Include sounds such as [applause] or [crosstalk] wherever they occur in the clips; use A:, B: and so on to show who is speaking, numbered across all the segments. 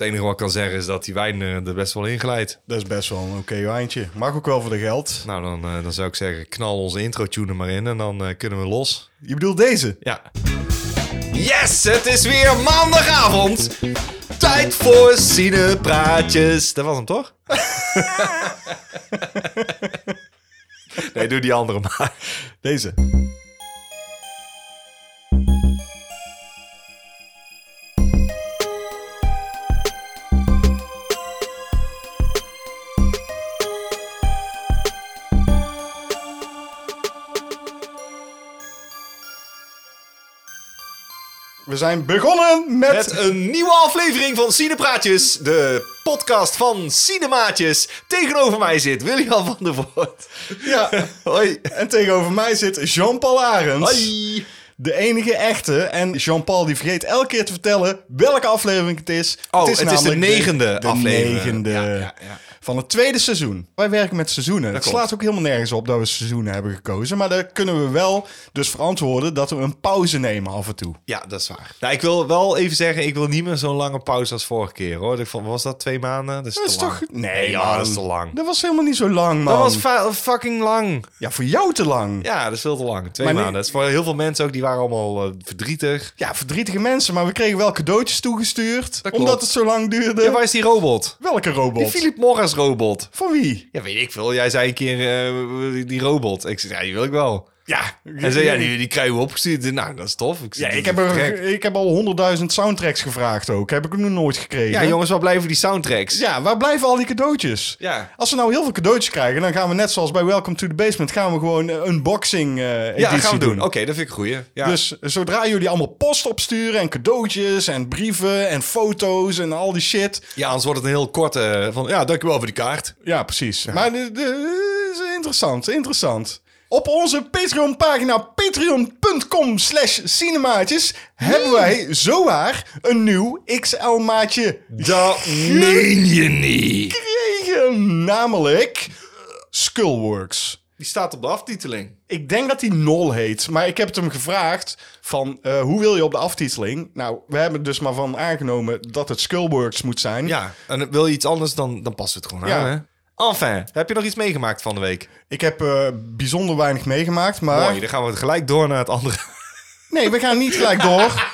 A: enige wat ik kan zeggen is dat die wijn eh, er best wel in glijdt.
B: Dat is best wel een oké wijntje. Mag ook wel voor de geld.
A: Nou, dan, eh, dan zou ik zeggen, knal onze intro-tune er maar in en dan eh, kunnen we los.
B: Je bedoelt deze?
A: Ja. Yes, het is weer maandagavond. Tijd voor cinepraatjes. Dat was hem
B: [laughs]
A: toch? nee, doe die andere maar.
B: Deze. We zijn begonnen met...
A: Met een nieuwe aflevering van Cinepraatjes, de podcast van Cinemaatjes. Tegenover mij zit William van der Voort.
B: Ja.
A: [laughs] Hoi.
B: En tegenover mij zit Jean-Paul Arends.
A: Hoi.
B: De enige echte. En Jean-Paul die vergeet elke keer te vertellen welke aflevering het is.
A: Oh, het is de
B: namelijk
A: negende
B: de
A: aflevering.
B: negende
A: Ja, ja, ja.
B: Van het tweede seizoen. Wij werken met seizoenen. het
A: klopt.
B: slaat ook helemaal nergens op dat we seizoenen hebben gekozen. Maar daar kunnen we wel dus verantwoorden dat we een pauze nemen af en toe.
A: Ja, dat is waar. Nou, ik wil wel even zeggen, ik wil niet meer zo'n lange pauze als vorige keer hoor. Ik vond, was dat twee maanden? Dat is,
B: Dat
A: te
B: is
A: lang.
B: toch...
A: Nee, ja,
B: man.
A: dat is te lang.
B: Dat was helemaal niet zo lang, man.
A: Dat was fa- fucking lang.
B: Ja, voor jou te lang. Ja.
A: Ja, dat is veel te lang. Twee
B: Maar nu-
A: maanden. Dat is voor heel veel mensen ook, die waren allemaal eh, verdrietig.
B: verdrietige mensen. Maar we kregen wel cadeautjes toegestuurd.
A: Dat
B: omdat
A: klopt.
B: het zo lang duurde.
A: Ja, waar is die robot?
B: Welke robot?
A: Die Philip Morris robot.
B: Voor wie?
A: Ja, weet ik veel. Jij zei een keer eh, die- die robot. Ik zei, ja, die wil ik wel.
B: Ja.
A: En zei, ja, die, die krijgen we opgestuurd. Nou, dat is tof. Ik,
B: Ja,
A: zei,
B: ik
A: dat
B: heb,
A: is gek.
B: er, ik heb al honderdduizend soundtracks gevraagd ook. Heb ik nog nooit gekregen. Dus
A: Ja, jongens, wat blijven die soundtracks?
B: Ja, waar blijven al die cadeautjes?
A: Ja.
B: Als we nou heel veel cadeautjes krijgen, dan gaan we net zoals bij Welcome to the Basement... gaan we gewoon een unboxing eh editie
A: Ja, dat gaan we doen.
B: doen.
A: Oké, dat vind ik een goeie. Ja.
B: Dus zodra jullie allemaal post opsturen en cadeautjes en brieven en foto's en al die shit.
A: ja, anders wordt het een heel korte eh, van, ja, dankjewel voor die kaart.
B: Ja, precies. Maar dit dit is interessant, interessant. Op onze Patreon-pagina patreon.com slash cinemaatjes... hebben wij zowaar een nieuw XL-maatje
A: Dat meen je niet.
B: tegen, namelijk eh, Skullworks.
A: Die staat op de aftiteling.
B: Ik denk dat hij Nol heet, maar ik heb het hem gevraagd van eh, hoe wil je op de aftiteling? Nou, we hebben er dus maar van aangenomen dat het Skullworks moet zijn.
A: Ja, en wil je iets anders, dan, dan past het gewoon
B: Ja.
A: aan, hè? Enfin, heb je nog iets meegemaakt van de week?
B: Ik heb eh, bijzonder weinig meegemaakt, maar
A: Mooi, dan gaan we gelijk door naar het andere.
B: nee, we gaan niet gelijk door.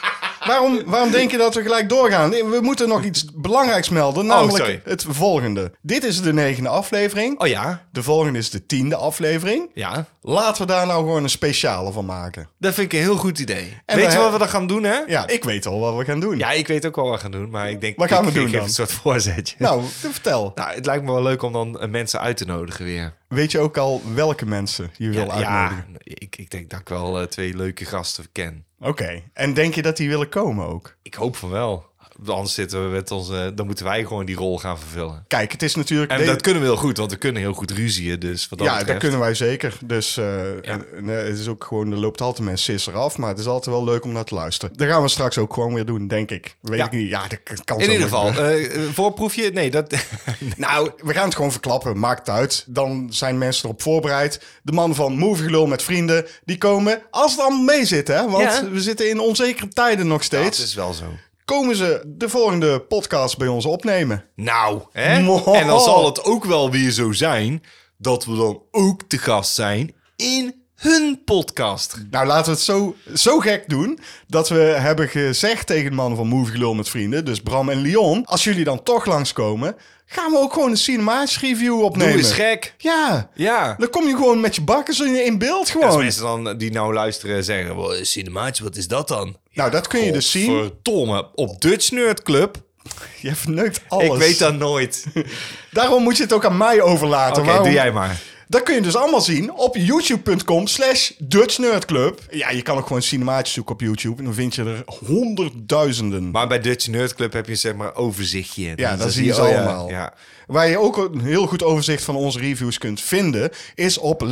B: waarom, waarom denk je dat we gelijk doorgaan? Nee, We moeten nog iets belangrijks melden, namelijk
A: Oh, sorry.
B: het volgende. Dit is de negende aflevering.
A: Oh ja,
B: De volgende is de tiende aflevering.
A: ja.
B: Laten we daar nou gewoon een speciale van maken.
A: Dat vind ik een heel goed idee. weet
B: En we
A: je wat
B: hebben-
A: we dan gaan doen, hè?
B: Ja, ik weet al wat we gaan doen.
A: Ja, ik weet ook wel wat we gaan doen, maar ik denk...
B: Wat gaan we
A: ik,
B: doen
A: ik geef
B: dan?
A: een soort voorzetje.
B: Nou, vertel.
A: Nou, het lijkt me wel leuk om dan eh, mensen uit te nodigen weer.
B: Weet je ook al welke mensen je wil uitnodigen?
A: ik, ik denk dat ik wel eh, twee leuke gasten ken.
B: Oké. En denk je dat die willen komen ook?
A: Ik hoop van wel. Anders zitten we met onze... Dan moeten wij gewoon die rol gaan vervullen.
B: Kijk, het is natuurlijk...
A: En
B: de-
A: dat kunnen we heel goed, want we kunnen heel goed ruzieën. Dus wat dat
B: ja, dat
A: betreft.
B: kunnen wij zeker. Dus eh, en- en, eh, het is ook gewoon, er loopt altijd mijn sis eraf, maar het is altijd wel leuk om naar te luisteren. Dat gaan we straks ook gewoon weer doen, denk ik. Weet
A: Ja.
B: ik niet. Ja, dat kan zo
A: In ieder
B: maar-
A: geval, eh, eh, voorproefje? Nee, dat... [laughs]
B: Nou, we gaan het gewoon verklappen. Maakt het uit. Dan zijn mensen erop voorbereid. De man van Moviegelul met vrienden, die komen als het allemaal mee zit, hè? Want
A: Ja. dus-
B: we zitten in onzekere tijden nog
A: dat
B: steeds.
A: is wel zo.
B: Komen ze de volgende podcast bij ons opnemen?
A: Nou, hè?
B: Mo.
A: En dan zal het ook wel weer zo zijn dat we dan ook te gast zijn in hun podcast.
B: Nou, laten we het zo, zo gek doen dat we hebben gezegd tegen de mannen van Movie Gelul met vrienden, dus Bram en Leon, als jullie dan toch langskomen, gaan we ook gewoon een cinematisch review
A: Doe
B: opnemen.
A: eens gek.
B: Ja,
A: Ja.
B: dan kom je gewoon met je bakken zo in beeld
A: Als
B: gewoon.
A: mensen dan die nou luisteren zeggen, "Wow, cinemaatje, wat is dat dan?
B: nou, dat kun je dus zien.
A: Verdomme, op Dutch Nerd Club.
B: Je verneukt alles.
A: Ik weet dat
B: [laughs]
A: nooit. Oké,
B: Daarom moet je het ook aan mij overlaten. Waarom-
A: doe jij maar.
B: Dat kun je dus allemaal zien op youtube.com slash Dutch Nerd Club. Ja, je kan ook gewoon cinematisch zoeken op YouTube en dan vind je er honderdduizenden.
A: Maar bij Dutch Nerd Club heb je zeg maar overzichtje.
B: Ja,
A: Dus
B: dat zie je ze
A: oh ja,
B: allemaal.
A: Ja.
B: Waar je ook een heel goed overzicht van onze reviews kunt vinden, is op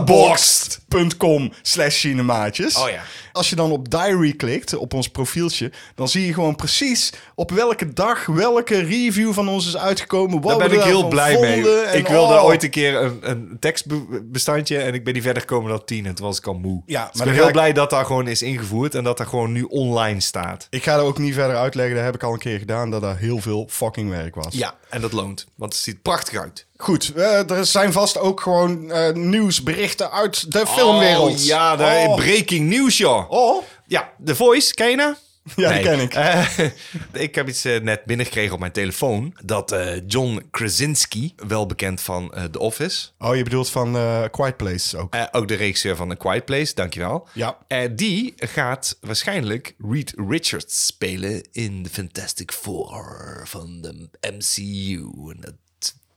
A: Letterboxd.
B: letterboxd.com slash cinemaatjes.
A: Oh ja.
B: Als je dan op diary klikt, op ons profieltje, dan zie je gewoon precies op welke dag welke review van ons is uitgekomen. Wat
A: Daar ben
B: we
A: ik heel
B: daarvan
A: blij
B: vonden
A: mee.
B: en
A: Ik wil
B: oh.
A: daar ooit een keer een, een tekstbestandje en ik ben niet verder gekomen dan 10 en toen was ik al moe. Dus
B: Ja, maar
A: ik
B: dan
A: ben
B: ga
A: heel
B: ik-
A: blij dat daar gewoon is ingevoerd en dat daar gewoon nu online staat.
B: Ik ga er ook niet verder uitleggen. Dat heb ik al een keer gedaan. Dat er heel veel fucking werk was.
A: Ja, en dat loont, want het ziet prachtig uit.
B: Goed, eh, er zijn vast ook gewoon eh, nieuwsberichten uit de filmwereld.
A: Oh, ja, de
B: oh.
A: breaking news, joh.
B: Oh.
A: Ja, The Voice, ken [laughs] je nou?
B: Ja, die ken ik.
A: Eh, [laughs] ik heb iets eh, net binnengekregen op mijn telefoon. Dat eh, John Krasinski, wel bekend van eh, The Office...
B: oh, je bedoelt van eh Quiet Place ook.
A: eh, ook de regisseur van The Quiet Place, dankjewel.
B: Ja.
A: Eh, die gaat waarschijnlijk Reed Richards spelen in de Fantastic Four van de MCU. En dat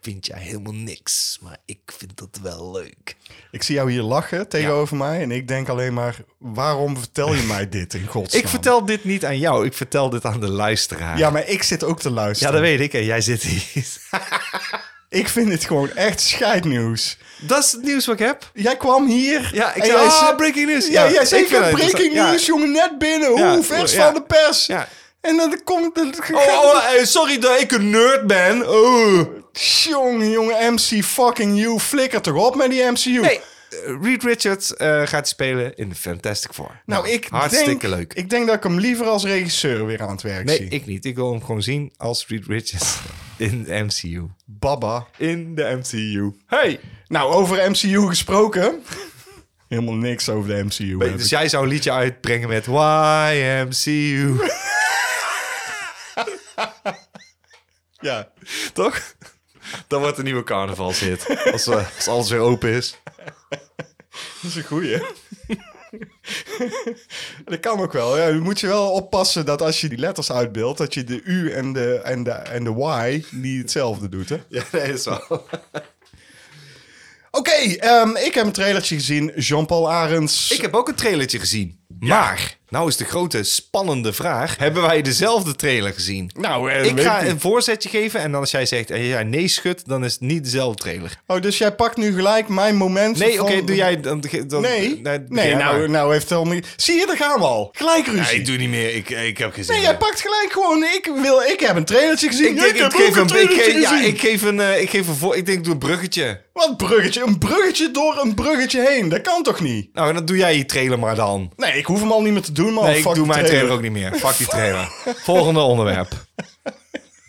A: vind jij helemaal niks, maar ik vind dat wel leuk.
B: Ik zie jou hier lachen tegenover mij en ik denk alleen maar, waarom vertel je mij dit in godsnaam?
A: Ik vertel dit niet aan jou, ik vertel dit aan de luisteraar.
B: Ja, maar ik zit ook te
A: Ja,
B: luisteren.
A: dat weet ik. En jij zit hier. [laughs]
B: Ik vind dit gewoon echt scheidnieuws.
A: Dat is het nieuws wat ik heb.
B: Jij kwam hier.
A: Ja, ik
B: en
A: zei,
B: jij
A: ah,
B: zei-
A: breaking news.
B: Ja,
A: Ja,
B: jij
A: ik
B: zei, ik
A: vind
B: heb
A: het
B: breaking
A: interessant.
B: news, jongen, net binnen.
A: Ja,
B: Hoe vers
A: ja.
B: van de pers.
A: Ja.
B: En dan komt... Dat,
A: Oh, oh, eh, sorry dat ik een nerd ben. Oh.
B: Jongen, jongen, MC fucking you. Flikker toch op met die MCU.
A: Nee, eh, Reed Richards eh, gaat spelen in Fantastic Four.
B: Nou, ik
A: Hartstikke
B: denk,
A: leuk.
B: Ik denk dat ik hem liever als regisseur weer aan het werk
A: nee,
B: zie.
A: ik niet. Ik wil hem gewoon zien als Reed Richards in de MCU.
B: Baba.
A: In de MCU. Hey!
B: Nou, over MCU gesproken. Helemaal niks over de MCU. heb ik.
A: Dus jij zou een liedje uitbrengen met YMCU.
B: Ja.
A: [laughs] Toch? Dan wordt een nieuwe carnavalshit. Als, we als alles weer open is.
B: Dat is een goeie. [laughs] dat kan ook wel. Ja, dan moet je wel oppassen dat als je die letters uitbeeldt, dat je de U en de, en de, en de Y niet hetzelfde doet. Hè?
A: Ja, nee, dat is [laughs] wel.
B: Oké, ehm, ik heb een trailertje gezien. Jean-Paul Arends.
A: Ik heb ook een trailertje gezien. Maar, nou is de grote spannende vraag. Hebben wij dezelfde trailer gezien?
B: Nou, eh,
A: Ik
B: weet
A: ga
B: ik niet.
A: een voorzetje geven en dan als jij zegt en jij nee schudt, dan is het niet dezelfde trailer.
B: Oh, dus jij pakt nu gelijk mijn moment.
A: Nee,
B: van-
A: oké, doe jij dan... ge- dan
B: Nee, nee,
A: begin jij maar.
B: nou, nou heeft het al niet... Zie je, daar gaan we al. Gelijk
A: Nee,
B: ruzie.
A: ik doe niet meer. Ik, eh, ik heb geen zin
B: nee,
A: meer.
B: jij pakt gelijk gewoon... Ik, wil, ik heb een trailertje gezien.
A: Ik denk, ik
B: heb
A: geef
B: ook
A: een... Ik
B: trailertje
A: geef, ja,
B: gezien.
A: ik geef een... eh, Ik geef een voor... Ik denk, ik doe een bruggetje.
B: Wat bruggetje? Een bruggetje door een bruggetje heen. Dat kan toch niet?
A: Nou, en dan doe jij je trailer maar dan.
B: Nee, ik hoef hem al niet meer te doen, man.
A: Nee, ik
B: Fuck
A: doe
B: die
A: mijn Oh, trailer. ook niet [laughs] meer. Fuck die trailer. Volgende onderwerp.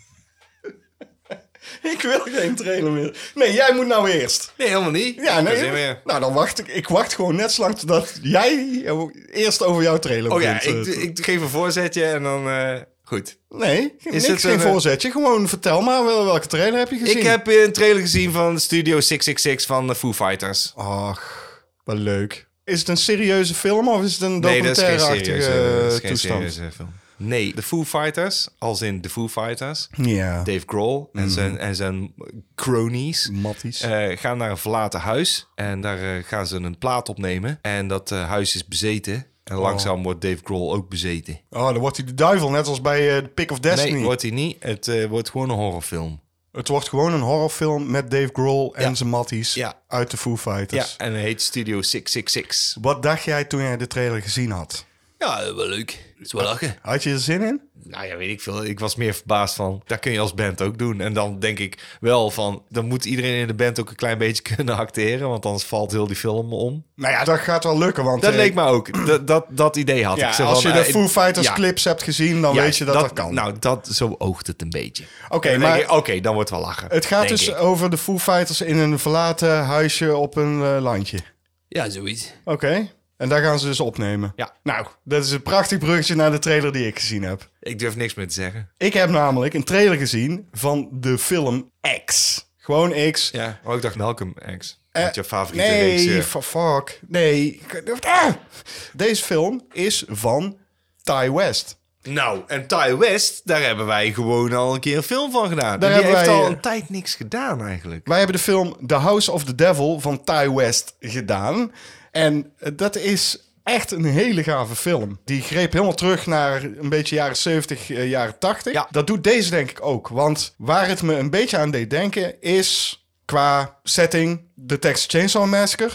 B: [laughs] Ik wil geen trailer meer. Nee, jij moet nou eerst.
A: Nee, helemaal niet.
B: Ja,
A: Ik heb
B: nee.
A: geen zin meer.
B: Nou, dan wacht ik. Ik wacht gewoon net zo lang totdat jij eerst over jouw trailer
A: Oh ja,
B: begint,
A: ik,
B: eh, te-
A: ik geef een voorzetje en dan... eh, goed.
B: Nee, niks,
A: het
B: geen
A: een, eh,
B: voorzetje. Gewoon vertel maar wel- welke trailer heb je gezien.
A: Ik heb een trailer gezien van Studio 666 van de Foo Fighters.
B: Ach, wat leuk. Is het een serieuze film of is het een
A: Nee, dat is geen
B: documentaire-achtige
A: serieuze, dat is
B: eh,
A: geen
B: toestand?
A: serieuze film. Nee, de Foo Fighters, als in de Foo Fighters,
B: Ja.
A: Dave Grohl en, zijn, en zijn cronies...
B: Matties.
A: eh, gaan naar een verlaten huis en daar eh, gaan ze een plaat opnemen. En dat eh, huis is bezeten. En langzaam wordt Dave Grohl ook bezeten.
B: oh, dan wordt hij de duivel, net als bij eh The Pick of Destiny.
A: Nee, wordt hij niet. Het eh, wordt gewoon een horrorfilm.
B: Het wordt gewoon een horrorfilm met Dave Grohl en
A: Ja.
B: zijn matties
A: Ja.
B: uit de Foo
A: Ja,
B: Fighters.
A: en het heet Studio 666.
B: Wat dacht jij toen jij de trailer gezien had?
A: Ja, wel leuk. Het is wel lachen.
B: Had je er zin in?
A: Nou ja, weet ik veel. Ik was meer verbaasd van, dat kun je als band ook doen. En dan denk ik wel van, dan moet iedereen in de band ook een klein beetje [laughs] kunnen acteren. Want anders valt heel die film om.
B: Nou ja, dat gaat wel lukken, want...
A: Dat
B: eh,
A: leek me ook. Dat, dat, dat idee had
B: ja,
A: ik. Zo
B: als
A: van,
B: je de
A: eh,
B: Foo Fighters
A: ja,
B: clips hebt gezien, dan
A: ja,
B: weet je dat dat, kan.
A: Nou, dat, zo oogt het een beetje.
B: Oké,
A: En dan
B: maar-
A: denk ik, Oké, dan wordt wel lachen.
B: het gaat
A: denk
B: dus
A: ik.
B: over de Foo Fighters in een verlaten huisje op een eh, landje.
A: Ja, zoiets.
B: Oké. En daar gaan ze dus opnemen.
A: Ja.
B: Nou, dat is een prachtig bruggetje naar de trailer die ik gezien heb.
A: Ik durf niks meer te zeggen.
B: Ik heb namelijk een trailer gezien van de film X. Gewoon X.
A: Ja. Oh, ik dacht Malcolm X.
B: Eh,
A: Met je favoriete eh.
B: Nee,
A: regisseur.
B: fa- fuck. Nee. Ah! Deze film is van Ty West.
A: Nou, en Ty West, daar hebben wij gewoon al een keer een film van gedaan.
B: Daar
A: en die
B: hebben
A: heeft
B: wij,
A: al
B: eh,
A: een tijd niks gedaan eigenlijk.
B: Wij hebben de film The House of the Devil van Ty West gedaan. En eh, dat is echt een hele gave film. Die greep helemaal terug naar een beetje jaren 70, eh, jaren 80.
A: Ja.
B: Dat doet deze denk ik ook. Want waar het me een beetje aan deed denken is qua setting de Texas Chainsaw Massacre.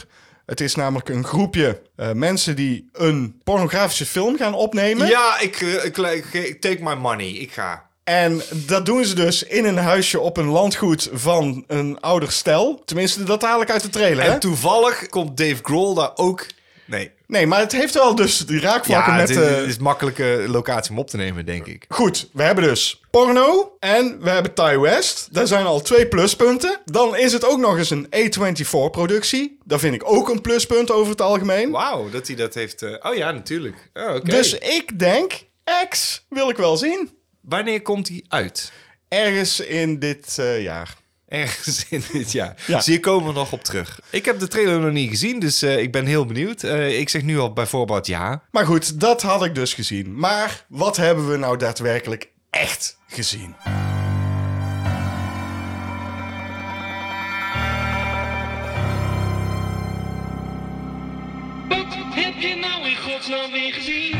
B: Het is namelijk een groepje eh, mensen die een pornografische film gaan opnemen.
A: eh, Ja, ik, eh, ik, ik- ik- take my money. Ik ga.
B: En dat doen ze dus in een huisje op een landgoed van een ouder stel. Tenminste, dat haal ik uit de trailer. hè?
A: En toevallig komt Dave Grohl daar ook... Nee.
B: Nee, maar het heeft wel dus die raakvlakken
A: Ja,
B: met...
A: het is,
B: eh,
A: het is makkelijke locatie om op te nemen, denk ik.
B: Goed, we hebben dus porno en we hebben Ty West. Daar zijn al twee pluspunten. Dan is het ook nog eens een A24-productie. Dat vind ik ook een pluspunt over het algemeen.
A: Wauw, dat hij dat heeft... eh, oh ja, natuurlijk. Oh, oké.
B: Dus ik denk, X wil ik wel zien.
A: Wanneer komt hij uit?
B: Ergens in dit eh, jaar.
A: Ergens [laughs] in dit jaar.
B: Ja.
A: Dus hier komen we nog op terug. Ik heb de trailer nog niet gezien, dus eh, ik ben heel benieuwd. Eh, ik zeg nu al bijvoorbeeld ja.
B: Maar goed, dat had ik dus gezien. Maar wat hebben we nou daadwerkelijk echt gezien?
C: Wat heb je nou in godsnaam weer gezien?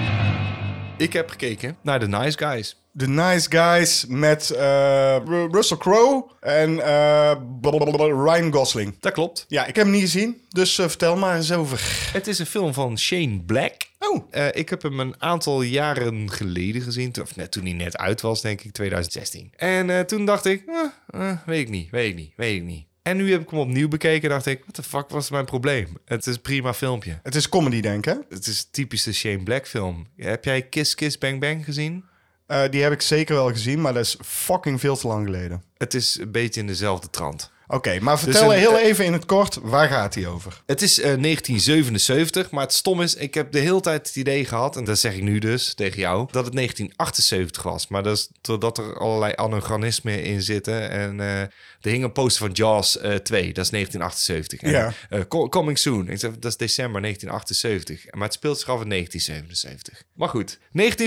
A: Ik heb gekeken naar The Nice Guys.
B: The Nice Guys met eh, Ru- Russell Crowe en eh, blablabla, Ryan Gosling.
A: Dat klopt.
B: Ja, ik heb hem niet gezien, dus eh, vertel maar eens over.
A: Het is een film van Shane Black.
B: Oh,
A: Eh, ik heb hem een aantal jaren geleden gezien. Toen- Of net toen hij net uit was, denk ik, 2016. En eh, toen dacht ik, eh, eh, weet ik niet, weet ik niet, weet ik niet. En nu heb ik hem opnieuw bekeken en dacht ik, wat de fuck was mijn probleem? Het is een prima filmpje.
B: het is comedy, denk ik. hè?
A: Het is een typische Shane Black film. Heb jij Kiss Kiss Bang Bang gezien?
B: Eh, die heb ik zeker wel gezien, maar dat is fucking veel te lang geleden.
A: Het is een beetje in dezelfde trant.
B: Oké, maar vertel
A: Dus een- eh,
B: heel even in het kort, waar gaat hij over?
A: Het is eh, 1977, maar het stom is, ik heb de hele tijd het idee gehad, en dat zeg ik nu dus tegen jou, dat het 1978 was. Maar dat is doordat er allerlei anachronismen in zitten. En eh, er hing een poster van Jaws eh 2, dat is 1978. En,
B: Ja.
A: eh, co- coming soon. Ik zeg, dat is december 1978. Maar het speelt zich af in 1977. Maar goed,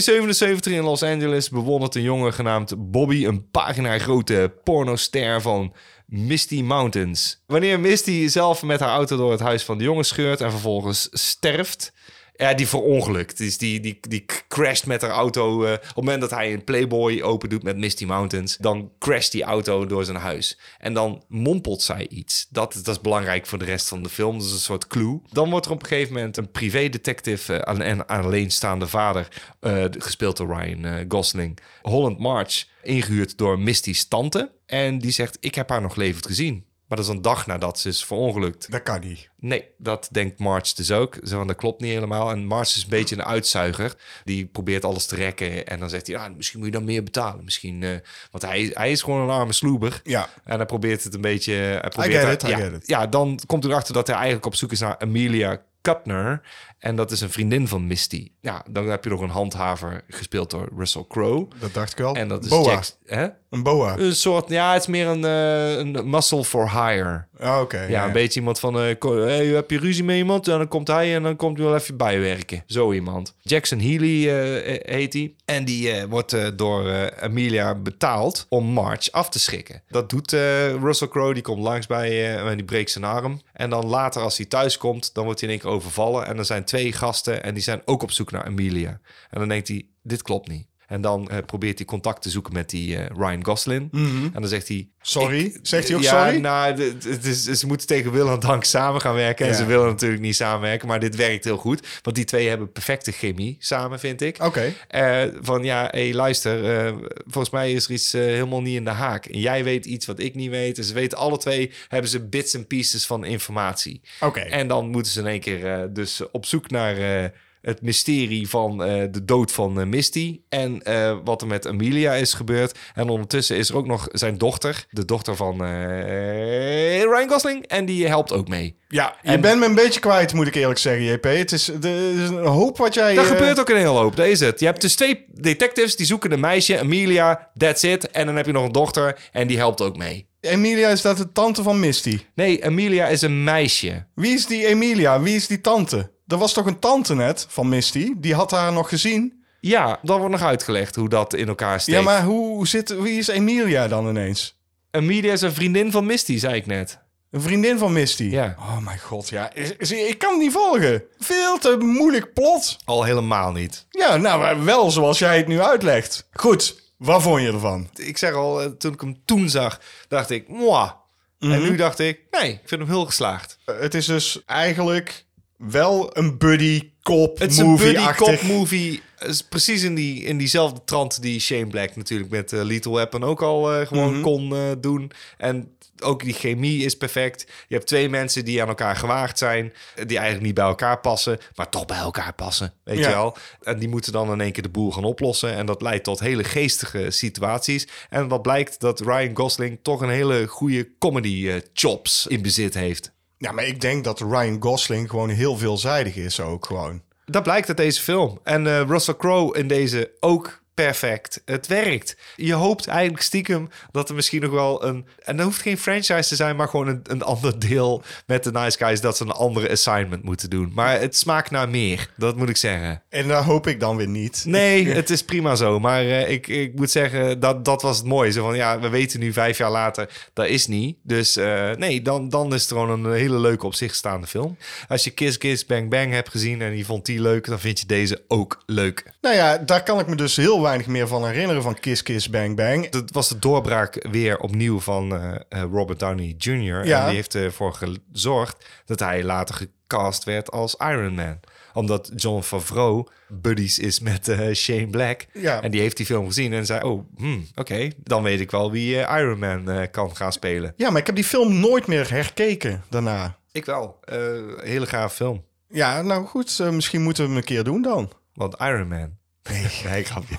A: 1977 in Los Angeles bewondert een jongen genaamd Bobby een pagina grote pornoster van Misty Mountains. Wanneer Misty zelf met haar auto door het huis van de jongen scheurt en vervolgens sterft. Ja, die verongelukt. Dus die, die, die crasht met haar auto. eh, op het moment dat hij een Playboy open doet met Misty Mountains, dan crasht die auto door zijn huis. En dan mompelt zij iets. Dat, dat is belangrijk voor de rest van de film. Dat is een soort clue. Dan wordt er op een gegeven moment een privédetective eh, aan- en alleenstaande vader, eh, gespeeld door Ryan eh, Gosling, Holland March, ingehuurd door Misty's tante. En die zegt: Ik heb haar nog levend gezien. Maar dat is een dag nadat ze is verongelukt.
B: Dat kan niet.
A: Nee, dat denkt March dus ook. Zo van, dat klopt niet helemaal. En March is een beetje een uitzuiger. Die probeert alles te rekken. En dan zegt hij, ah, misschien moet je dan meer betalen. Misschien, eh, want hij, hij is gewoon een arme sloeber.
B: Ja.
A: En hij probeert het een beetje... Hij probeert
B: get it, I
A: ja,
B: get it.
A: ja, dan komt hij erachter dat hij eigenlijk op zoek is naar Amelia Kuttner. En dat is een vriendin van Misty. Ja, dan heb je nog een handhaver gespeeld door Russell Crowe.
B: Dat dacht ik wel.
A: En dat is
B: boa.
A: Jack- hè?
B: Een boa.
A: Een soort, ja, het is meer een, eh, een muscle for hire.
B: Ah, Oké.
A: Ja, een beetje iemand van, eh, ko- hey, heb je ruzie met iemand? En dan komt hij en dan komt hij wel even bijwerken. Zo iemand. Jackson Healy eh, eh, heet hij. En die eh, wordt eh, door eh, Amelia betaald om March af te schrikken. Dat doet eh, Russell Crowe. Die komt langs bij eh, en die breekt zijn arm. En dan later als hij thuis komt, dan wordt hij in één keer overvallen. En er zijn twee gasten en die zijn ook op zoek naar Amelia. En dan denkt hij, dit klopt niet. En dan eh, probeert hij contact te zoeken met die eh, Ryan Gosling. En dan zegt hij...
B: Sorry? Zegt hij ook
A: ja,
B: sorry?
A: nou, het- het is, ze moeten tegen wil en [laughs] dank samen gaan werken. En
B: Ja.
A: ze willen natuurlijk niet samenwerken, maar dit werkt heel goed. Want die twee hebben perfecte chemie samen, vind ik.
B: Oké.
A: Eh, van ja, hé, luister, eh, volgens mij is er iets eh, helemaal niet in de haak. En jij weet iets wat ik niet weet. En ze weten alle twee, hebben ze bits en pieces van informatie.
B: Oké.
A: En dan moeten ze in één keer eh, dus op zoek naar eh, het mysterie van eh, de dood van eh, Misty. En eh, wat er met Amelia is gebeurd. En ondertussen is er ook nog zijn dochter. De dochter van eh, Ryan Gosling. En die helpt ook mee.
B: Ja, je
A: en-
B: bent me een beetje kwijt, moet ik eerlijk zeggen, JP. Het is, er is een hoop wat jij...
A: Daar
B: eh,
A: gebeurt ook een hele hoop. Dat is het. Je hebt dus twee detectives die zoeken een meisje. Amelia, that's it. En dan heb je nog een dochter. En die helpt ook mee.
B: eh, Emilia is dat de tante van Misty.
A: Nee, Amelia is een meisje.
B: Wie is die Emilia? Wie is die tante? Er was toch een tante net van Misty? Die had haar nog gezien.
A: Ja, dan wordt nog uitgelegd hoe dat in elkaar steekt.
B: Ja, maar hoe zit... Wie is Emilia dan ineens?
A: Amelia is een vriendin van Misty, zei ik net.
B: Een vriendin van Misty?
A: Ja.
B: Oh mijn god, ja. Is- is- Ik kan het niet volgen. Veel te moeilijk plot.
A: Al helemaal niet.
B: Ja, nou, maar wel zoals jij het nu uitlegt. Goed, wat vond je ervan?
A: ik zeg al, eh, toen ik hem toen zag, dacht ik, mwah. En nu dacht ik, nee, ik vind hem heel geslaagd.
B: Eh, Het is dus eigenlijk wel een buddy cop
A: Het is een
B: movie
A: buddy cop
B: achtig.
A: movie. Is precies in, die, in diezelfde trant die Shane Black natuurlijk met eh, Lethal Weapon ook al eh, gewoon kon eh, doen. En ook die chemie is perfect. Je hebt twee mensen die aan elkaar gewaagd zijn. eh, Die eigenlijk niet bij elkaar passen, maar toch bij elkaar passen. Weet
B: Ja.
A: je wel? En die moeten dan in één keer de boel gaan oplossen. En dat leidt tot hele geestige situaties. En wat blijkt dat Ryan Gosling toch een hele goede comedy eh, chops in bezit heeft.
B: Ja, maar ik denk dat Ryan Gosling gewoon heel veelzijdig is ook gewoon.
A: Dat blijkt uit deze film. En eh, Russell Crowe in deze ook perfect. Het werkt. Je hoopt eigenlijk stiekem dat er misschien nog wel een... En dat hoeft geen franchise te zijn, maar gewoon een, een ander deel met de Nice Guys... dat ze een andere assignment moeten doen. Maar het smaakt naar meer, dat moet ik zeggen.
B: En daar hoop ik dan weer niet.
A: Nee, het is prima zo. Maar eh, ik, ik moet zeggen, dat, dat was het mooie. Zo van, ja, we weten nu vijf jaar later, dat is niet. Dus eh, nee, dan, dan is het gewoon een hele leuke op zich staande film. Als je Kiss Kiss Bang Bang hebt gezien en je vond die leuk... dan vind je deze ook leuk.
B: Nou ja, daar kan ik me dus heel weinig meer van herinneren van Kiss Kiss Bang Bang.
A: Dat was de doorbraak weer opnieuw van eh, eh, Robert Downey Jr.
B: Ja.
A: En die heeft ervoor gezorgd dat hij later gecast werd als Iron Man. Omdat John Favreau buddies is met eh, Shane Black.
B: Ja.
A: En die heeft die film gezien en zei... oh, hmm, oké, dan weet ik wel wie eh, Iron Man eh, kan gaan spelen.
B: Ja, maar ik heb die film nooit meer herkeken daarna.
A: Ik wel. Eh, hele gaaf film.
B: Ja, nou goed, eh, misschien moeten we hem een keer doen dan.
A: Want Iron Man... Nee, nee grapje.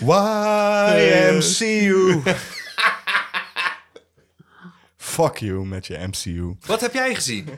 B: YMCU. [laughs] Fuck you met je MCU.
A: Wat heb jij gezien?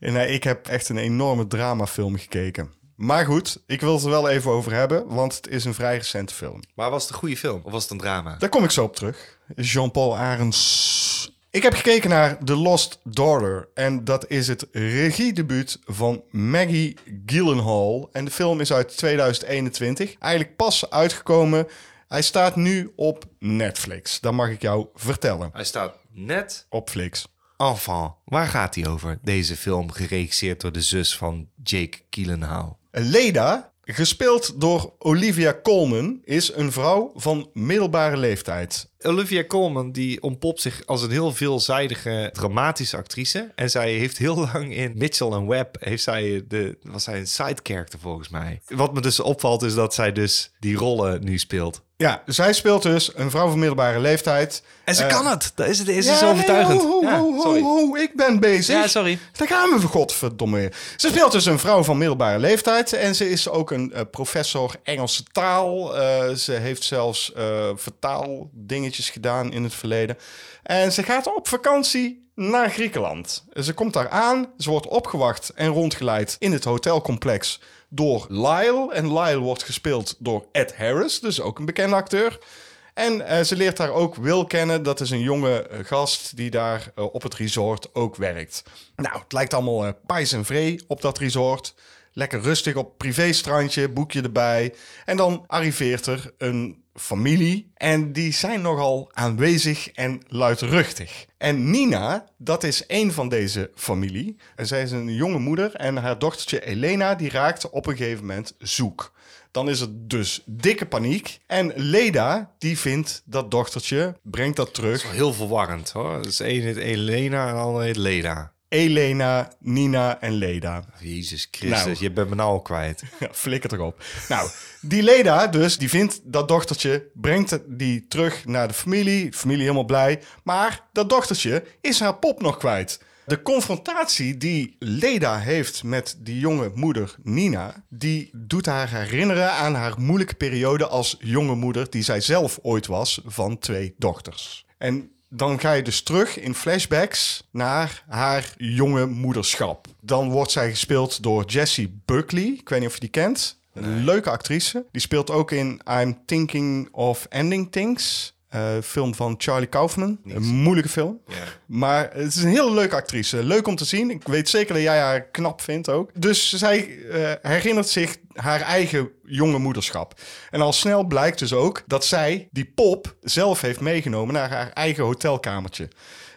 B: En nee, ik heb echt een enorme dramafilm gekeken. Maar goed, ik wil het er wel even over hebben, want het is een vrij recente film.
A: Maar was het een goede film of was het een drama?
B: Daar kom ik zo op terug. Jean-Paul Arends. Ik heb gekeken naar The Lost Daughter. En dat is het regiedebuut van Maggie Gyllenhaal. En de film is uit 2021. Eigenlijk pas uitgekomen. Hij staat nu op Netflix. Dat mag ik jou vertellen.
A: Hij staat net
B: Op Flix.
A: Enfant, waar gaat hij over? Deze film geregisseerd door de zus van Jake Gyllenhaal.
B: Leda, gespeeld door Olivia Colman, is een vrouw van middelbare leeftijd.
A: Olivia Colman die ontpopt zich als een heel veelzijdige dramatische actrice. En zij heeft heel lang in Mitchell en Webb heeft zij de, was zij een side character volgens mij. Wat me dus opvalt is dat zij dus die rollen nu speelt.
B: Ja, zij speelt dus een vrouw van middelbare leeftijd. Eh,
A: En ze kan het. Dat is het is
B: Ja,
A: zo
B: nee,
A: overtuigend.
B: ho, ho,
A: Ja,
B: ho, ho,
A: sorry.
B: ho, ik ben bezig.
A: Ja, sorry.
B: Daar gaan we voor godverdomme weer. Ze speelt dus een vrouw van middelbare leeftijd. En ze is ook een eh, professor Engelse taal. Eh, ze heeft zelfs eh, vertaaldingetjes gedaan in het verleden. En ze gaat op vakantie naar Griekenland. Ze komt daar aan. Ze wordt opgewacht en rondgeleid in het hotelcomplex door Lyle. En Lyle wordt gespeeld door Ed Harris, dus ook een bekende acteur. En eh, ze leert daar ook Will kennen. Dat is een jonge eh, gast die daar eh, op het resort ook werkt. Nou, het lijkt allemaal eh pijs en vree op dat resort. Lekker rustig op privéstrandje, boekje erbij. En dan arriveert er een familie. En die zijn nogal aanwezig en luidruchtig. En Nina, dat is één van deze familie. En zij is een jonge moeder. En haar dochtertje Elena, die raakt op een gegeven moment zoek. Dan is het dus dikke paniek. En Leda, die vindt dat dochtertje, brengt dat terug.
A: Heel verwarrend hoor. Dus één heet Elena en de andere heet Leda.
B: Elena, Nina en Leda.
A: Jezus Christus,
B: Nou.
A: je bent me nou al kwijt.
B: [laughs] Ja, flikker toch op. Nou, die Leda dus, die vindt dat dochtertje, brengt het- die terug naar de familie. Familie helemaal blij. Maar dat dochtertje is haar pop nog kwijt. De confrontatie die Leda heeft met die jonge moeder Nina, die doet haar herinneren aan haar moeilijke periode als jonge moeder, die zij zelf ooit was, van twee dochters. En dan ga je dus terug in flashbacks naar haar jonge moederschap. Dan wordt zij gespeeld door Jessie Buckley. Ik weet niet of je die kent. Een leuke actrice. Die speelt ook in I'm Thinking of Ending Things. eh, film van Charlie Kaufman. Een moeilijke film. Maar het is een hele leuke actrice. Leuk om te zien. Ik weet zeker dat jij haar knap vindt ook. Dus zij eh, herinnert zich haar eigen jonge moederschap. En al snel blijkt dus ook dat zij die pop zelf heeft meegenomen naar haar eigen hotelkamertje.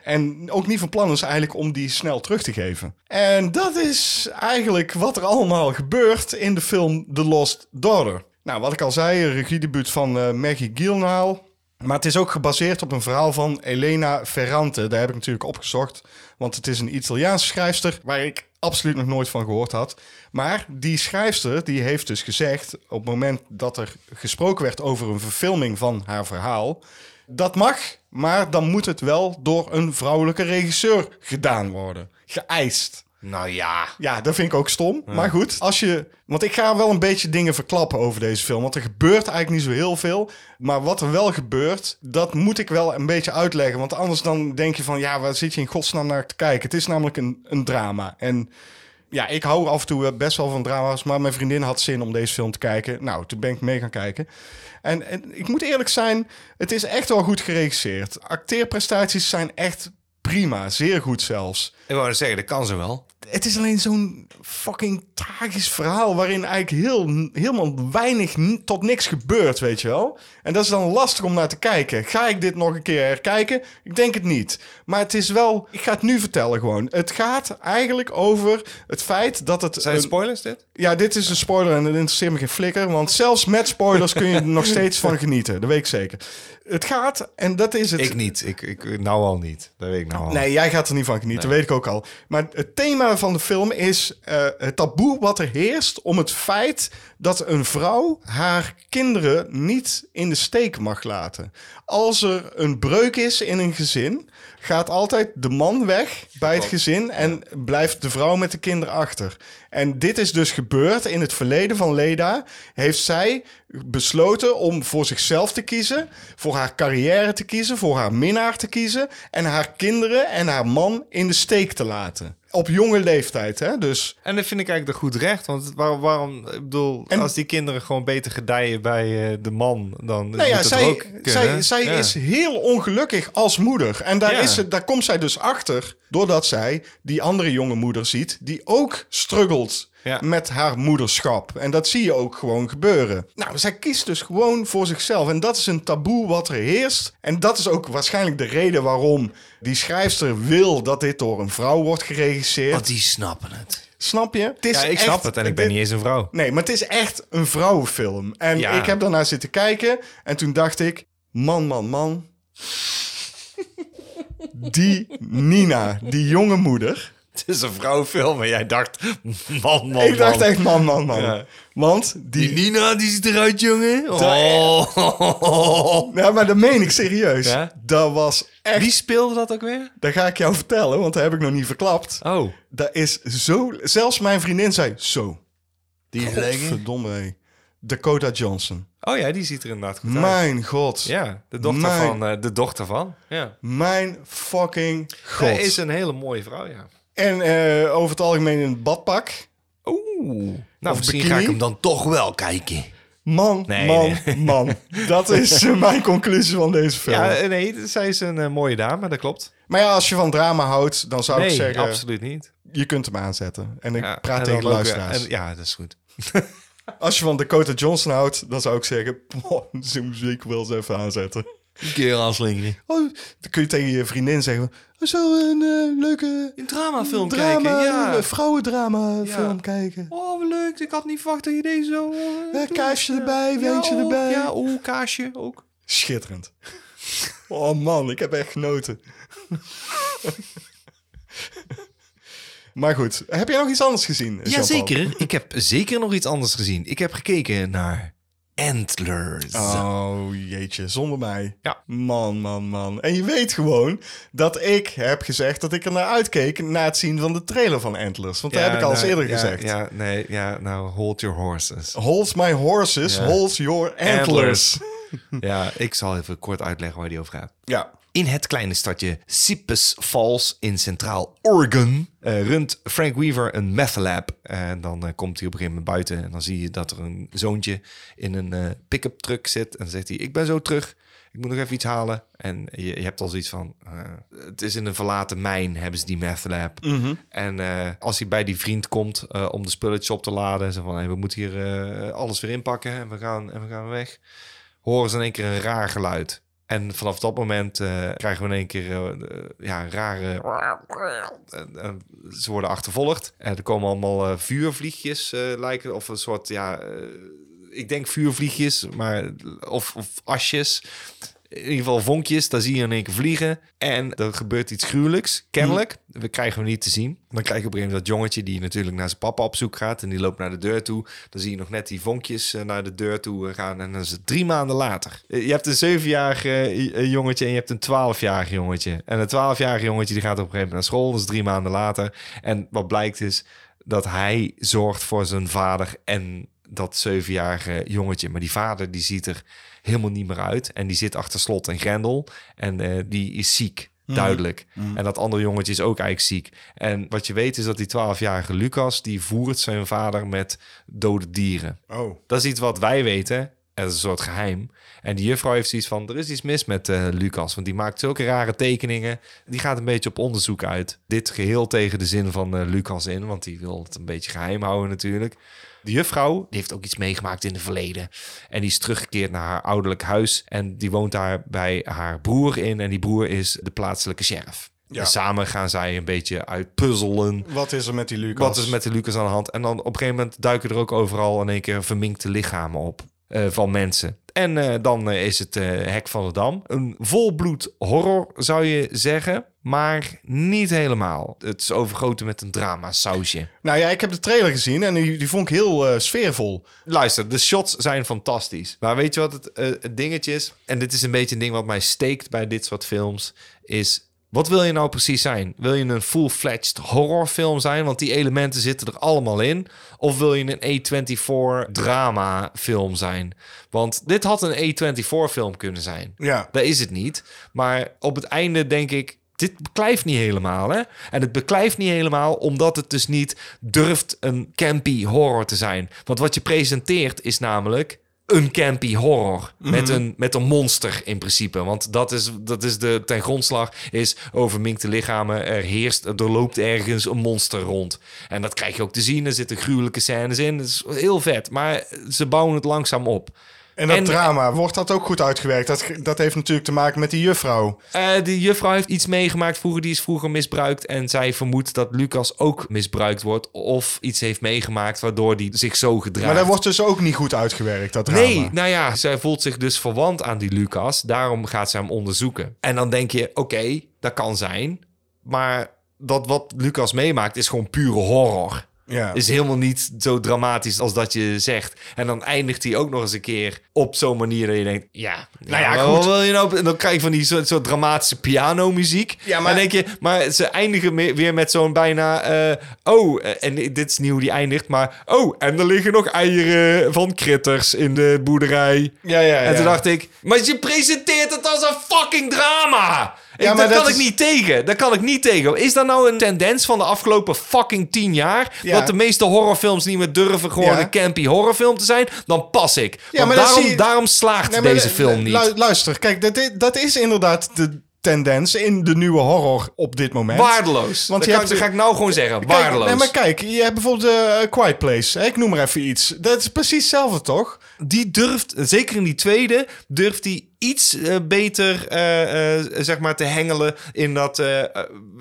B: En ook niet van plan is eigenlijk om die snel terug te geven. En dat is eigenlijk wat er allemaal gebeurt in de film The Lost Daughter. Nou, wat ik al zei, regiedebuut van eh, Maggie Gyllenhaal. Maar het is ook gebaseerd op een verhaal van Elena Ferrante. Daar heb ik natuurlijk opgezocht. Want het is een Italiaanse schrijfster waar ik absoluut nog nooit van gehoord had. Maar die schrijfster die heeft dus gezegd... op het moment dat er gesproken werd over een verfilming van haar verhaal... dat mag, maar dan moet het wel door een vrouwelijke regisseur gedaan worden. Geëist.
A: Nou ja.
B: Ja, dat vind ik ook stom. Maar goed, als je. Want ik ga wel een beetje dingen verklappen over deze film. Want er gebeurt eigenlijk niet zo heel veel. Maar wat er wel gebeurt, dat moet ik wel een beetje uitleggen. Want anders dan denk je van ja, waar zit je in godsnaam naar te kijken? Het is namelijk een, een drama. En ja, ik hou af en toe eh, best wel van drama's, maar mijn vriendin had zin om deze film te kijken. Nou, toen ben ik mee gaan kijken. En, en ik moet eerlijk zijn, het is echt wel goed geregisseerd. Acteerprestaties zijn echt prima, zeer goed zelfs.
A: Ik wou net zeggen, dat kan ze wel.
B: Het is alleen zo'n fucking tragisch verhaal waarin eigenlijk heel, helemaal weinig n- tot niks gebeurt, weet je wel. En dat is dan lastig om naar te kijken. Ga ik dit nog een keer herkijken? Ik denk het niet. Maar het is wel, ik ga het nu vertellen gewoon. Het gaat eigenlijk over het feit dat het...
A: Zijn het
B: een-
A: spoilers dit?
B: ja, dit is een spoiler en dat interesseert me geen flikker. Want zelfs met spoilers kun je er nog steeds van genieten. Dat weet ik zeker. Het gaat, en dat is het.
A: Ik niet. Ik, ik, nou al niet. Dat weet ik nou al.
B: Nee, jij gaat er niet van genieten, weet ik ook al. Maar het thema van de film is eh, het taboe wat er heerst om het feit dat een vrouw haar kinderen niet in de steek mag laten. Als er een breuk is in een gezin, gaat altijd de man weg bij het gezin en blijft de vrouw met de kinderen achter. En dit is dus gebeurd in het verleden van Leda. Heeft zij besloten om voor zichzelf te kiezen, voor haar carrière te kiezen, voor haar minnaar te kiezen en haar kinderen en haar man in de steek te laten. Op jonge leeftijd, hè? Dus
A: En dat vind ik eigenlijk de goed recht. Want waar- waarom, ik bedoel,
B: En-
A: als die kinderen gewoon beter gedijen bij eh, de man, dan
B: Nou ja,
A: moet dat
B: zij,
A: ook kunnen.
B: zij, zij
A: Ja.
B: is heel ongelukkig als moeder. En daar,
A: Ja.
B: is ze, daar komt zij dus achter doordat zij die andere jonge moeder ziet... die ook struggelt
A: Ja.
B: met haar moederschap. En dat zie je ook gewoon gebeuren. Nou, zij kiest dus gewoon voor zichzelf. En dat is een taboe wat er heerst. En dat is ook waarschijnlijk de reden waarom die schrijfster wil... dat dit door een vrouw wordt geregisseerd.
A: Want Oh, die snappen het.
B: Snap je? Het is
A: Ja, ik
B: echt-
A: snap het. En ik ben
B: dit-
A: niet eens een vrouw.
B: Nee, maar het is echt een vrouwenfilm. En
A: Ja.
B: ik heb daarna zitten kijken en toen dacht ik, man, man, man. Die Nina, die jonge moeder.
A: [laughs] Het is een vrouwenfilm. Maar jij dacht, man, man,
B: ik dacht
A: man.
B: echt, man, man, man.
A: Ja.
B: Want die...
A: Die Nina, die ziet eruit, jongen. [laughs] Oh.
B: Ja, maar dat meen ik serieus.
A: Ja?
B: Dat was echt...
A: Wie speelde dat ook weer?
B: Dat ga ik jou vertellen, want dat heb ik nog niet verklapt.
A: Oh.
B: Dat is zo... Zelfs mijn vriendin zei, zo.
A: Die
B: Godverdomme, hé. Dakota Johnson.
A: Oh ja, die ziet er inderdaad goed uit.
B: Mijn god.
A: Ja, de dochter
B: Mijn-
A: van. eh, de dochter van. Ja.
B: Mijn fucking god.
A: Zij is een hele mooie vrouw, ja.
B: En eh, over het algemeen in het badpak.
A: Oeh. Nou, misschien
B: bikini?
A: ga ik hem dan toch wel kijken.
B: Man,
A: Nee,
B: man,
A: [laughs]
B: man. Dat is eh, mijn conclusie van deze film.
A: Ja, eh, nee, zij is een eh, mooie dame, dat klopt.
B: maar ja, als je van drama houdt, dan zou
A: nee,
B: ik zeggen...
A: absoluut niet.
B: Je kunt hem aanzetten. En ik
A: Ja,
B: praat
A: en
B: tegen de
A: dan ook, eh,
B: luisteraars.
A: en- ja, dat is goed.
B: Als je van Dakota Johnson houdt, dan zou ik zeggen... [laughs] "Poh, Ze moet ik wel eens even aanzetten. [laughs]
A: Een keer aanslingen.
B: Oh, dan kun je tegen je vriendin zeggen... "Oh, Zo een eh, leuke
A: Een dramafilm
B: drama,
A: kijken, ja.
B: eh, vrouwendrama film kijken.
A: Oh, wat leuk. Ik had niet verwacht dat je deze zo... eh,
B: Eh, kaasje erbij,
A: ja,
B: wijntje
A: oh,
B: erbij.
A: Ja, oh, kaasje ook.
B: Schitterend. Oh man, ik heb echt genoten. maar goed, heb jij nog iets anders gezien? Jean-Paul?
A: Jazeker. Ik heb zeker nog iets anders gezien. Ik heb gekeken naar Antlers.
B: Oh jeetje, zonder mij.
A: Ja.
B: Man, man, man. En je weet gewoon dat ik heb gezegd dat ik er naar uitkeek na het zien van de trailer van Antlers. Want dat heb ik al eens
A: nou,
B: eerder
A: ja,
B: gezegd.
A: Ja, nee, ja, nou, hold your [laughs] horses.
B: Hold my horses,
A: Ja.
B: hold your antlers.
A: Antlers. ja, ik zal even kort uitleggen waar die over gaat.
B: Ja.
A: In het kleine stadje Cypress Falls in Centraal Oregon eh, runt Frank Weaver een meth lab. En dan eh, komt hij op een gegeven moment buiten en dan zie je dat er een zoontje in een eh, pick-up truck zit. En dan zegt hij, ik ben zo terug, ik moet nog even iets halen. En je, je hebt al zoiets van, eh, het is in een verlaten mijn hebben ze die meth lab. En eh, als hij bij die vriend komt eh, om de spulletjes op te laden, zo van, hey, we moeten hier eh, alles weer inpakken en we gaan, en we gaan weg horen ze in één keer een raar geluid. En vanaf dat moment eh, krijgen we in één keer eh, eh, ja, rare... En, en ze worden achtervolgd. En er komen allemaal eh, vuurvliegjes eh, lijken. Of een soort, ja... eh, ik denk vuurvliegjes, maar... Of, of asjes in ieder geval vonkjes, daar zie je in één keer vliegen. En er gebeurt iets gruwelijks, kennelijk. We krijgen hem niet te zien. Dan krijg je op een gegeven moment dat jongetje die natuurlijk naar zijn papa op zoek gaat. En die loopt naar de deur toe. Dan zie je nog net die vonkjes eh, naar de deur toe eh, gaan. En dan is het drie maanden later. Eh, Je hebt een zevenjarig eh, j- eh, jongetje en je hebt een twaalfjarig jongetje. En een twaalfjarig jongetje die gaat op een gegeven moment naar school. Dat is drie maanden later. En wat blijkt is dat hij zorgt voor zijn vader en dat zevenjarige jongetje. Maar die vader die ziet er helemaal niet meer uit. En die zit achter slot en grendel. En eh, die is ziek, duidelijk. En dat andere jongetje is ook eigenlijk ziek. En wat je weet is dat die 12-jarige Lucas... die voert zijn vader met dode dieren.
B: Oh.
A: Dat is iets wat wij weten. Dat is een soort geheim. En die juffrouw heeft zoiets van... er is iets mis met eh, Lucas. Want die maakt zulke rare tekeningen. Die gaat een beetje op onderzoek uit. Dit geheel tegen de zin van eh, Lucas in. Want die wil het een beetje geheim houden natuurlijk. De juffrouw die heeft ook iets meegemaakt in het verleden. En die is teruggekeerd naar haar ouderlijk huis. En die woont daar bij haar broer in. En die broer is de plaatselijke sheriff.
B: Ja.
A: En samen gaan zij een beetje uitpuzzelen.
B: Wat is er met die Lucas?
A: Wat is met de Lucas aan de hand? En dan op een gegeven moment duiken er ook overal in één keer verminkte lichamen op eh, van mensen. En eh, dan eh, is het eh, Hek van de Dam. Een volbloed horror zou je zeggen, maar niet helemaal. Het is overgoten met een drama sausje.
B: Nou ja, ik heb de trailer gezien en die, die vond ik heel eh, sfeervol.
A: Luister, de shots zijn fantastisch. Maar weet je wat het, eh, het dingetje is? En dit is een beetje een ding wat mij steekt bij dit soort films. Is wat wil je nou precies zijn? Wil je een full-fledged horrorfilm zijn? Want die elementen zitten er allemaal in. Of wil je een A24 drama film zijn? Want dit had een A24 film kunnen zijn.
B: Ja.
A: Dat is het niet. Maar op het einde denk ik, dit beklijft niet helemaal. Hè? En het beklijft niet helemaal omdat het dus niet durft een campy horror te zijn. Want wat je presenteert is namelijk een campy horror.
B: Mhm.
A: Met, een, met een monster in principe. Want dat is, dat is de ten grondslag is over minkte lichamen. Er heerst, er loopt ergens een monster rond. En dat krijg je ook te zien. Er zitten gruwelijke scènes in. Dat is heel vet. Maar ze bouwen het langzaam op.
B: En dat
A: En-
B: drama, wordt dat ook goed uitgewerkt? Dat, dat heeft natuurlijk te maken met die juffrouw.
A: Eh, die juffrouw heeft iets meegemaakt vroeger. Die is vroeger misbruikt. En zij vermoedt dat Lucas ook misbruikt wordt. Of iets heeft meegemaakt waardoor die zich zo gedraagt.
B: Maar dat wordt dus ook niet goed uitgewerkt, dat drama.
A: Nee, nou ja, zij voelt zich dus verwant aan die Lucas. Daarom gaat zij hem onderzoeken. En dan denk je, oké, dat kan zijn. Maar dat wat Lucas meemaakt is gewoon pure horror.
B: Ja.
A: Is helemaal niet zo dramatisch als dat je zegt. En dan eindigt hij ook nog eens een keer op zo'n manier dat je denkt... Ja, nou
B: ja,
A: ja,
B: goed.
A: Wat wil je nou? En dan krijg je van die soort, soort dramatische pianomuziek.
B: Ja,
A: Ja,
B: maar-
A: maar... denk je, maar ze eindigen me- weer met zo'n bijna... eh, oh, eh, en dit is niet hoe die eindigt, maar... Oh, en er liggen nog eieren van kritters in de boerderij.
B: Ja, ja,
A: En toen
B: ja.
A: dacht ik... Maar je presenteert het als een fucking drama!
B: Ja,
A: Ik-
B: maar
A: daar
B: dat
A: kan
B: is-
A: ik niet tegen. Daar kan ik niet tegen. Is dat nou een tendens van de afgelopen fucking tien jaar?
B: Ja.
A: Dat de meeste horrorfilms niet meer durven gewoon
B: Ja.
A: een campy horrorfilm te zijn? Dan pas ik. Want
B: maar dan
A: daarom,
B: zie je-
A: daarom slaagt
B: Nee, maar
A: deze
B: lu-
A: film
B: lu-
A: niet.
B: Luister, kijk, dat, i- dat is inderdaad de tendens in de nieuwe horror op dit moment.
A: waardeloos.
B: Want
A: Want dat,
B: je
A: kan,
B: hebt-
A: dat ga ik nou gewoon zeggen.
B: Kijk,
A: waardeloos.
B: Nee, maar kijk, je hebt bijvoorbeeld eh, Quiet Place. hè, Ik noem maar even iets. Dat is precies hetzelfde, toch?
A: die durft, zeker in die tweede, durft hij iets eh, beter eh, eh, zeg maar te hengelen in dat eh, eh,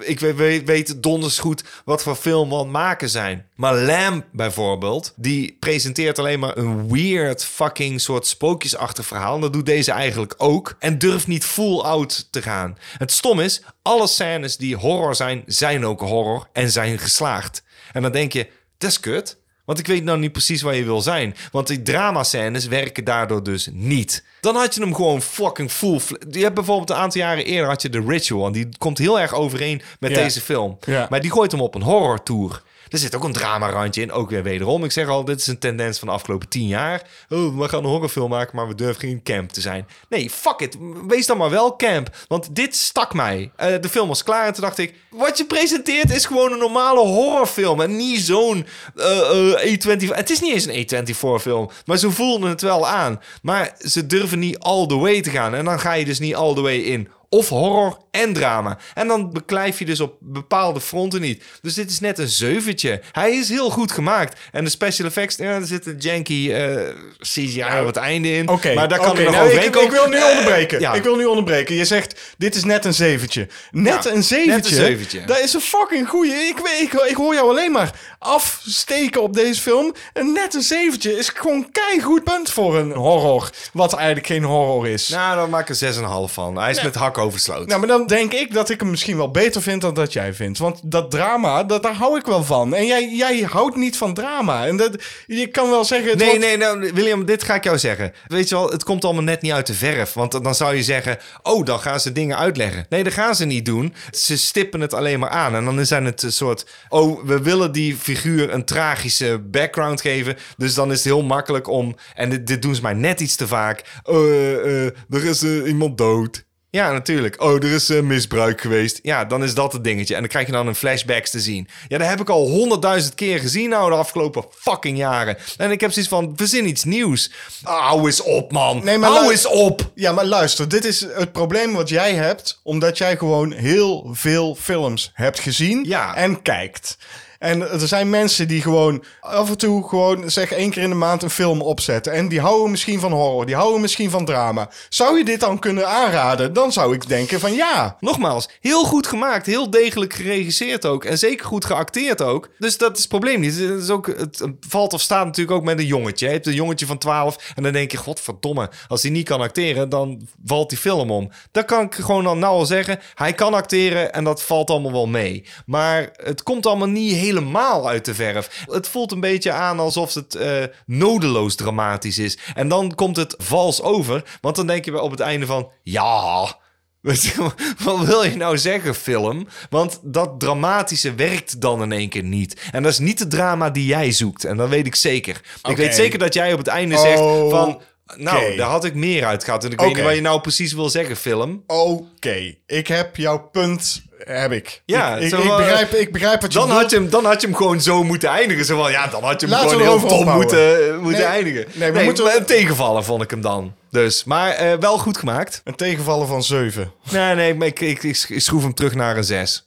A: ik weet, weet, weet donders goed wat voor film we aan het maken zijn. Maar Lamb bijvoorbeeld, die presenteert alleen maar een weird fucking soort spookjesachtig verhaal. En dat doet deze eigenlijk ook. En durft niet full out te gaan. Het stom is, alle scènes die horror zijn, zijn ook horror en zijn geslaagd. En dan denk je, dat is kut. Want ik weet nou niet precies waar je wil zijn. Want die dramascènes werken daardoor dus niet. Dan had je hem gewoon fucking full... fl- Je hebt bijvoorbeeld een aantal jaren eerder had je The Ritual. En die komt heel erg overeen met
B: Ja.
A: deze film.
B: Ja.
A: Maar die gooit hem op een horror tour. Er zit ook een dramarandje in. Ook weer wederom. Ik zeg al, dit is een tendens van de afgelopen tien jaar. Oh, we gaan een horrorfilm maken, maar we durven geen camp te zijn. Nee, fuck it. Wees dan maar wel camp. Want dit stak mij. Eh, de film was klaar en toen dacht ik... Wat je presenteert is gewoon een normale horrorfilm. En niet zo'n eh, eh, A24... Het is niet eens een A24-film. Maar ze voelden het wel aan. Maar ze durven niet all the way te gaan. En dan ga je dus niet all the way in. Of horror en drama. En dan beklijf je dus op bepaalde fronten niet. Dus dit is net een zeventje. Hij is heel goed gemaakt. En de special effects, ja, er zit een janky eh, CGI op het einde in.
B: Nou, Oké,
A: maar daar kan
B: oké,
A: er nog
B: nou,
A: overheen
B: ik, ik
A: komen.
B: wil nu onderbreken.
A: ja.
B: Ik wil nu onderbreken. Je zegt, dit is net een zeventje. Net
A: Ja,
B: een zeventje?
A: net een zeventje.
B: Dat is een fucking goeie. Ik, weet- ik, ik hoor jou alleen maar afsteken op deze film. Een net een zeventje is gewoon keigoed punt voor een horror. Wat eigenlijk geen horror is. Nou,
A: Nou, dan maak ik er 6,5 van. Hij is met hak oversloten.
B: maar dan denk ik dat ik hem misschien wel beter vind dan dat jij vindt. Want dat drama, dat, daar hou ik wel van. En jij, jij houdt niet van drama. En dat, je kan wel zeggen... het
A: Nee,
B: wordt-
A: nee, nou, William, dit ga ik jou zeggen. Weet je wel, het komt allemaal net niet uit de verf. Want dan zou je zeggen, oh, dan gaan ze dingen uitleggen. Nee, dat gaan ze niet doen. Ze stippen het alleen maar aan. En dan zijn het een soort, oh, we willen die figuur een tragische background geven. Dus dan is het heel makkelijk om, en dit, dit doen ze maar net iets te vaak. Eh, eh, er is eh, iemand dood. Ja, natuurlijk. Oh, er is eh, misbruik geweest. Ja, dan is dat het dingetje. En dan krijg je dan een flashbacks te zien. Ja, dat heb ik al honderdduizend keer gezien nou de afgelopen fucking jaren. En ik heb zoiets van, verzin iets nieuws. Ah, Hou eens op, man.
B: Nee, maar
A: Hou
B: lu-
A: eens op.
B: Ja, maar luister, dit is het probleem wat jij hebt, omdat jij gewoon heel veel films hebt gezien
A: Ja.
B: en kijkt. En er zijn mensen die gewoon af en toe gewoon zeg één keer in de maand een film opzetten. En die houden misschien van horror, die houden misschien van drama. Zou je dit dan kunnen aanraden? Dan zou ik denken van ja.
A: Nogmaals, heel goed gemaakt. Heel degelijk geregisseerd ook. En zeker goed geacteerd ook. Dus dat is het probleem niet. Het, is ook, het valt of staat natuurlijk ook met een jongetje. Je hebt een jongetje van 12 en dan denk je... Godverdomme, als hij niet kan acteren, dan valt die film om. Dat kan ik gewoon dan nou al zeggen. Hij kan acteren en dat valt allemaal wel mee. Maar het komt allemaal niet helemaal uit de verf. Het voelt een beetje aan alsof het eh, nodeloos dramatisch is. En dan komt het vals over. Want dan denk je op het einde van... Ja... Weet je, Wat [laughs] wil je nou zeggen, film? Want dat dramatische werkt dan in één keer niet. En dat is niet het drama die jij zoekt. En dat weet ik zeker. Ik weet zeker dat jij op het einde zegt
B: Oh,
A: van... Nou,
B: oké.
A: daar had ik meer uit gehad. En ik weet
B: Oké.
A: niet wat je nou precies wil zeggen, film.
B: Oké, ik heb jouw punt, heb ik.
A: Ja,
B: ik, ik,
A: zo
B: ik
A: wel-
B: begrijp, ik begrijp wat je
A: Dan
B: bedoelt.
A: had, je hem, dan had je hem gewoon zo moeten eindigen. Zo van, ja, dan had je hem
B: Laten we
A: gewoon heel
B: erover
A: dom
B: ophouden.
A: moeten, moeten
B: Nee,
A: eindigen.
B: nee, we moeten-
A: maar Een tegenvaller vond ik hem dan. Dus, maar eh, wel goed gemaakt.
B: Een tegenvallen van zeven.
A: Nee, nee, maar ik, ik, ik schroef hem terug naar een 6.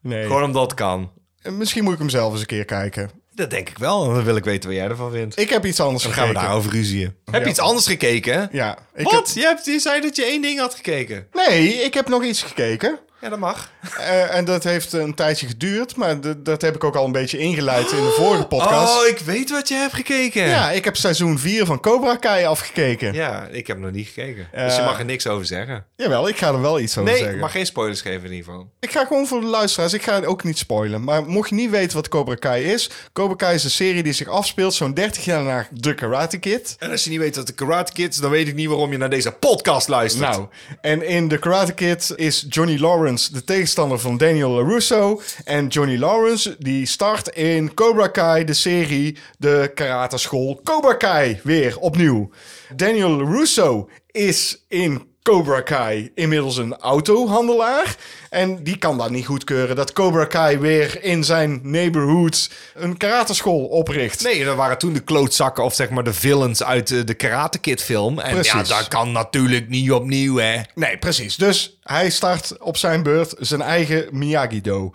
B: Nee.
A: Gewoon omdat het kan.
B: Misschien moet ik hem zelf eens een keer kijken.
A: Dat denk ik wel. Dan wil ik weten wat jij ervan vindt.
B: Ik heb iets anders
A: Dan gaan we
B: gekeken.
A: daarover ruzien. Heb je iets anders gekeken?
B: Ja. Ik
A: Wat?
B: heb-
A: Je, hebt, je zei dat je één ding had gekeken.
B: nee, ik heb nog iets gekeken.
A: Ja, dat mag.
B: Eh, en dat heeft een tijdje geduurd, maar d- dat heb ik ook al een beetje ingeleid in de vorige podcast.
A: Oh, ik weet wat je hebt gekeken.
B: Ja, ik heb seizoen 4 van Cobra Kai afgekeken.
A: Ja, ik heb nog niet gekeken. dus je
B: Eh,
A: mag er niks over zeggen.
B: Jawel, ik ga er wel iets over
A: Nee,
B: zeggen.
A: ik mag geen spoilers geven in ieder geval.
B: Ik ga gewoon voor de luisteraars, ik ga het ook niet spoilen. Maar mocht je niet weten wat Cobra Kai is... Cobra Kai is een serie die zich afspeelt zo'n 30 jaar na The Karate Kid.
A: En als je niet weet wat de Karate Kids, dan weet ik niet waarom je naar deze podcast luistert.
B: Nou, en in The Karate Kid is Johnny Lawrence de tegenstander van Daniel LaRusso. En Johnny Lawrence die start in Cobra Kai, de serie, de karate school Cobra Kai weer opnieuw. Daniel LaRusso is in Cobra Kai inmiddels een autohandelaar. En die kan dat niet goedkeuren dat Cobra Kai weer in zijn neighborhood een karate school opricht.
A: Nee, dat waren toen de klootzakken of zeg maar de villains uit eh, de Karate Kid film. En ja,
B: Precies.
A: dat kan natuurlijk niet opnieuw, hè.
B: Nee, precies. Dus hij start op zijn beurt zijn eigen Miyagi-Do.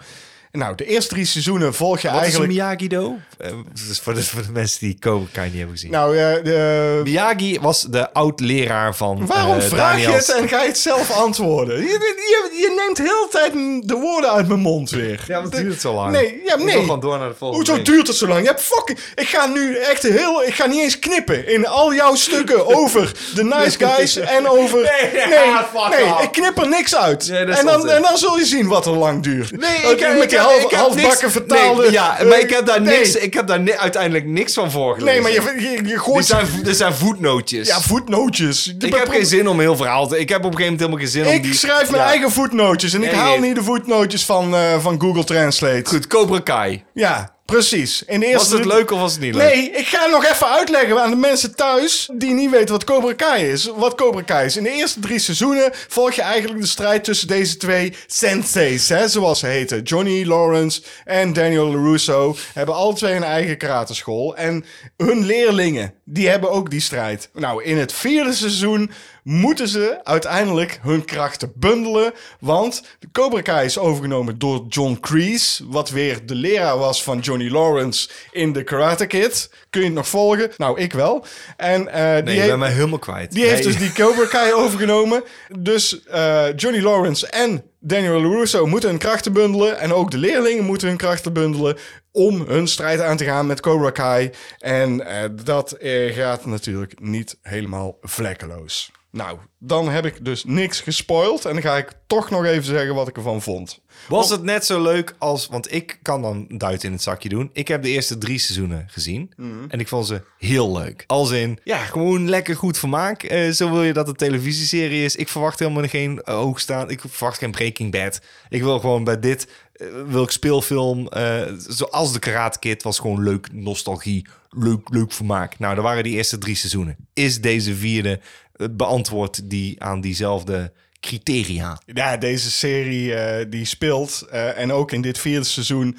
B: Nou, de eerste drie seizoenen volg je
A: Wat is een
B: eigenlijk...
A: Miyagi-Do? Eh, dat is voor, de, voor de mensen die Cobra Kai niet hebben gezien.
B: nou, eh, de-
A: Miyagi was de oud-leraar van
B: waarom
A: eh,
B: vraag
A: Daniels.
B: je het en ga je het zelf antwoorden? Je, je, je neemt heel de tijd de woorden uit mijn mond weer.
A: Ja, wat duurt het zo lang?
B: Nee, ja,
A: Moet
B: nee.
A: toch gewoon door naar de volgende
B: Hoezo
A: week?
B: duurt het zo lang? Je hebt fucking... Ik ga nu echt heel... Ik ga niet eens knippen in al jouw stukken
A: [laughs]
B: over de nice guys en over...
A: Nee, [laughs] ja, fuck
B: nee,
A: off.
B: ik knip er niks uit.
A: Nee, dat is
B: en, dan,
A: onzin.
B: en dan zul je zien wat er lang duurt.
A: Nee,
B: Ook
A: ik heb,
B: Met die
A: ik heb-
B: half,
A: ik heb
B: halfbakken
A: niks-
B: vertaalde...
A: Nee, ja, maar
B: eh,
A: ik heb daar,
B: nee.
A: niks, ik heb daar ni- uiteindelijk niks van voorgelezen.
B: Nee, maar je, je, je
A: Dit
B: gooit...
A: zijn, dit zijn voetnootjes.
B: ja, voetnootjes.
A: ik heb geen zin om heel verhaal te... Ik heb op een gegeven moment helemaal geen zin om
B: Ik
A: die...
B: schrijf mijn
A: Ja.
B: eigen voetnootjes en ik
A: Nee,
B: haal
A: nee.
B: niet de voetnootjes van, eh, van Google Translate.
A: Goed, Cobra Kai.
B: Ja, precies. In de eerste
A: Was het leuk of was het niet leuk?
B: Nee, ik ga nog even uitleggen aan de mensen thuis die niet weten wat Cobra Kai is. Wat Cobra Kai is. In de eerste drie seizoenen volg je eigenlijk de strijd tussen deze twee senseis, hè, zoals ze heten. Johnny Lawrence en Daniel LaRusso hebben alle twee een eigen karate school. En hun leerlingen, die hebben ook die strijd. Nou, in het vierde seizoen moeten ze uiteindelijk hun krachten bundelen. Want de Cobra Kai is overgenomen door John Kreese. Wat weer de leraar was van Johnny Lawrence in The Karate Kid. Kun je het nog volgen? Nou, ik wel. En, eh,
A: Nee,
B: die
A: je
B: heeft-
A: bent mij helemaal kwijt.
B: die heeft
A: Nee.
B: dus die Cobra Kai overgenomen. Dus eh, Johnny Lawrence en Daniel LaRusso moeten hun krachten bundelen. En ook de leerlingen moeten hun krachten bundelen. om hun strijd aan te gaan met Cobra Kai. En eh, dat eh, gaat natuurlijk niet helemaal vlekkeloos. Nou, dan heb ik dus niks gespoild. En dan ga ik toch nog even zeggen wat ik ervan vond.
A: Was het net zo leuk als... Want ik kan dan duit in het zakje doen. Ik heb de eerste drie seizoenen gezien. En ik vond ze heel leuk. Als in, ja, gewoon lekker goed vermaak. Eh, zo wil je dat het televisieserie is. Ik verwacht helemaal geen eh, hoogstaan. Ik verwacht geen Breaking Bad. Ik wil gewoon bij dit... eh, wil ik speelfilm... eh, zoals de Karate Kid was gewoon leuk nostalgie. Leuk, leuk vermaak. Nou, dat waren die eerste drie seizoenen. Is deze vierde eh, beantwoord die aan diezelfde criteria?
B: Ja, deze serie eh, die speelt, eh, en ook in dit vierde seizoen,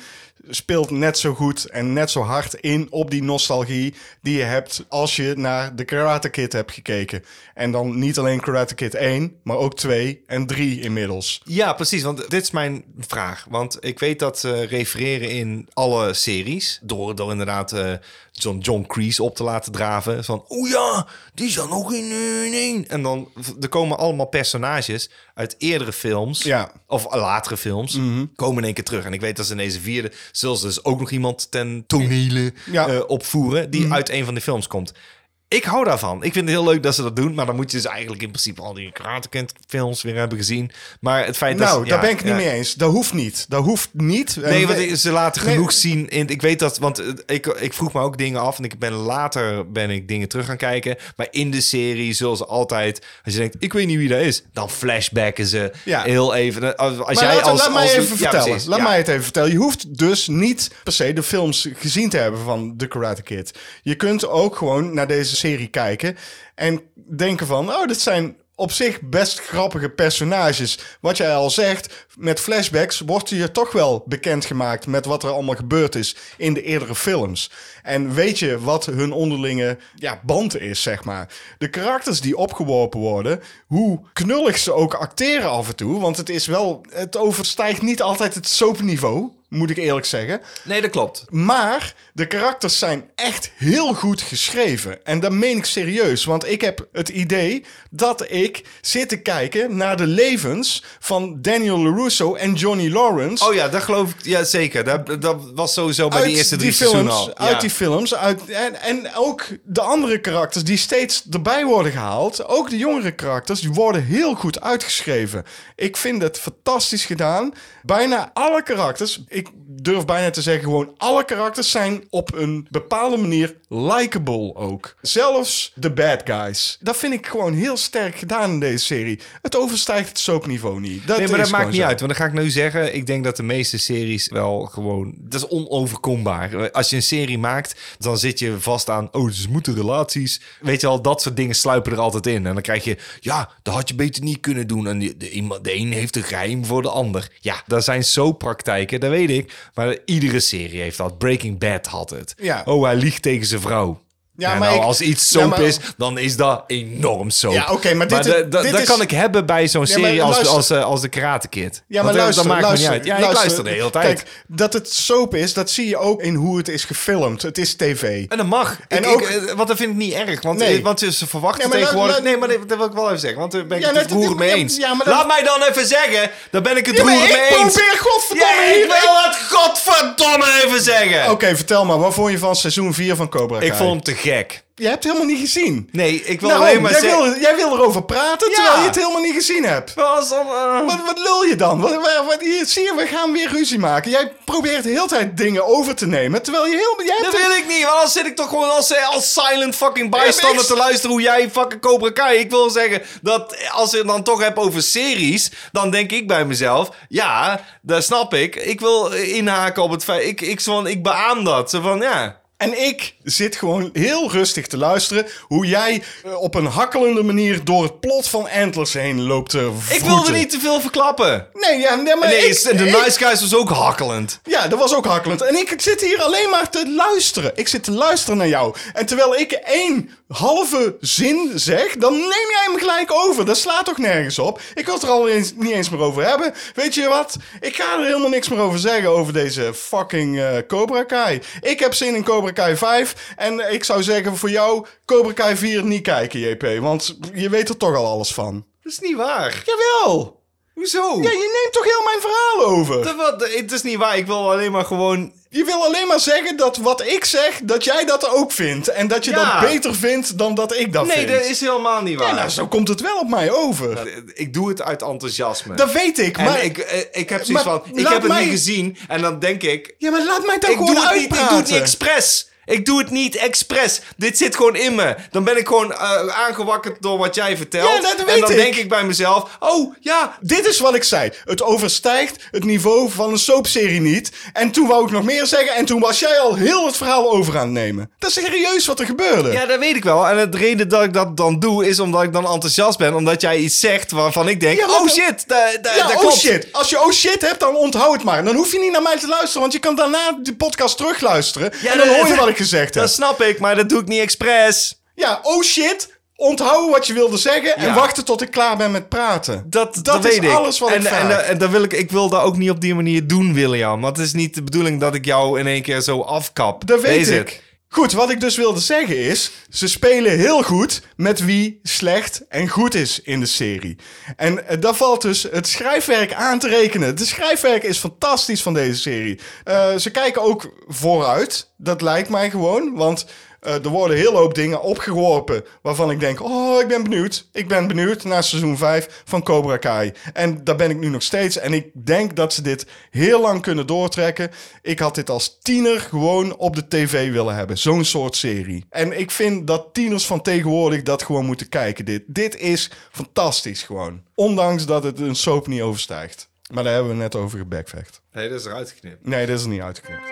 B: speelt net zo goed en net zo hard in op die nostalgie die je hebt als je naar de Karate Kid hebt gekeken. En dan niet alleen Karate Kid 1, maar ook 2 en 3 inmiddels.
A: Ja, precies. Want dit is mijn vraag. Want ik weet dat ze refereren in alle series. Door dan inderdaad eh, zo'n John Creese op te laten draven. Van, oh ja, die zijn nog in eh, één. En dan er komen allemaal personages uit eerdere films.
B: Ja.
A: Of latere films.
B: Mhm.
A: Komen in één keer terug. En ik weet dat ze in deze vierde... Zullen ze dus ook nog iemand ten tonele
B: Ja. Mhm.
A: eh, opvoeren. Die uit een van de films komt. Ik hou daarvan. Ik vind het heel leuk dat ze dat doen. Maar dan moet je dus eigenlijk in principe al die Karate Kid films weer hebben gezien. Maar het feit dat...
B: nou,
A: ja,
B: daar ben ik niet
A: ja.
B: mee eens. Dat hoeft niet. Dat hoeft niet.
A: Nee,
B: En-
A: want ze laten
B: Eh, Nee.
A: genoeg zien. In, ik weet dat, want eh, ik, ik vroeg me ook dingen af. En ik ben later ben ik dingen terug gaan kijken. Maar in de serie zullen ze altijd... Als je denkt, ik weet niet wie dat is. Dan flashbacken ze
B: Ja.
A: heel even. Als, als
B: Maar
A: jij
B: laat,
A: als,
B: laat mij
A: als-
B: even
A: ja,
B: vertellen.
A: precies,
B: laat
A: ja.
B: mij het even vertellen. Je hoeft dus niet per se de films gezien te hebben van The Karate Kid. Je kunt ook gewoon naar deze serie kijken en denken van, oh, dit zijn op zich best grappige personages. Wat jij al zegt, met flashbacks wordt je toch wel bekendgemaakt met wat er allemaal gebeurd is in de eerdere films. En weet je wat hun onderlinge ja, band is, zeg maar. De karakters die opgeworpen worden, hoe knullig ze ook acteren af en toe. Want het is wel, het overstijgt niet altijd het soapniveau, moet ik eerlijk zeggen.
A: Nee, dat klopt.
B: Maar de karakters zijn echt heel goed geschreven. En dat meen ik serieus. Want ik heb het idee dat ik zit te kijken naar de levens van Daniel LaRusso en Johnny Lawrence.
A: Oh ja, dat geloof ik. Ja, zeker. Dat, dat was sowieso bij de eerste drie
B: die films,
A: seizoenen al.
B: Uit
A: Ja.
B: die films. Uit, en, en ook de andere karakters die steeds erbij worden gehaald. Ook de jongere karakters, die worden heel goed uitgeschreven. Ik vind het fantastisch gedaan. Bijna alle karakters, ik durf bijna te zeggen gewoon alle karakters zijn op een bepaalde manier likable ook. Zelfs de bad guys. Dat vind ik gewoon heel sterk gedaan in deze serie. Het overstijgt het soapniveau niet. Dat
A: Nee, maar dat
B: is
A: maakt
B: gewoon
A: niet
B: zo.
A: uit. Want dan ga ik nu zeggen, ik denk dat de meeste series wel gewoon... Dat is onoverkombaar. Als je een serie maakt, dan zit je vast aan... Oh, ze moeten relaties. Weet je al, dat soort dingen sluipen er altijd in. En dan krijg je... Ja, dat had je beter niet kunnen doen. En de, de, iemand- de een heeft een geheim voor de ander. Ja, daar zijn zo praktijken, dat weet ik. Maar iedere serie heeft dat. Breaking Bad had het.
B: Ja.
A: Oh, hij liegt tegen zijn vrouw.
B: Ja,
A: Ja,
B: maar
A: nou,
B: ik-
A: als iets
B: Ja,
A: soap
B: maar-
A: is, dan is dat enorm soap.
B: Ja, oké, maar dit-
A: dat- dat-
B: dit
A: dat
B: is-
A: kan ik hebben bij zo'n
B: Ja, maar
A: serie als,
B: luister.
A: als, eh, als de Karate Kid.
B: Ja, maar
A: Want, eh,
B: luister,
A: dat maakt
B: luister,
A: me niet uit. Ja, ik luister de hele tijd.
B: Kijk, dat het soap is, dat zie je ook in hoe het is gefilmd. Het is tv.
A: en dat mag.
B: En
A: En
B: ook-
A: ook, want dat vind ik niet erg. Want,
B: Nee.
A: eh, want ze ze verwachten
B: Nee, maar laat-
A: tegenwoordig...
B: laat-
A: nee, maar dat dat wil ik wel even zeggen. Want daar ben ik
B: Ja,
A: het
B: dat-
A: het roerend mee
B: ja,
A: eens.
B: ja, maar dat-
A: Laat mij dan even zeggen. Daar ben ik het
B: Ja, maar
A: roerend
B: ik
A: mee eens.
B: probeer godverdomme
A: Ja,
B: hier-
A: ik wil het godverdomme even zeggen.
B: Oké, vertel maar, wat vond je van seizoen 4 van Cobra Kai?
A: Ik vond hem te gek.
B: Je hebt het helemaal niet gezien.
A: Nee, ik wil
B: Daarom,
A: alleen maar
B: Nou, jij,
A: zeggen...
B: wil, jij wil erover praten,
A: Ja.
B: terwijl je het helemaal niet gezien hebt.
A: Was dan, eh,
B: Wat, wat lul je dan? Wat, wat, wat- hier, zie je, we gaan weer ruzie maken. Jij probeert de hele tijd dingen over te nemen, terwijl je heel... Jij hebt
A: Dat wil ik niet, want dan zit ik toch gewoon als, eh, als silent fucking
B: Ja, maar
A: bijstander
B: ik-
A: te luisteren hoe jij fucking Cobra Kai. Ik wil zeggen dat als je het dan toch hebt over series, dan denk ik bij mezelf, ja, dat snap ik. Ik wil inhaken op het feit, ik, ik, zo van, ik beaam dat. Zo van, ja,
B: En ik zit gewoon heel rustig te luisteren hoe jij eh, op een hakkelende manier door het plot van Antlers heen loopt te
A: Ik wilde
B: vroeten.
A: niet te veel verklappen.
B: Nee, ja, nee, maar
A: Nee,
B: ik-
A: en de
B: ik-
A: Nice Guys was ook hakkelend.
B: Ja, dat was ook hakkelend. En ik zit hier alleen maar te luisteren. Ik zit te luisteren naar jou. En terwijl ik één halve zin zeg, dan neem jij hem gelijk over. Dat slaat toch nergens op? Ik wil het er al eens, niet eens meer over hebben. Weet je wat? Ik ga er helemaal niks meer over zeggen over deze fucking eh, Cobra Kai. Ik heb zin in Cobra Kai 5. En ik zou zeggen voor jou, Cobra Kai 4 niet kijken, JP. Want je weet er toch al alles van.
A: Dat is niet waar.
B: Jawel!
A: Hoezo?
B: Ja, je neemt toch heel mijn verhaal over?
A: Dat wat- Het is niet waar. Ik wil alleen maar gewoon
B: Je wil alleen maar zeggen dat wat ik zeg, dat jij dat ook vindt. En dat je
A: Ja.
B: dat beter vindt dan dat ik dat
A: Nee,
B: vind.
A: dat is helemaal niet
B: Ja,
A: waar.
B: nou, zo komt het wel op mij over.
A: Ik doe het uit enthousiasme.
B: dat weet ik,
A: en
B: maar...
A: ik, eh, ik heb zoiets
B: maar
A: van, ik
B: laat
A: heb het
B: mij-
A: niet gezien. En dan denk ik,
B: ja, maar laat mij dan
A: ik
B: gewoon
A: doe, het niet, ik
B: uitpraten.
A: doe het niet expres. Ik doe het niet expres. Dit zit gewoon in me. Dan ben ik gewoon eh, aangewakkerd door wat jij vertelt.
B: Ja, dat weet
A: en dan
B: ik.
A: denk ik bij mezelf, oh ja,
B: Dit is wat ik zei. Het overstijgt het niveau van een soapserie niet. En toen wou ik nog meer zeggen. En toen was jij al heel het verhaal over aan het nemen. Dat is serieus wat er gebeurde.
A: Ja, dat weet ik wel. En het reden dat ik dat dan doe, is omdat ik dan enthousiast ben. Omdat jij iets zegt waarvan ik denk,
B: Ja, maar
A: oh
B: dat-
A: shit, da, da,
B: Ja,
A: dat
B: oh
A: klopt.
B: shit. Als je oh shit hebt, dan onthoud het maar. Dan hoef je niet naar mij te luisteren, want je kan daarna de podcast terugluisteren.
A: Ja,
B: en dan
A: dat-
B: hoor je wat ik gezegd heb.
A: Dat snap ik, maar dat doe ik niet expres.
B: Ja, oh shit. Onthouden wat je wilde zeggen en
A: Ja.
B: wachten tot ik klaar ben met praten.
A: Dat, dat,
B: is
A: weet ik.
B: alles wat
A: en,
B: ik vraag.
A: En, eh, en dat wil ik, ik wil dat ook niet op die manier doen, William. Want het is niet de bedoeling dat ik jou in één keer zo afkap.
B: dat weet
A: Wees
B: ik. Goed, wat ik dus wilde zeggen is... ze spelen heel goed met wie slecht en goed is in de serie. En eh, daar valt dus het schrijfwerk aan te rekenen. Het schrijfwerk is fantastisch van deze serie. Eh, ze kijken ook vooruit. Dat lijkt mij gewoon, want... eh, er worden heel hoop dingen opgeworpen waarvan ik denk... oh, ik ben benieuwd. Ik ben benieuwd naar seizoen 5 van Cobra Kai. En daar ben ik nu nog steeds. En ik denk dat ze dit heel lang kunnen doortrekken. Ik had dit als tiener gewoon op de tv willen hebben. Zo'n soort serie. En ik vind dat tieners van tegenwoordig dat gewoon moeten kijken. Dit, dit is fantastisch gewoon. Ondanks dat het een soap niet overstijgt. Maar daar hebben we net over gebackvecht.
A: Nee, dat is eruit geknipt.
B: Nee, dat is er niet uitgeknipt.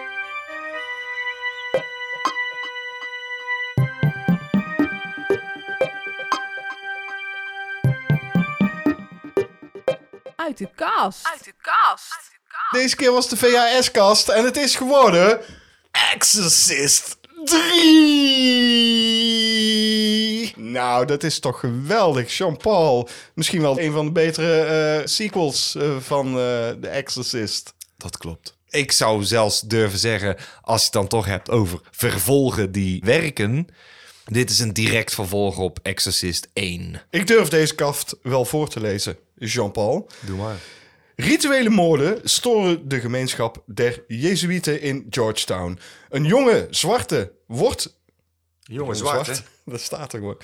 D: Uit de kast.
B: Deze keer was de VHS-kast en het is geworden... Exorcist 3! Nou, dat is toch geweldig. Jean-Paul, misschien wel een van de betere eh, sequels eh, van eh The Exorcist.
A: Dat klopt. Ik zou zelfs durven zeggen, als je het dan toch hebt over vervolgen die werken. Dit is een direct vervolg op Exorcist 1.
B: Ik durf deze kaft wel voor te lezen, Jean-Paul.
A: Doe maar.
B: Rituele moorden storen de gemeenschap der Jezuïeten in Georgetown. Een jonge zwarte wordt
A: Jongens,
B: Zwart, hè? [laughs] Dat staat er gewoon.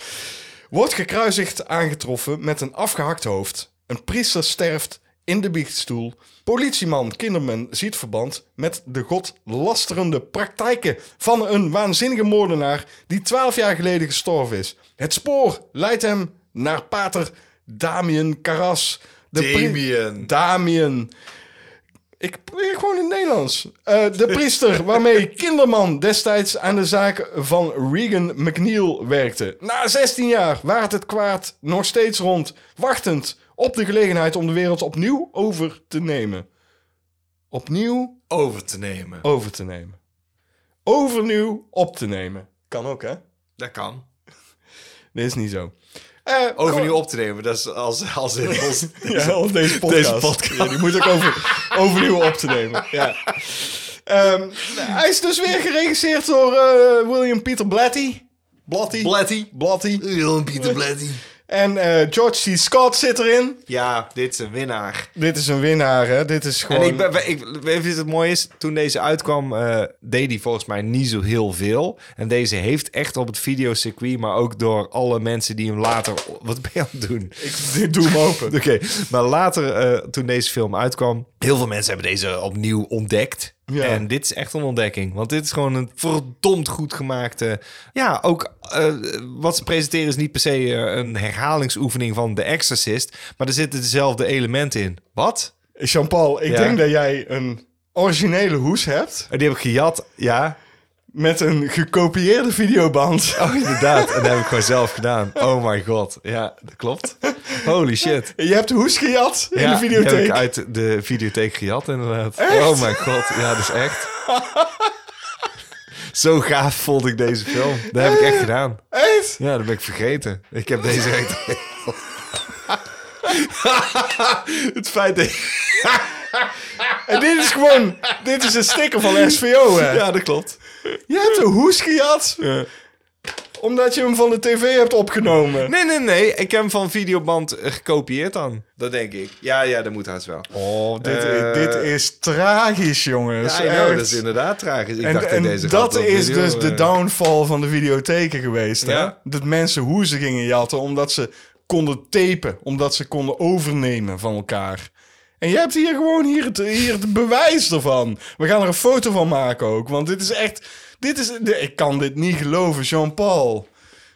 B: Wordt gekruisigd aangetroffen met een afgehakt hoofd. Een priester sterft in de biechtstoel. Politieman Kinderman ziet verband met de godlasterende praktijken van een waanzinnige moordenaar die twaalf jaar geleden gestorven is. Het spoor leidt hem naar pater Damien Carras. De pri-
A: Damien.
B: Damien. Ik probeer gewoon in het Nederlands. Eh, de priester waarmee Kinderman destijds aan de zaak van Regan McNeil werkte. Na 16 jaar waart het kwaad nog steeds rond, wachtend op de gelegenheid om de wereld opnieuw over te nemen. Opnieuw
A: Over te nemen.
B: over te nemen. Overnieuw op te nemen. Kan ook, hè?
A: Dat kan.
B: Dit is niet zo. Eh,
A: Overnieuw op te nemen, dat is als, als
B: [laughs]
A: in ons...
B: Ja, of deze podcast.
A: Deze podcast.
B: Ja, die moet ik over,
A: [laughs]
B: overnieuw op te nemen. Ja. Ehm, hij is dus weer geregisseerd door eh, William Peter Blatty. Blatty.
A: Blatty.
B: Blatty.
A: Pieter Blatty.
B: En eh, George C. Scott zit erin.
A: Ja, dit is een winnaar.
B: Dit is een winnaar, hè? Dit is gewoon...
A: En ik, ben, ik weet je wat het mooi is? Toen deze uitkwam, eh, deed hij volgens mij niet zo heel veel. En deze heeft echt op het videocircuit, maar ook door alle mensen die hem later... Wat ben je aan het doen?
B: Dit doe hem
A: [laughs] Oké,
B: open.
A: maar later, eh, toen deze film uitkwam, heel veel mensen hebben deze opnieuw ontdekt.
B: Ja.
A: En dit is echt een ontdekking. Want dit is gewoon een verdomd goed gemaakte. Ja, ook eh, wat ze presenteren is niet per se eh, een herhalingsoefening van The Exorcist. Maar er zitten dezelfde elementen in. Wat?
B: Jean-Paul, ik
A: Ja.
B: denk dat jij een originele hoes hebt.
A: Eh, Die heb ik gejat, ja.
B: met een gekopieerde videoband.
A: Oh, inderdaad. En dat heb ik gewoon zelf gedaan. Oh my god. Ja, dat klopt. Holy shit.
B: [laughs] Je hebt hoes gejat in
A: ja,
B: de
A: die heb
B: videotheek.
A: ik uit de videotheek gejat, inderdaad. Oh mijn god. Ja, dat is echt. Zo gaaf vond ik deze film. Dat heb ik echt gedaan.
B: Echt?
A: Ja, dat ben ik vergeten. Ik heb deze echt... [laughs] Het feit dat...
B: En dit is gewoon... Dit is een sticker van SVO, hè?
A: Ja, dat klopt.
B: Je hebt een hoes gejat. Omdat je hem van de tv hebt opgenomen.
A: Nee, nee, nee. Ik heb hem van videoband eh, gekopieerd dan. Dat denk ik. Ja, ja, dat moet haast wel.
B: Oh, dit,
A: Eh.
B: dit is tragisch, jongens.
A: Ja, I know,
B: Echt.
A: dat is inderdaad tragisch. Ik dacht
B: En,
A: in
B: en
A: deze
B: dat
A: grap
B: is
A: video,
B: dus de
A: eh,
B: downfall van de videotheken geweest. Hè?
A: Ja.
B: Dat mensen hoezen gingen jatten omdat ze konden tapen. Omdat ze konden overnemen van elkaar. En je hebt hier gewoon hier het, hier het bewijs ervan. We gaan er een foto van maken ook. Want dit is echt... Dit is, ik kan dit niet geloven, Jean-Paul.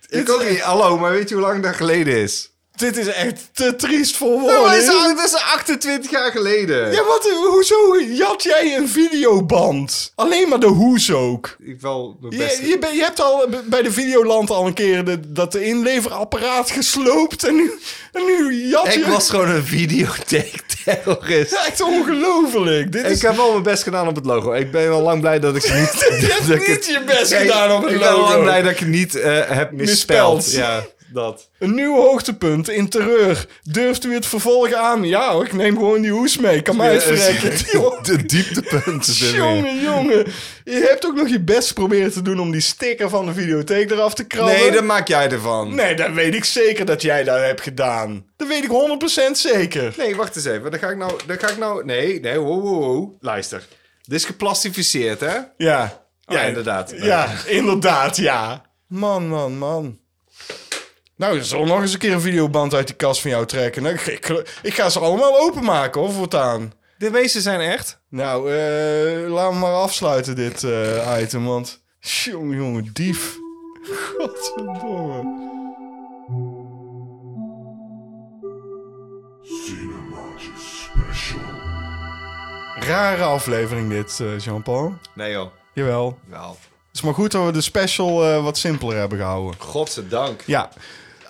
A: Ik ook niet. Hallo, maar weet je hoe lang dat geleden is?
B: Dit is echt te triest voor woorden.
A: Oh, is al- dat is 28 jaar geleden.
B: Ja, wat? Hoezo jat jij een videoband? Alleen maar de hoes ook.
A: Ik wel mijn
B: Je,
A: beste.
B: je, ben- je hebt al b- bij de Videoland al een keer de- dat de inleverapparaat gesloopt en nu, en nu jat je.
A: Ik
B: [laughs]
A: was gewoon een videotheekterrorist.
B: echt ongelooflijk. Dit
A: Ik
B: is
A: heb wel mijn best gedaan op het logo. Ik ben wel lang blij dat ik niet...
B: [laughs] Je hebt
A: dat ik
B: niet
A: het-
B: je best
A: Nee,
B: gedaan op het
A: Ik ben wel
B: logo.
A: lang blij dat ik het niet eh, heb misspeld.
B: Misspeld.
A: Ja, dat.
B: een nieuw hoogtepunt in terreur. Durft u het vervolg aan? Ja, hoor, ik neem gewoon die hoes mee. Kan mij het [laughs] verrekken.
A: [laughs]
B: Joh.
A: De dieptepunten zijn weer.
B: Jongen, jongen. Je hebt ook nog je best proberen te doen om die sticker van de videotheek eraf te krabben.
A: Nee, dat maak jij ervan.
B: Nee, dat weet ik zeker dat jij dat hebt gedaan. Dat weet ik 100% zeker.
A: Nee, wacht eens even. Dan ga ik nou... Dan ga ik nou nee, nee, wow, wow, wow. Luister. Dit is geplastificeerd, hè?
B: Ja.
A: Oh, ja, inderdaad.
B: Ja, [laughs] inderdaad, ja. Man, man, man. Nou, er zal nog eens een keer een videoband uit die kast van jou trekken. Nou, Ik, ik, ik ga ze allemaal openmaken, hoor, voortaan.
A: De meeste zijn echt.
B: Nou, eh laten we maar afsluiten dit eh, item, want... Jongen, jongen, dief. Godverdomme. Rare aflevering dit, eh, Jean-Paul.
A: Nee, joh.
B: Jawel.
A: Wel.
B: Het is maar goed dat we de special eh, wat simpeler hebben gehouden.
A: Godzijdank.
B: Ja,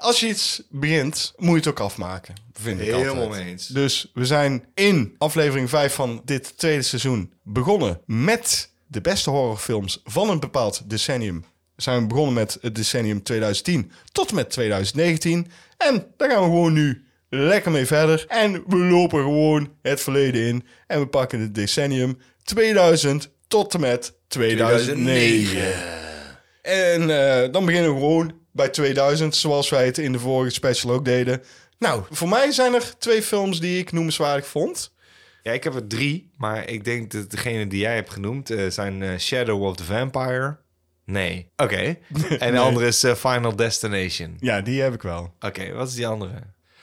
B: als je iets begint, moet je het ook afmaken. Vind ik
A: Helemaal
B: altijd.
A: mee eens.
B: Dus we zijn in aflevering 5 van dit tweede seizoen begonnen met de beste horrorfilms van een bepaald decennium. Zijn we begonnen met het decennium 2010 tot en met 2019. En daar gaan we gewoon nu lekker mee verder. En we lopen gewoon het verleden in. En we pakken het decennium 2000 tot en met 2009. En eh, dan beginnen we gewoon bij 2000, zoals wij het in de vorige special ook deden. Nou, voor mij zijn er twee films die ik noemenswaardig vond.
A: Ja, ik heb er drie, maar ik denk dat degene die jij hebt genoemd eh, zijn eh, Shadow of the Vampire. Nee. Oké. [laughs] En de andere is eh, Final Destination.
B: Ja, die heb ik wel.
A: Oké, wat is die andere?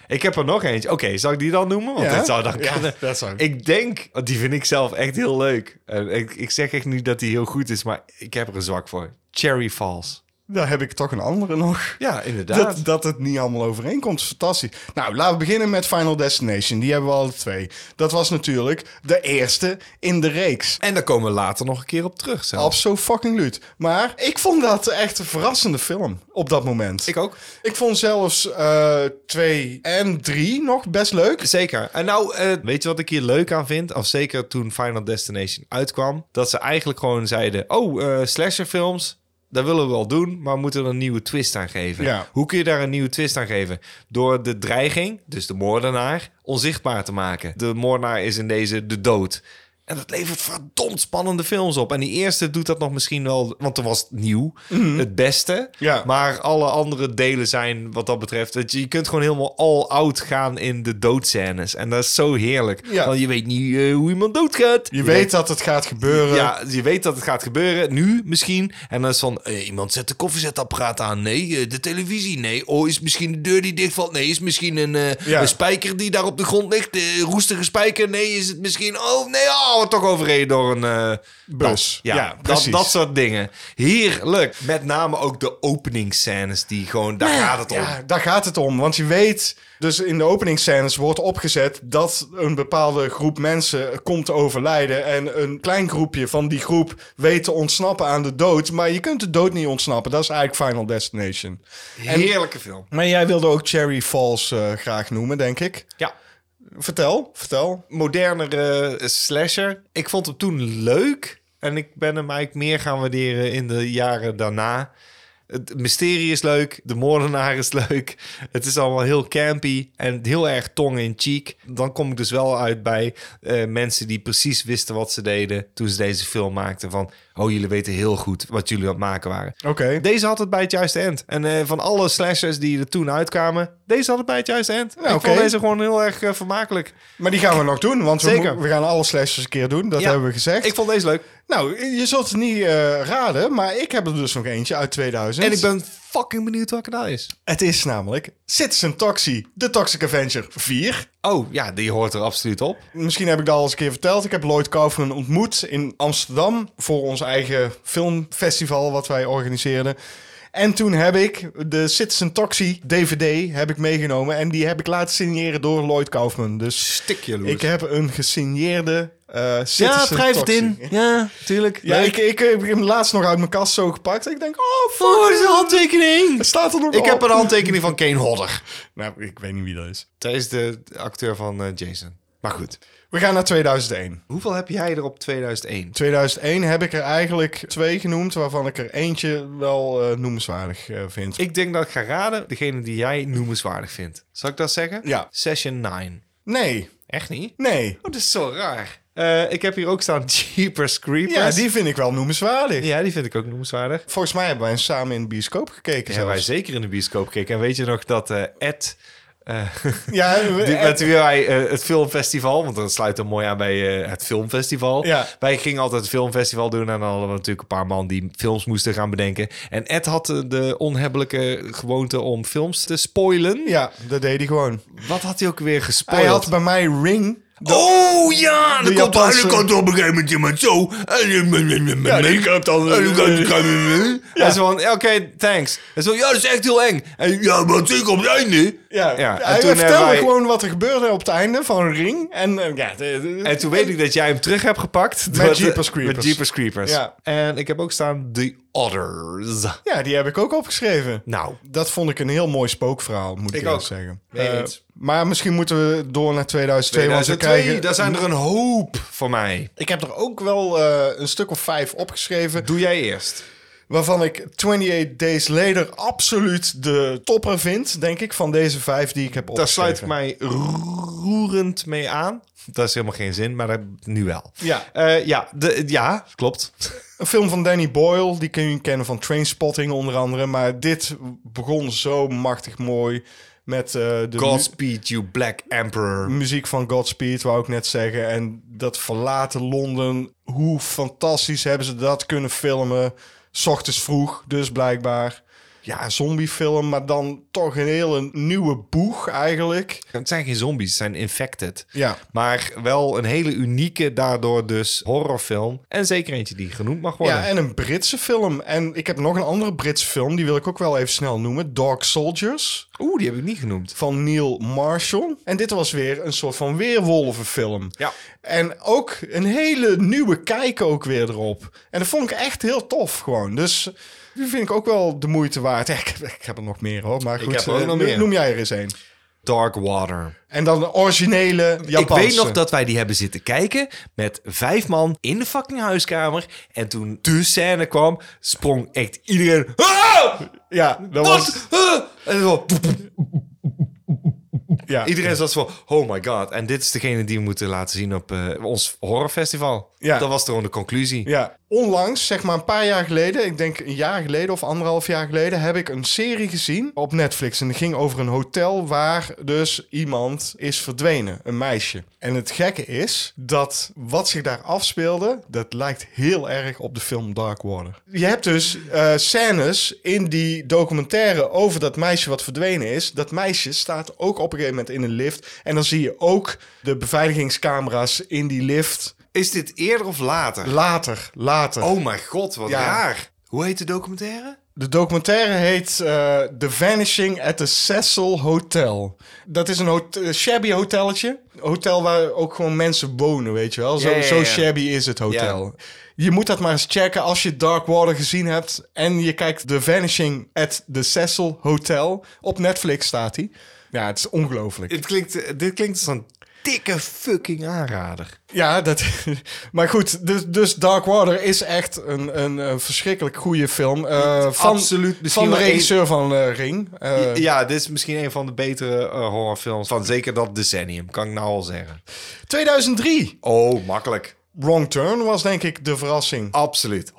A: Ik heb er nog eentje. Oké, zal ik die dan noemen? Want
B: Ja.
A: dat zou dan
B: Ja,
A: kunnen.
B: dat zou-
A: Ik denk, want die vind ik zelf echt heel leuk. En ik, ik zeg echt niet dat die heel goed is, maar ik heb er een zwak voor. Cherry Falls.
B: Daar heb ik toch een andere nog.
A: Ja, inderdaad.
B: Dat, dat het niet allemaal overeenkomt, is fantastisch. Nou, laten we beginnen met Final Destination. Die hebben we alle twee. Dat was natuurlijk de eerste in de reeks.
A: En daar komen we later nog een keer op terug. zelfs.
B: Absoluut fucking luut. Maar ik vond dat echt een verrassende film op dat moment.
A: Ik ook.
B: Ik vond zelfs eh, twee en drie nog best leuk.
A: Zeker. En nou, eh, weet je wat ik hier leuk aan vind? Of zeker toen Final Destination uitkwam. Dat ze eigenlijk gewoon zeiden... Oh, eh, slasherfilms, dat willen we wel doen... maar we moeten er een nieuwe twist aan geven.
B: Ja.
A: Hoe kun je daar een nieuwe twist aan geven? Door de dreiging, dus de moordenaar, onzichtbaar te maken. De moordenaar is in deze de dood. En dat levert verdomd spannende films op. En die eerste doet dat nog misschien wel... want toen was het nieuw, het beste.
B: Ja.
A: Maar alle andere delen zijn wat dat betreft... Dat je, je kunt gewoon helemaal all-out gaan in de doodscènes. En dat is zo heerlijk.
B: Ja.
A: Want je weet niet eh, hoe iemand doodgaat.
B: Je weet dat het gaat gebeuren.
A: Ja, je weet dat het gaat gebeuren. Nu misschien. En dan is van, eh, iemand zet de koffiezetapparaat aan. Nee, eh, de televisie. Nee. Oh, is misschien de deur die dichtvalt? Nee, is misschien een, eh,
B: Ja.
A: een spijker die daar op de grond ligt? Eh, roestige spijker? Nee, is het misschien... Oh, nee, ah, totaal wordt toch overreden door een eh,
B: Bus.
A: Ja,
B: Ja,
A: dat,
B: precies.
A: dat soort dingen. Heerlijk. Met name ook de openingsscènes die gewoon, daar gaat het om.
B: Ja, daar gaat het om. Want je weet, dus in de openingsscènes wordt opgezet dat een bepaalde groep mensen komt te overlijden. En een klein groepje van die groep weet te ontsnappen aan de dood. Maar je kunt de dood niet ontsnappen. Dat is eigenlijk Final Destination.
A: Heerlijke film.
B: Maar jij wilde ook Cherry Falls eh, graag noemen, denk ik.
A: Ja.
B: Vertel, vertel.
A: Modernere slasher. Ik vond hem toen leuk. En ik ben hem eigenlijk meer gaan waarderen in de jaren daarna. Het mysterie is leuk. De moordenaar is leuk. Het is allemaal heel campy en heel erg tong in cheek. Dan kom ik dus wel uit bij eh, mensen die precies wisten wat ze deden toen ze deze film maakten. Van, oh, jullie weten heel goed wat jullie aan het maken waren.
B: Oké.
A: Deze had het bij het juiste end. En eh, van alle slashers die er toen uitkwamen, deze had het bij het juiste end. ik
B: oké.
A: vond deze gewoon heel erg eh, vermakelijk.
B: Maar die gaan we nog doen, want we,
A: Zeker.
B: mo- we gaan alle slashers een keer doen. Dat
A: Ja.
B: hebben we gezegd.
A: Ik vond deze leuk.
B: Nou, je zult het niet eh, raden, maar ik heb er dus nog eentje uit 2000.
A: En ik ben fucking benieuwd welke dat is.
B: Het is namelijk Citizen Taxi, The Toxic Avenger 4.
A: Oh, ja, die hoort er absoluut op.
B: Misschien heb ik dat al eens een keer verteld. Ik heb Lloyd Kaufman ontmoet in Amsterdam voor ons eigen filmfestival wat wij organiseerden. En toen heb ik de Citizen Taxi DVD heb ik meegenomen en die heb ik laten signeren door Lloyd Kaufman. Dus
A: Stik jaloers.
B: ik heb een gesigneerde eh Citizen
A: ja, schrijf het
B: Taxi.
A: in. Ja, tuurlijk.
B: Ja,
A: Leuk.
B: ik, ik, heb hem laatst nog uit mijn kast zo gepakt. Ik denk, oh, fuck,
A: Oh, dit is een handtekening.
B: het staat er nog
A: Ik
B: op.
A: heb een handtekening van Kane Hodder.
B: Nou, ik weet niet wie dat is.
A: Dat is de acteur van eh, Jason. Maar goed.
B: We gaan naar 2001.
A: Hoeveel heb jij er op 2001?
B: 2001 heb ik er eigenlijk twee genoemd, waarvan ik er eentje wel eh, noemenswaardig eh, vind.
A: Ik denk dat ik ga raden degene die jij noemenswaardig vindt. Zal ik dat zeggen?
B: Ja.
A: Session 9.
B: Nee,
A: Echt niet?
B: nee.
A: Oh, dat is zo raar. Eh, ik heb hier ook staan [laughs] Jeepers
B: Ja,
A: Creepers.
B: die vind ik wel noemenswaardig.
A: ja, die vind ik ook noemenswaardig.
B: Volgens mij hebben wij samen in de bioscoop gekeken.
A: Ja, wij
B: zelfs.
A: zeker in de bioscoop keken. En weet je nog dat eh Ed... eh, [laughs]
B: Ja, we-
A: die-
B: eh,
A: met wie wij eh, het filmfestival, want dat sluit dan mooi aan bij eh, het filmfestival.
B: Ja.
A: Wij gingen altijd het filmfestival doen en dan hadden we natuurlijk een paar man die films moesten gaan bedenken. En Ed had eh, de onhebbelijke gewoonte om films te spoilen.
B: ja, dat deed hij gewoon.
A: Wat had hij ook weer gespoild?
B: Hij had bij mij Ring.
A: Oh ja,
B: De
A: dan komt, dan,
B: Japanse-
A: komt er op een gegeven moment iemand zo. eh, Ja,
B: die komt dan-
A: Hij is van, ja, oké, thanks. Hij is van, ja, dat is echt heel eng. En, ja, maar zeker op het einde.
B: Ja,
A: Ja, en
B: hij
A: toen
B: vertelde
A: hebben wij-
B: gewoon wat er gebeurde op het einde van Ring. En eh, ja, de- de-
A: En toen weet ik dat jij hem terug hebt gepakt.
B: Met
A: Dat-
B: Jeepers Creepers.
A: Met Jeepers Creepers.
B: Ja.
A: En ik heb ook staan The Others.
B: ja, die heb ik ook opgeschreven.
A: Nou,
B: Dat vond ik een heel mooi spookverhaal, moet ik,
A: Ik
B: eerlijk
A: ook.
B: zeggen.
A: Mee
B: Eh,
A: eens.
B: maar misschien moeten we door naar 2002, want we
A: 2002,
B: krijgen...
A: daar zijn er een hoop voor mij.
B: Ik heb er ook wel eh, een stuk of vijf opgeschreven.
A: Doe jij eerst.
B: Waarvan ik 28 Days Later absoluut de topper vind, denk ik, van deze vijf die ik heb
A: Daar
B: opgeschreven.
A: sluit ik mij roerend mee aan. Dat is helemaal geen zin, maar dat, nu wel.
B: Ja.
A: Eh, ja, de, ja, klopt.
B: Een film van Danny Boyle, die kun je kennen van Trainspotting onder andere. Maar dit begon zo machtig mooi met eh, de
A: [laughs]
B: mu-
A: Godspeed, you black emperor.
B: muziek van Godspeed, wou ik net zeggen. En dat verlaten Londen, hoe fantastisch hebben ze dat kunnen filmen. 's ochtends vroeg, dus blijkbaar. Ja, zombiefilm, maar dan toch een hele nieuwe boeg eigenlijk.
A: Het zijn geen zombies, het zijn infected.
B: Ja.
A: Maar wel een hele unieke, daardoor dus horrorfilm. En zeker eentje die genoemd mag worden.
B: Ja, en een Britse film. En ik heb nog een andere Britse film, die wil ik ook wel even snel noemen. Dark Soldiers,
A: Oeh, die heb ik niet genoemd.
B: van Neil Marshall. En dit was weer een soort van weerwolvenfilm.
A: Ja.
B: En ook een hele nieuwe kijk ook weer erop. En dat vond ik echt heel tof gewoon. Dus die vind ik ook wel de moeite waard. [laughs] Ja, ik, heb, ik heb er nog meer hoor, maar goed.
A: heb er ook
B: eh,
A: nog
B: no-
A: meer.
B: Noem jij er eens een.
A: Dark Water.
B: En dan de originele Japanse.
A: Ik weet nog dat wij die hebben zitten kijken met vijf man in de fucking huiskamer. En toen de scène kwam, sprong echt iedereen... Ah!
B: Ja, dat was...
A: Wat? Ah! En zo,
B: Ja,
A: iedereen zat zo van, oh my god. En dit is degene die we moeten laten zien op eh, ons horrorfestival.
B: Ja.
A: Dat was gewoon de conclusie.
B: ja. Onlangs, zeg maar een paar jaar geleden, ik denk een jaar geleden of anderhalf jaar geleden, heb ik een serie gezien op Netflix. En het ging over een hotel waar dus iemand is verdwenen, een meisje. En het gekke is dat wat zich daar afspeelde, dat lijkt heel erg op de film Dark Water. Je hebt dus eh, scènes in die documentaire over dat meisje wat verdwenen is. Dat meisje staat ook op een gegeven moment in een lift. En dan zie je ook de beveiligingscamera's in die lift
A: Is dit eerder of later?
B: Later, later.
A: oh mijn god, wat
B: Ja.
A: raar. Hoe heet de documentaire?
B: De documentaire heet eh, The Vanishing at the Cecil Hotel. Dat is een hot- eh, shabby hotelletje. Een Hotel waar ook gewoon mensen wonen, weet je wel. Zo,
A: Ja, ja, ja.
B: zo shabby is het hotel. Je moet dat maar eens checken als je Dark Water gezien hebt. En je kijkt The Vanishing at the Cecil Hotel. Op Netflix staat hij. Ja, het is ongelooflijk.
A: Dit klinkt, eh, dit klinkt als een dikke fucking aanrader.
B: Ja, dat, [laughs] maar goed, dus, dus Dark Water is echt een, een, eh, verschrikkelijk goede film. eh, van,
A: Absoluut, misschien
B: van de
A: wel een-
B: regisseur van eh, Ring. Eh,
A: ja, dit is misschien een van de betere eh, horrorfilms van zeker dat decennium, kan ik nou al zeggen.
B: 2003.
A: Oh, makkelijk.
B: Wrong Turn was denk ik de verrassing.
A: Absoluut, 100%.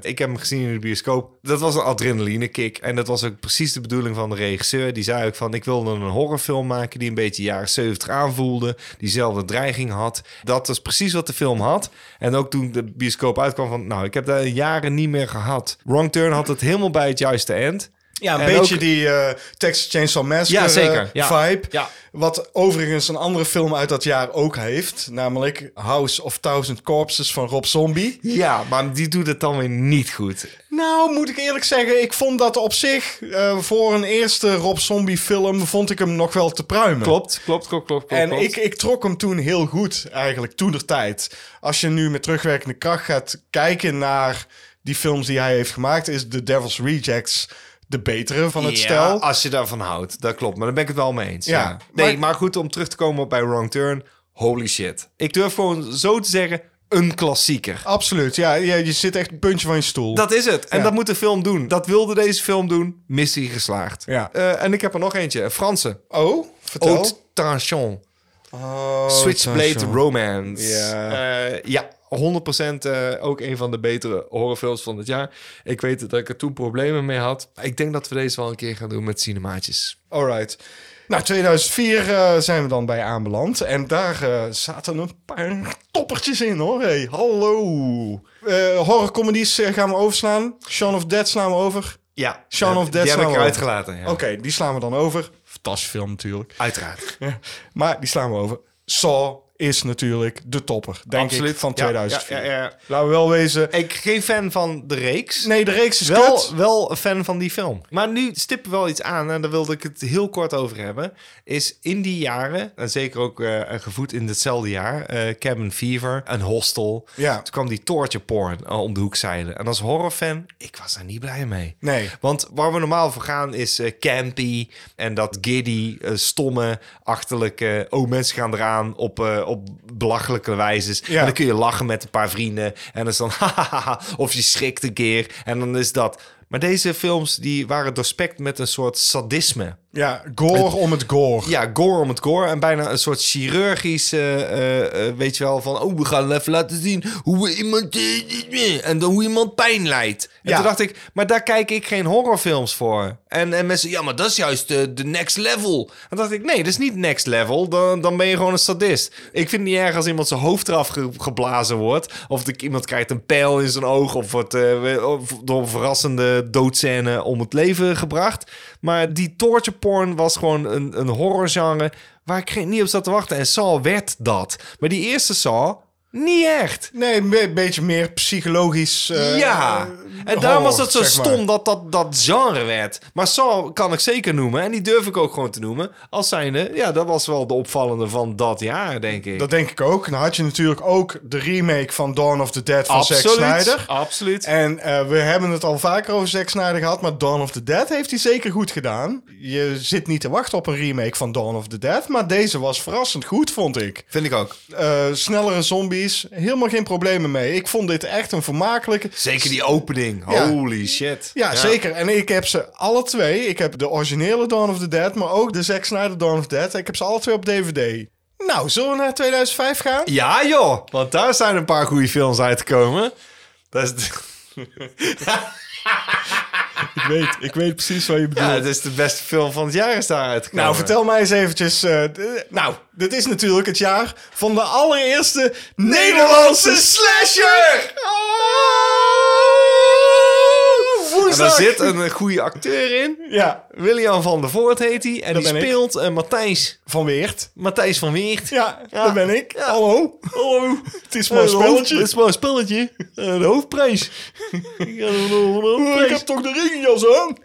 A: Ik heb hem gezien in de bioscoop. Dat was een adrenaline kick. En dat was ook precies de bedoeling van de regisseur. Die zei ook van, ik wilde een horrorfilm maken... die een beetje jaren 70 aanvoelde. Diezelfde dreiging had. Dat was precies wat de film had. En ook toen de bioscoop uitkwam van... nou, ik heb dat jaren niet meer gehad. Wrong Turn had het helemaal bij het juiste end.
B: Ja, een
A: En
B: beetje
A: ook-
B: die eh Texas Chainsaw Massacre
A: Ja, zeker.
B: eh,
A: Ja.
B: vibe.
A: Ja.
B: Wat overigens een andere film uit dat jaar ook heeft. Namelijk House of Thousand Corpses van Rob Zombie.
A: Ja, maar die doet het dan weer niet goed.
B: Nou, moet ik eerlijk zeggen, ik vond dat op zich... eh, voor een eerste Rob Zombie film vond ik hem nog wel te pruimen.
A: Klopt, klopt, klopt, klopt. klopt,
B: En
A: klopt.
B: ik, ik trok hem toen heel goed, eigenlijk, toen der tijd. Als je nu met terugwerkende kracht gaat kijken naar die films die hij heeft gemaakt, is The Devil's Rejects de betere van het
A: Ja,
B: stel.
A: als je daarvan houdt, dat klopt. Maar daar ben ik het wel mee eens.
B: Ja,
A: Ja.
B: maar-
A: Nee, maar... goed, om terug te komen op bij Wrong Turn. Holy shit. Ik durf gewoon zo te zeggen, een klassieker.
B: Absoluut, ja, ja, je zit echt een puntje van je stoel.
A: Dat is het. En
B: Ja.
A: dat moet de film doen. Dat wilde deze film doen. Missie geslaagd.
B: Ja.
A: Eh, en ik heb er nog eentje. Een Franse.
B: Oh, vertel.
A: Haute Tension.
B: Oh,
A: Switchblade
B: Sancho.
A: Romance.
B: Ja.
A: Eh, ja, 100% eh, ook een van de betere horrorfilms van het jaar. Ik weet dat ik er toen problemen mee had. Ik denk dat we deze wel een keer gaan doen met cinemaatjes.
B: Alright. Nou, 2004 eh, zijn we dan bij aanbeland. En daar eh, zaten een paar toppertjes in, hoor. Hey, hallo. Eh horrorcomedies eh, gaan we overslaan. Shaun of Dead slaan we over.
A: Ja,
B: Shaun
A: Ja,
B: of Dead
A: Die heb
B: slaan
A: ik
B: we
A: eruit
B: over.
A: gelaten. ja.
B: Oké, die slaan we dan over. Fantastische film natuurlijk.
A: Uiteraard.
B: Ja, maar die slaan we over. Saw is natuurlijk de topper, denk ik, van
A: Ja, Ja,
B: 2004.
A: ja, ja.
B: Laten we wel wezen.
A: Ik geen fan van de reeks.
B: Nee, de reeks is wel.
A: Wel, wel een fan van die film. Maar nu stippen we wel iets aan, en daar wilde ik het heel kort over hebben. Is in die jaren, en zeker ook eh, gevoed in hetzelfde jaar, eh Cabin Fever, een hostel.
B: Ja.
A: Toen kwam die torture porn eh, om de hoek zeilen. En als horrorfan, ik was daar niet blij mee.
B: Nee.
A: Want waar we normaal voor gaan is eh, campy en dat giddy, eh, stomme, achterlijke. Oh, mensen gaan eraan op, eh, op belachelijke wijzes.
B: Ja.
A: En dan kun je lachen met een paar vrienden. En dan is dan [laughs] hahaha. Of je schrikt een keer. En dan is dat. Maar deze films die waren doorspekt met een soort sadisme.
B: Ja, gore om het gore.
A: Ja, gore om het gore. En bijna een soort chirurgisch, eh, eh, eh, weet je wel, van... Oh, we gaan even laten zien hoe we iemand... eh, en dan hoe iemand pijn lijdt. En
B: Ja.
A: toen dacht ik, maar daar kijk ik geen horrorfilms voor. En, en mensen, ja, maar dat is juist eh, de next level. En toen dacht ik, nee, dat is niet next level. Dan, dan ben je gewoon een sadist. Ik vind het niet erg als iemand zijn hoofd eraf ge- geblazen wordt. Of dat iemand krijgt een pijl in zijn oog. Of wordt eh, we- of door een verrassende doodscène om het leven gebracht. Maar die torture porn was gewoon een, een horrorgenre waar ik geen, niet op zat te wachten. En Saw werd dat. Maar die eerste Saw, niet echt.
B: Nee, een be- beetje meer psychologisch. eh,
A: ja,
B: eh,
A: en daarom was
B: horror,
A: het zo
B: zeg maar.
A: stom dat, dat dat genre werd. Maar Saw kan ik zeker noemen, en die durf ik ook gewoon te noemen. Als zijnde, ja, dat was wel de opvallende van dat jaar, denk ik.
B: Dat denk ik ook. Dan had je natuurlijk ook de remake van Dawn of the Dead van Zack Snyder.
A: Absoluut.
B: En eh, we hebben het al vaker over Zack Snyder gehad, maar Dawn of the Dead heeft hij zeker goed gedaan. Je zit niet te wachten op een remake van Dawn of the Dead, maar deze was verrassend goed, vond ik.
A: Vind ik ook.
B: Eh, snellere zombies, helemaal geen problemen mee. Ik vond dit echt een vermakelijke...
A: Zeker die opening.
B: Ja.
A: Holy shit.
B: Ja, zeker. En ik heb ze alle twee. Ik heb de originele Dawn of the Dead, maar ook de Zack Snyder Dawn of the Dead. Ik heb ze alle twee op DVD. Nou, zullen we naar 2005 gaan?
A: Ja, joh. Want daar zijn een paar goede films uitgekomen. Dat is de,
B: Ik weet, ik weet precies wat je bedoelt.
A: ja, [laughs] dat is de beste film van het jaar is daar uitgekomen.
B: Nou, vertel mij eens eventjes. eh, d- nou, dit is natuurlijk het jaar van de allereerste Nederlandse slasher! Ah,
A: En daar
B: woensdag.
A: zit een goede acteur in.
B: Ja,
A: William van der Voort heet hij. En
B: Dat
A: die
B: ben ik.
A: speelt eh, Matthijs,
B: van Weert.
A: Matthijs van Weert. [laughs] Oh.
B: Ja,
A: Ja.
B: daar ben ik. Hallo.
A: Hallo.
B: Het is maar een
A: Het
B: spelletje.
A: is maar een spelletje. Eh, de hoofdprijs. Ik had een ho- een
B: Ik heb
A: hoofdprijs.
B: toch de regenjas aan? [laughs]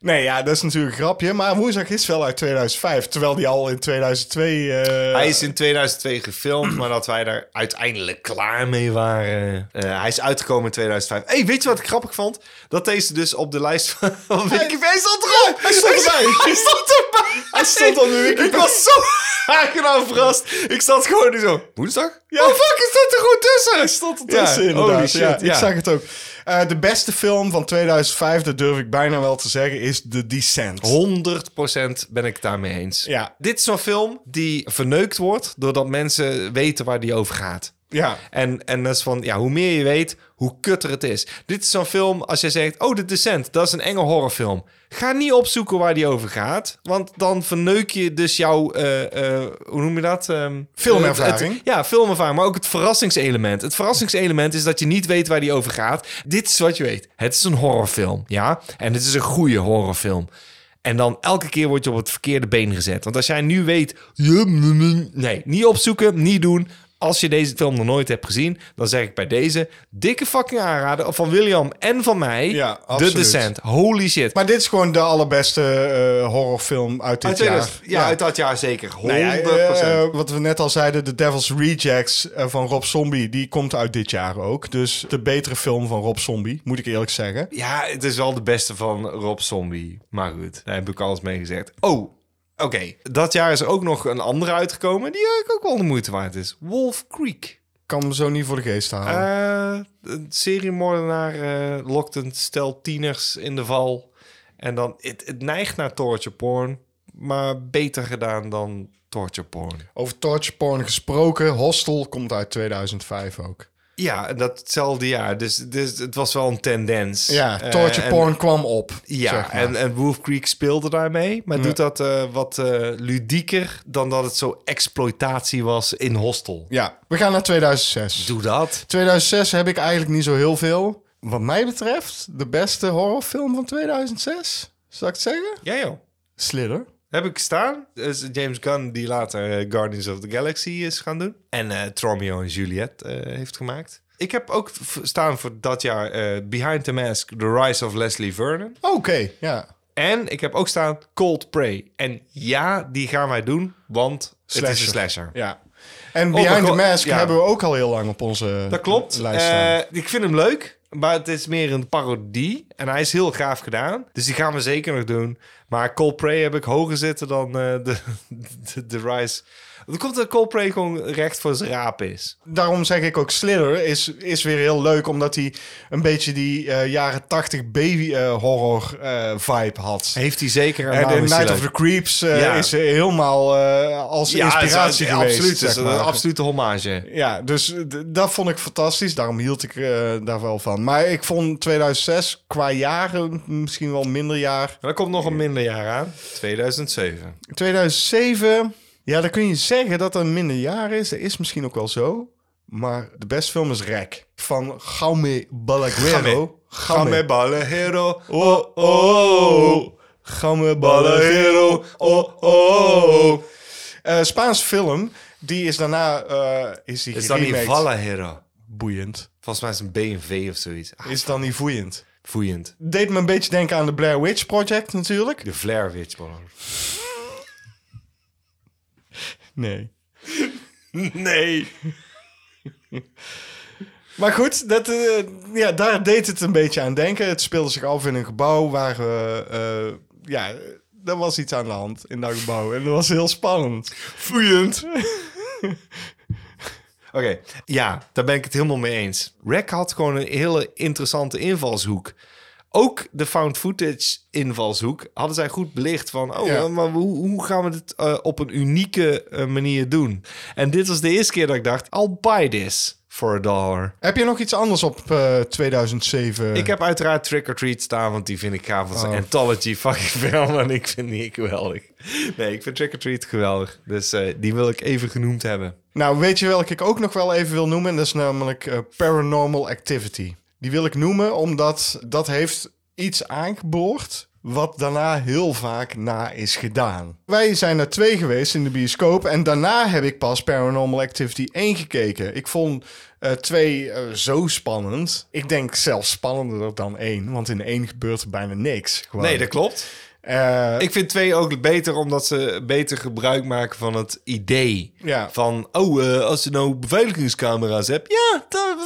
B: Nee, ja, dat is natuurlijk een grapje. Maar Woensdag is wel uit 2005. Terwijl die al in 2002... eh,
A: Hij is in 2002 gefilmd, maar dat wij daar uiteindelijk klaar mee waren. Eh, hij is uitgekomen in 2005. hey, weet je wat ik grappig vond? Dat deze dus op de lijst van [laughs] van Wikipedia... Hij stond erop!
B: hij stond
A: [laughs]
B: erbij.
A: Hij stond erbij!
B: Hij stond op de Wikipedia.
A: Ik was zo [laughs] aangenaam verrast. Ik zat gewoon zo... Woensdag?
B: Ja.
A: Oh fuck, is dat er gewoon tussen?
B: Hij stond ertussen,
A: Ja,
B: inderdaad.
A: holy shit,
B: ja,
A: ja.
B: Ik zag het ook. Eh, de beste film van 2005, dat durf ik bijna wel te zeggen, is The Descent.
A: 100% ben ik het daarmee eens.
B: Ja.
A: Dit is zo'n film die verneukt wordt doordat mensen weten waar die over gaat.
B: Ja.
A: En, en dat is van, ja, hoe meer je weet, hoe kutter het is. Dit is zo'n film, als jij zegt, oh, The Descent, dat is een enge horrorfilm. Ga niet opzoeken waar die over gaat, want dan verneuk je dus jouw, eh, eh, hoe noem je dat? Ehm,
B: Filmervaring.
A: het- ja, filmervaring, maar ook het verrassingselement. Het verrassingselement is dat je niet weet waar die over gaat. Dit is wat je weet. Het is een horrorfilm, ja? En het is een goede horrorfilm. En dan elke keer word je op het verkeerde been gezet. Want als jij nu weet... ja, mm, mm, Nee, niet opzoeken, niet doen. Als je deze film nog nooit hebt gezien... dan zeg ik bij deze... dikke fucking aanrader van William en van mij...
B: Ja,
A: The
B: absoluut.
A: Descent. Holy shit.
B: Maar dit is gewoon de allerbeste eh, horrorfilm uit dit
A: Uit
B: jaar.
A: 2000 ja, uit dat jaar zeker. 100%.
B: Nou ja, eh, eh, wat we net al zeiden, The Devil's Rejects eh, van Rob Zombie, die komt uit dit jaar ook. Dus de betere film van Rob Zombie, moet ik eerlijk zeggen.
A: Ja, het is wel de beste van Rob Zombie. Maar goed, daar heb ik alles mee gezegd. Oh, oké. Dat jaar is er ook nog een andere uitgekomen... die eigenlijk ook wel de moeite waard is. Wolf Creek.
B: Kan me zo niet voor de geest halen.
A: Eh, een seriemoordenaar eh, lokt een stel tieners in de val. En dan, het, het neigt naar torture porn, maar beter gedaan dan torture porn.
B: Over torture porn gesproken, Hostel komt uit 2005 ook.
A: Ja, en datzelfde jaar. Dus, dus het was wel een tendens.
B: Ja,
A: Eh,
B: torture
A: en-
B: porn kwam op.
A: Ja,
B: zeg maar.
A: en, en Wolf Creek speelde daarmee. Maar doet dat eh, wat eh, ludieker dan dat het zo exploitatie was in Hostel.
B: ja, we gaan naar 2006.
A: Doe dat.
B: 2006 heb ik eigenlijk niet zo heel veel. Wat mij betreft, de beste horrorfilm van 2006, zou ik het zeggen?
A: Ja joh.
B: Slither.
A: Heb ik staan. Dat is James Gunn die later eh, Guardians of the Galaxy is gaan doen. En eh Romeo en Juliet eh, heeft gemaakt. Ik heb ook v- staan voor dat jaar eh, Behind the Mask, The Rise of Leslie Vernon.
B: Oké, ja.
A: En ik heb ook staan Cold Prey. En ja, die gaan wij doen, want het is een slasher.
B: Ja. En
A: mijn
B: Behind the
A: god,
B: Mask
A: ja.
B: hebben we ook al heel lang op onze
A: Dat klopt.
B: lijst staan.
A: Eh, ik vind hem leuk, maar het is meer een parodie. En hij is heel gaaf gedaan. Dus die gaan we zeker nog doen. Maar Coldplay heb ik hoger zitten dan eh, de, [laughs] de, de Rise. Dan komt dat Coldplay gewoon recht voor zijn raap is.
B: Daarom zeg ik ook Slither is, is weer heel leuk, omdat hij een beetje die eh, jaren 80 baby eh, horror eh, vibe had.
A: Heeft hij zeker
B: En de Night of the Creeps eh,
A: Ja.
B: is helemaal eh, als inspiratie geweest.
A: Absoluut,
B: zeg
A: is een
B: maar.
A: absolute hommage.
B: Ja, dus eh, d- dat vond ik fantastisch. Daarom hield ik eh, daar wel van. Maar ik vond 2006 qua jaren misschien wel minder jaar.
A: En dan komt nog een minder jaar aan. 2007.
B: 2007, ja, dan kun je zeggen dat er een minder jaar is. Dat is misschien ook wel zo. Maar de beste film is Rek van Jaume Balaguero.
A: Game Balero.
B: Oh, oh. Jaume Balaguero. Oh, oh. Eh, Spaans film. Die is daarna... eh, is die
A: Is dat niet
B: geremaked.
A: Valahero?
B: Boeiend.
A: Volgens mij is het een BMV of zoiets. Ah,
B: Is dan niet voeiend.
A: Voeiend.
B: deed me een beetje denken aan de Blair Witch Project natuurlijk.
A: De Flair Witch man.
B: Nee.
A: [laughs] Nee.
B: Maar goed, dat, eh, ja, daar deed het een beetje aan denken. Het speelde zich af in een gebouw waar... eh, eh, ja, er was iets aan de hand in dat gebouw. En dat was heel spannend.
A: Voeiend. Oké, ja, daar ben ik het helemaal mee eens. Rack had gewoon een hele interessante invalshoek. Ook de found footage invalshoek hadden zij goed belicht van... oh,
B: Ja.
A: maar hoe, hoe gaan we dit eh, op een unieke eh, manier doen? En dit was de eerste keer dat ik dacht... I'll buy this for a dollar.
B: Heb je nog iets anders op eh, 2007?
A: Ik heb uiteraard Trick or Treat staan, want die vind ik gaaf. Dat is een anthology fucking film en ik vind die geweldig. Nee, ik vind Trick or Treat geweldig. Dus eh, die wil ik even genoemd hebben.
B: Nou, weet je welke ik ook nog wel even wil noemen? En dat is namelijk eh, Paranormal Activity. Die wil ik noemen omdat dat heeft iets aangeboord wat daarna heel vaak na is gedaan. Wij zijn er twee geweest in de bioscoop en daarna heb ik pas Paranormal Activity 1 gekeken. Ik vond eh, twee eh, zo spannend. Ik denk zelfs spannender dan één, want in één gebeurt er bijna niks. Gewoon.
A: Nee, dat klopt.
B: Eh,
A: Ik vind twee ook beter omdat ze beter gebruik maken van het idee.
B: Ja.
A: Van, oh, eh, als je nou beveiligingscamera's hebt. Ja, dan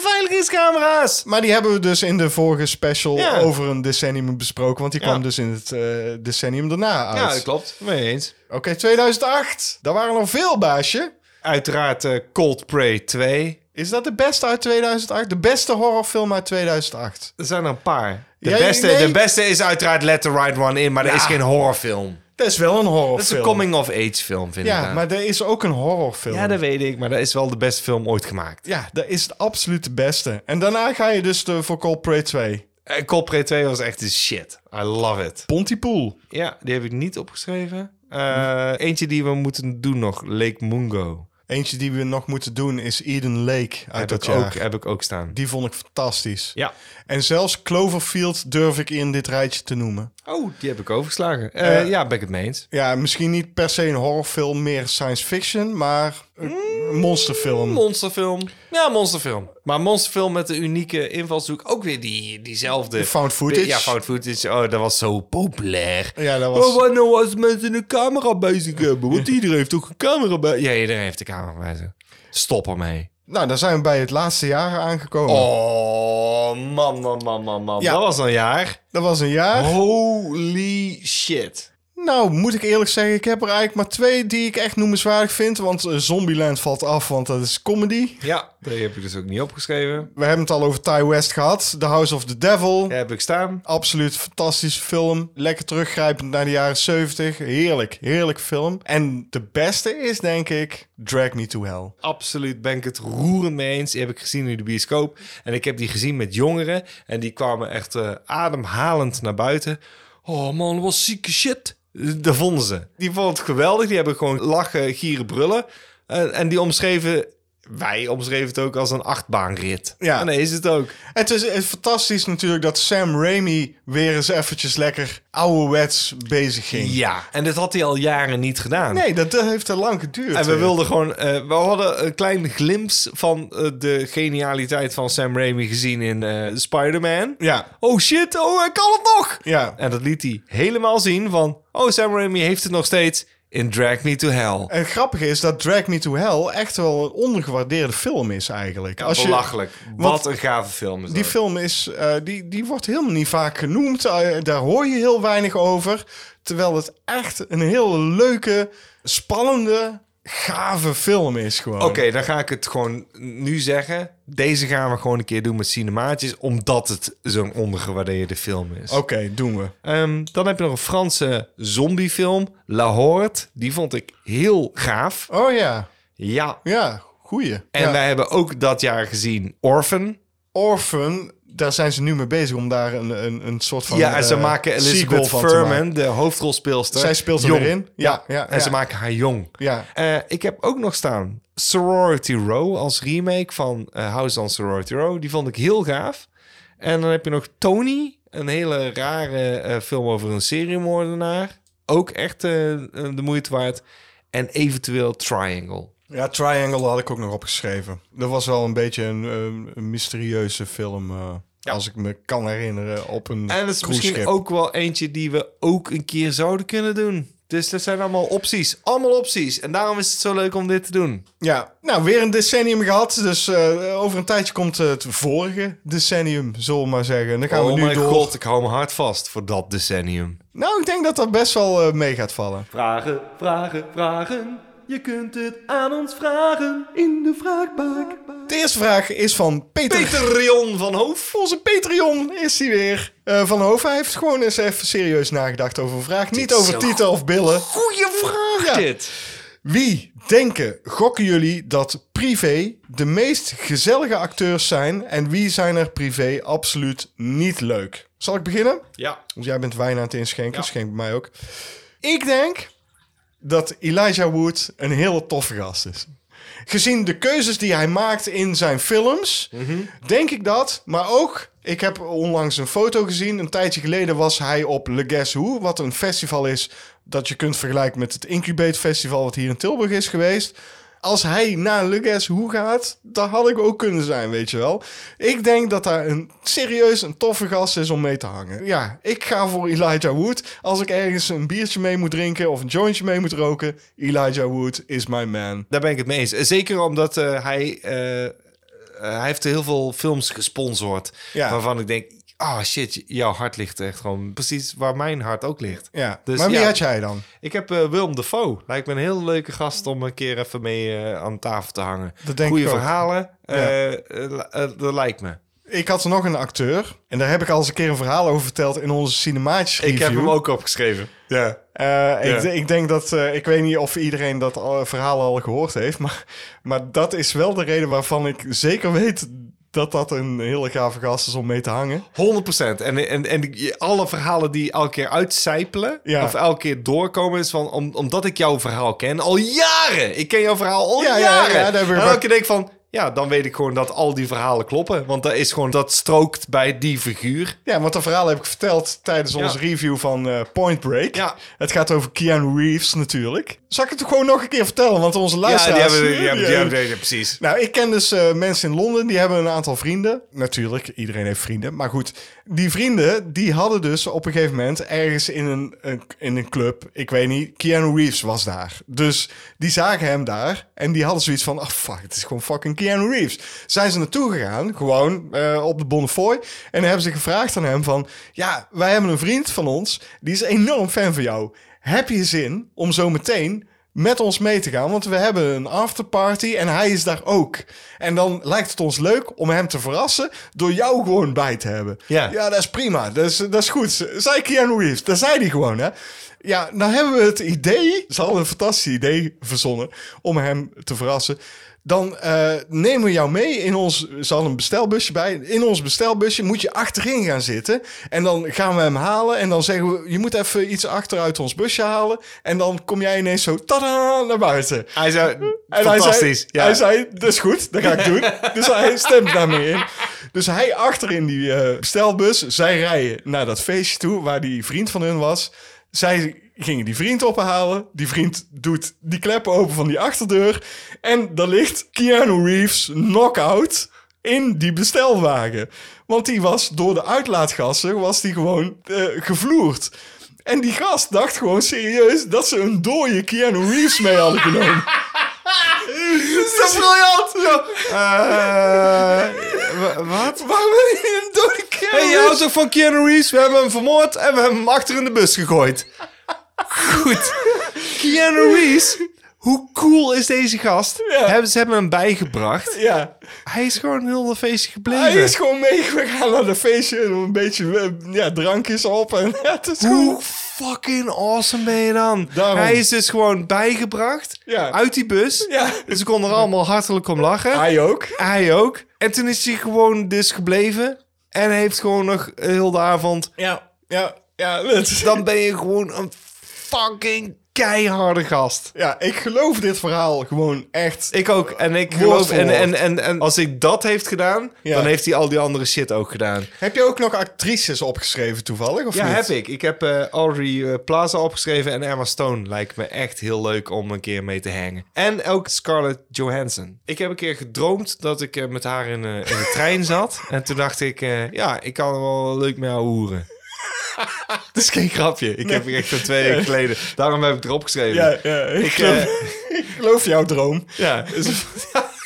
A: beveiligingscamera's.
B: Maar die hebben we dus in de vorige special
A: Ja.
B: over een decennium besproken. Want die
A: Ja.
B: kwam dus in het eh, decennium daarna uit.
A: Ja, dat klopt. Mee eens.
B: Oké, 2008. Daar waren er veel, baasje.
A: Uiteraard eh, Cold Prey 2.
B: Is dat de beste uit 2008? De beste horrorfilm uit 2008.
A: Er zijn er een paar. De,
B: Ja,
A: beste,
B: nee.
A: de beste is uiteraard Let the Right One In, maar dat is geen horrorfilm.
B: Dat is wel een horrorfilm.
A: Dat is een coming-of-age film, vind ik.
B: Ja,
A: dan.
B: maar er is ook een horrorfilm.
A: ja, dat weet ik, maar dat is wel de beste film ooit gemaakt.
B: Ja, dat is het absoluut de beste. En daarna ga je dus de, voor Cold Prey 2.
A: Eh, Cold Prey 2 was echt de shit. I love it.
B: Pontypool.
A: Ja, die heb ik niet opgeschreven. Eh, eentje die we moeten doen nog, Lake Mungo.
B: Eentje die we nog moeten doen is Eden Lake uit
A: Heb,
B: dat
A: ik
B: jaar.
A: ook, heb ik ook staan.
B: Die vond ik fantastisch.
A: Ja.
B: En zelfs Cloverfield durf ik in dit rijtje te noemen.
A: Oh, die heb ik overgeslagen. Eh, ja, ben ik het mee eens.
B: Ja, misschien niet per se een horrorfilm, meer science fiction, maar een monsterfilm.
A: Monsterfilm. Ja, monsterfilm. Maar monsterfilm met de unieke invalshoek. Ook weer die, diezelfde...
B: Found footage.
A: Ja, found footage. Oh, dat was zo populair.
B: Ja, dat was-
A: Oh, wat nou als mensen een camera bij zich hebben? Want iedereen heeft toch een camera bij... Ja, iedereen heeft een camera bij zich. Stop ermee.
B: Nou, daar zijn we bij het laatste jaar aangekomen.
A: Oh, man, man, man, man, man.
B: Ja.
A: Dat was een jaar.
B: Dat was een jaar.
A: Oh. Holy shit.
B: Nou, moet ik eerlijk zeggen, ik heb er eigenlijk maar twee die ik echt noemenswaardig vind. Want eh, Zombieland valt af, want dat is comedy.
A: Ja, die heb ik dus ook niet opgeschreven.
B: We hebben het al over Ty West gehad. The House of the Devil.
A: Die heb ik staan.
B: Absoluut fantastische film. Lekker teruggrijpend naar de jaren 70. Heerlijk, heerlijk film. En de beste is denk ik Drag Me to Hell.
A: Absoluut ben ik het roerend mee eens. Die heb ik gezien in de bioscoop. En ik heb die gezien met jongeren. En die kwamen echt eh, ademhalend naar buiten. Oh man, wat zieke shit. Dat vonden ze. Die vonden het geweldig. Die hebben gewoon lachen, gieren, brullen. En- en die omschreven... Wij omschreven het ook als een achtbaanrit.
B: Ja.
A: En dat is het ook.
B: Het is, het is fantastisch natuurlijk dat Sam Raimi weer eens eventjes lekker ouderwets bezig ging.
A: Ja. En dit had hij al jaren niet gedaan.
B: Nee, dat, dat heeft te lang geduurd.
A: En we
B: weer.
A: wilden gewoon, eh, we hadden een klein glimps van eh, de genialiteit van Sam Raimi gezien in eh, Spider-Man.
B: Ja,
A: Oh shit, oh hij kan het nog!
B: ja.
A: En dat liet hij helemaal zien van, oh Sam Raimi heeft het nog steeds in Drag Me To Hell.
B: En grappig is dat Drag Me to Hell echt wel een ondergewaardeerde film is eigenlijk.
A: Ja,
B: Als je-
A: belachelijk.
B: want
A: Wat een gave film is
B: Die
A: dat.
B: film is, eh, die, die wordt helemaal niet vaak genoemd. Eh, daar hoor je heel weinig over. Terwijl het echt een hele leuke, spannende, gave film is gewoon.
A: Oké, dan ga ik het gewoon nu zeggen. Deze gaan we gewoon een keer doen met Cinemaatjes, omdat het zo'n ondergewaardeerde film is.
B: Oké, doen we.
A: Ehm, dan heb je nog een Franse zombiefilm, La Horde. Die vond ik heel gaaf.
B: Oh ja,
A: Ja.
B: ja, goeie.
A: En
B: Ja.
A: wij hebben ook dat jaar gezien Orphan.
B: Orphan, daar zijn ze nu mee bezig om daar een, een, een soort van.
A: ja, en ze
B: eh,
A: maken
B: sequel
A: Elizabeth
B: van te maken.
A: Furman, de hoofdrolspeelster.
B: Zij speelt er
A: jong.
B: weer in. Ja, ja,
A: En
B: ja.
A: ze maken haar jong.
B: Ja.
A: Eh, ik heb ook nog staan Sorority Row als remake van eh, House on Sorority Row. Die vond ik heel gaaf. En dan heb je nog Tony, een hele rare eh, film over een seriemoordenaar. Ook echt eh, de moeite waard. En eventueel Triangle.
B: Ja, Triangle had ik ook nog opgeschreven. Dat was wel een beetje een, eh, een mysterieuze film, eh, als ik me kan herinneren, op een
A: En dat is misschien
B: cruiseschip.
A: ook wel eentje die we ook een keer zouden kunnen doen. Dus dat zijn allemaal opties. Allemaal opties. En daarom is het zo leuk om dit te doen.
B: Ja, nou, weer een decennium gehad. Dus eh, over een tijdje komt eh, het vorige decennium, zullen we maar zeggen. En dan gaan
A: oh
B: we nu
A: mijn
B: door.
A: god, ik hou me hard vast voor dat decennium.
B: Nou, ik denk dat dat best wel eh, mee gaat vallen.
D: Vragen, vragen, vragen. Je kunt het aan ons vragen in de vraagbak.
B: De eerste vraag is van Peter.
A: Peter Rion van Hoof.
B: Onze Patreon is hij weer. Eh, van Hoven Hij heeft gewoon eens even serieus nagedacht over een vraag. Niet over titel of billen.
A: Goeie vraag
B: Ja.
A: dit.
B: Wie denken, gokken jullie dat privé de meest gezellige acteurs zijn en wie zijn er privé absoluut niet leuk? Zal ik beginnen?
A: Ja.
B: Want jij bent wijn aan het inschenken,
A: Ja.
B: schenk bij mij ook. Ik denk dat Elijah Wood een hele toffe gast is. Gezien de keuzes die hij maakt in zijn films, denk ik dat. Maar ook, ik heb onlangs een foto gezien. Een tijdje geleden was hij op Le Guess Who, wat een festival is dat je kunt vergelijken met het Incubate Festival, wat hier in Tilburg is geweest. Als hij naar Le Guess Who gaat, dat had ik ook kunnen zijn, weet je wel. Ik denk dat daar een serieus een toffe gast is om mee te hangen. Ja, ik ga voor Elijah Wood. Als ik ergens een biertje mee moet drinken of een jointje mee moet roken, Elijah Wood is my man.
A: Daar ben ik het mee eens. Zeker omdat eh, hij, eh, eh, hij heeft heel veel films gesponsord.
B: Ja.
A: Waarvan ik denk, ah shit, jouw hart ligt echt gewoon precies waar mijn hart ook ligt.
B: Ja,
A: Dus
B: maar wie
A: ja.
B: had jij dan?
A: Ik heb eh Willem Dafoe. Lijkt me een heel leuke gast om een keer even mee eh, aan tafel te hangen.
B: Dat denk
A: Goeie
B: ik ook.
A: verhalen. eh, eh, li- eh, dat lijkt me.
B: Ik had nog een acteur. En daar heb ik al eens een keer een verhaal over verteld in onze cinematische review.
A: ook opgeschreven.
B: Ja. Eh, ik, ik denk dat... eh, ik weet niet of iedereen dat al- verhaal al gehoord heeft. Maar, maar dat is wel de reden waarvan ik zeker weet... dat dat een hele gave gast is om mee te hangen.
A: 100%. En, en, en die- alle verhalen die elke keer uitcijpelen,
B: Ja.
A: of elke keer doorkomen, is van om, omdat ik jouw verhaal ken al jaren. Ik ken jouw verhaal al
B: Ja, ja, ja,
A: jaren.
B: ja, daar heb ik
A: en
B: ook-
A: elke keer denk ik van, ja, dan weet ik gewoon dat al die verhalen kloppen. Want dat is gewoon, dat strookt bij die figuur.
B: Ja, want dat verhaal heb ik verteld tijdens
A: Ja.
B: onze review van eh, Point Break.
A: Ja.
B: Het gaat over Keanu Reeves natuurlijk. Zal ik het gewoon nog een keer vertellen? Want onze luisteraars...
A: precies.
B: Nou, ik ken dus eh, mensen in Londen, die hebben een aantal vrienden. Natuurlijk, iedereen heeft vrienden. Maar goed, die vrienden, die hadden dus op een gegeven moment ergens in een, een- in een club, ik weet niet, Keanu Reeves was daar. Dus die zagen hem daar en die hadden zoiets van, ah fuck, het is gewoon fucking Keanu Reeves. Zijn ze naartoe gegaan, gewoon eh, op de Bonnefoy. En hebben ze gevraagd aan hem van, ja, wij hebben een vriend van ons, die is enorm fan van jou. Heb je zin om zo meteen met ons mee te gaan, want we hebben een afterparty en hij is daar ook. En dan lijkt het ons leuk om hem te verrassen door jou gewoon bij te hebben.
A: Ja.
B: ja dat is prima, dat is, dat is goed. Zei Keanu Reeves, dat zei hij gewoon, hè. Ja, nou hebben we het idee, ze hadden een fantastisch idee verzonnen om hem te verrassen. Dan eh, nemen we jou mee in ons, ze hadden een bestelbusje bij. In ons bestelbusje moet je achterin gaan zitten. En dan gaan we hem halen en dan zeggen we, je moet even iets achteruit ons busje halen. En dan kom jij ineens zo, tada, naar buiten.
A: Hij zei,
B: En
A: fantastisch.
B: Hij zei, hij zei, dat is goed, dat ga ik doen. dus hij stemt daarmee in. Dus hij achter in die eh bestelbus, zij rijden naar dat feestje toe waar die vriend van hun was. Zij gingen die vriend ophalen. Die vriend doet die klep open van die achterdeur. En daar ligt Keanu Reeves knockout in die bestelwagen. Want die was door de uitlaatgassen was die gewoon eh, gevloerd. En die gast dacht gewoon serieus dat ze een dode Keanu Reeves mee hadden genomen. Dat is briljant!
A: Eh, wat?
B: Waarom wil je een dode kerel?
A: Hey, je auto van Keanu Reeves, we hebben hem vermoord en we hebben hem achter in de bus gegooid. Goed. Keanu Reeves, hoe cool is deze gast?
B: Ja.
A: Hebben, ze hebben hem bijgebracht.
B: Ja,
A: Hij is gewoon heel de feestje gebleven.
B: hij is gewoon meegegaan naar de feestje. en Een beetje eh, ja, drankjes op. En [laughs] het is
A: Hoe
B: gewoon...
A: fucking awesome ben je dan?
B: Daarom.
A: Hij is dus gewoon bijgebracht
B: Ja.
A: uit die bus.
B: Ja.
A: Ze konden er allemaal hartelijk om lachen.
B: Hij ook.
A: Hij ook. En toen is hij gewoon dus gebleven en heeft gewoon nog heel de avond
B: Ja, ja, ja. het-
A: dan ben je gewoon een fucking keiharde gast.
B: Ja, ik geloof dit verhaal gewoon echt.
A: Ik ook. En ik geloof.
B: voor
A: En,
B: woord.
A: en, en, en als hij dat heeft gedaan,
B: Ja.
A: dan heeft hij al die andere shit ook gedaan.
B: Heb je ook nog actrices opgeschreven toevallig? Of
A: Ja,
B: niet?
A: heb ik. Ik heb eh, Audrey eh, Plaza opgeschreven en Emma Stone. Lijkt me echt heel leuk om een keer mee te hangen. En ook Scarlett Johansson. Ik heb een keer gedroomd dat ik eh, met haar in, eh, in de trein
B: [laughs]
A: zat. En toen dacht ik, eh, ja, ik kan wel leuk met haar [laughs] hoeren. Het is geen grapje. Ik heb er echt een twee weken geleden. Daarom heb ik erop geschreven.
B: Ja, ja ik,
A: Ik,
B: geloof,
A: eh,
B: [laughs] ik geloof jouw droom.
A: Ja. dus- [laughs]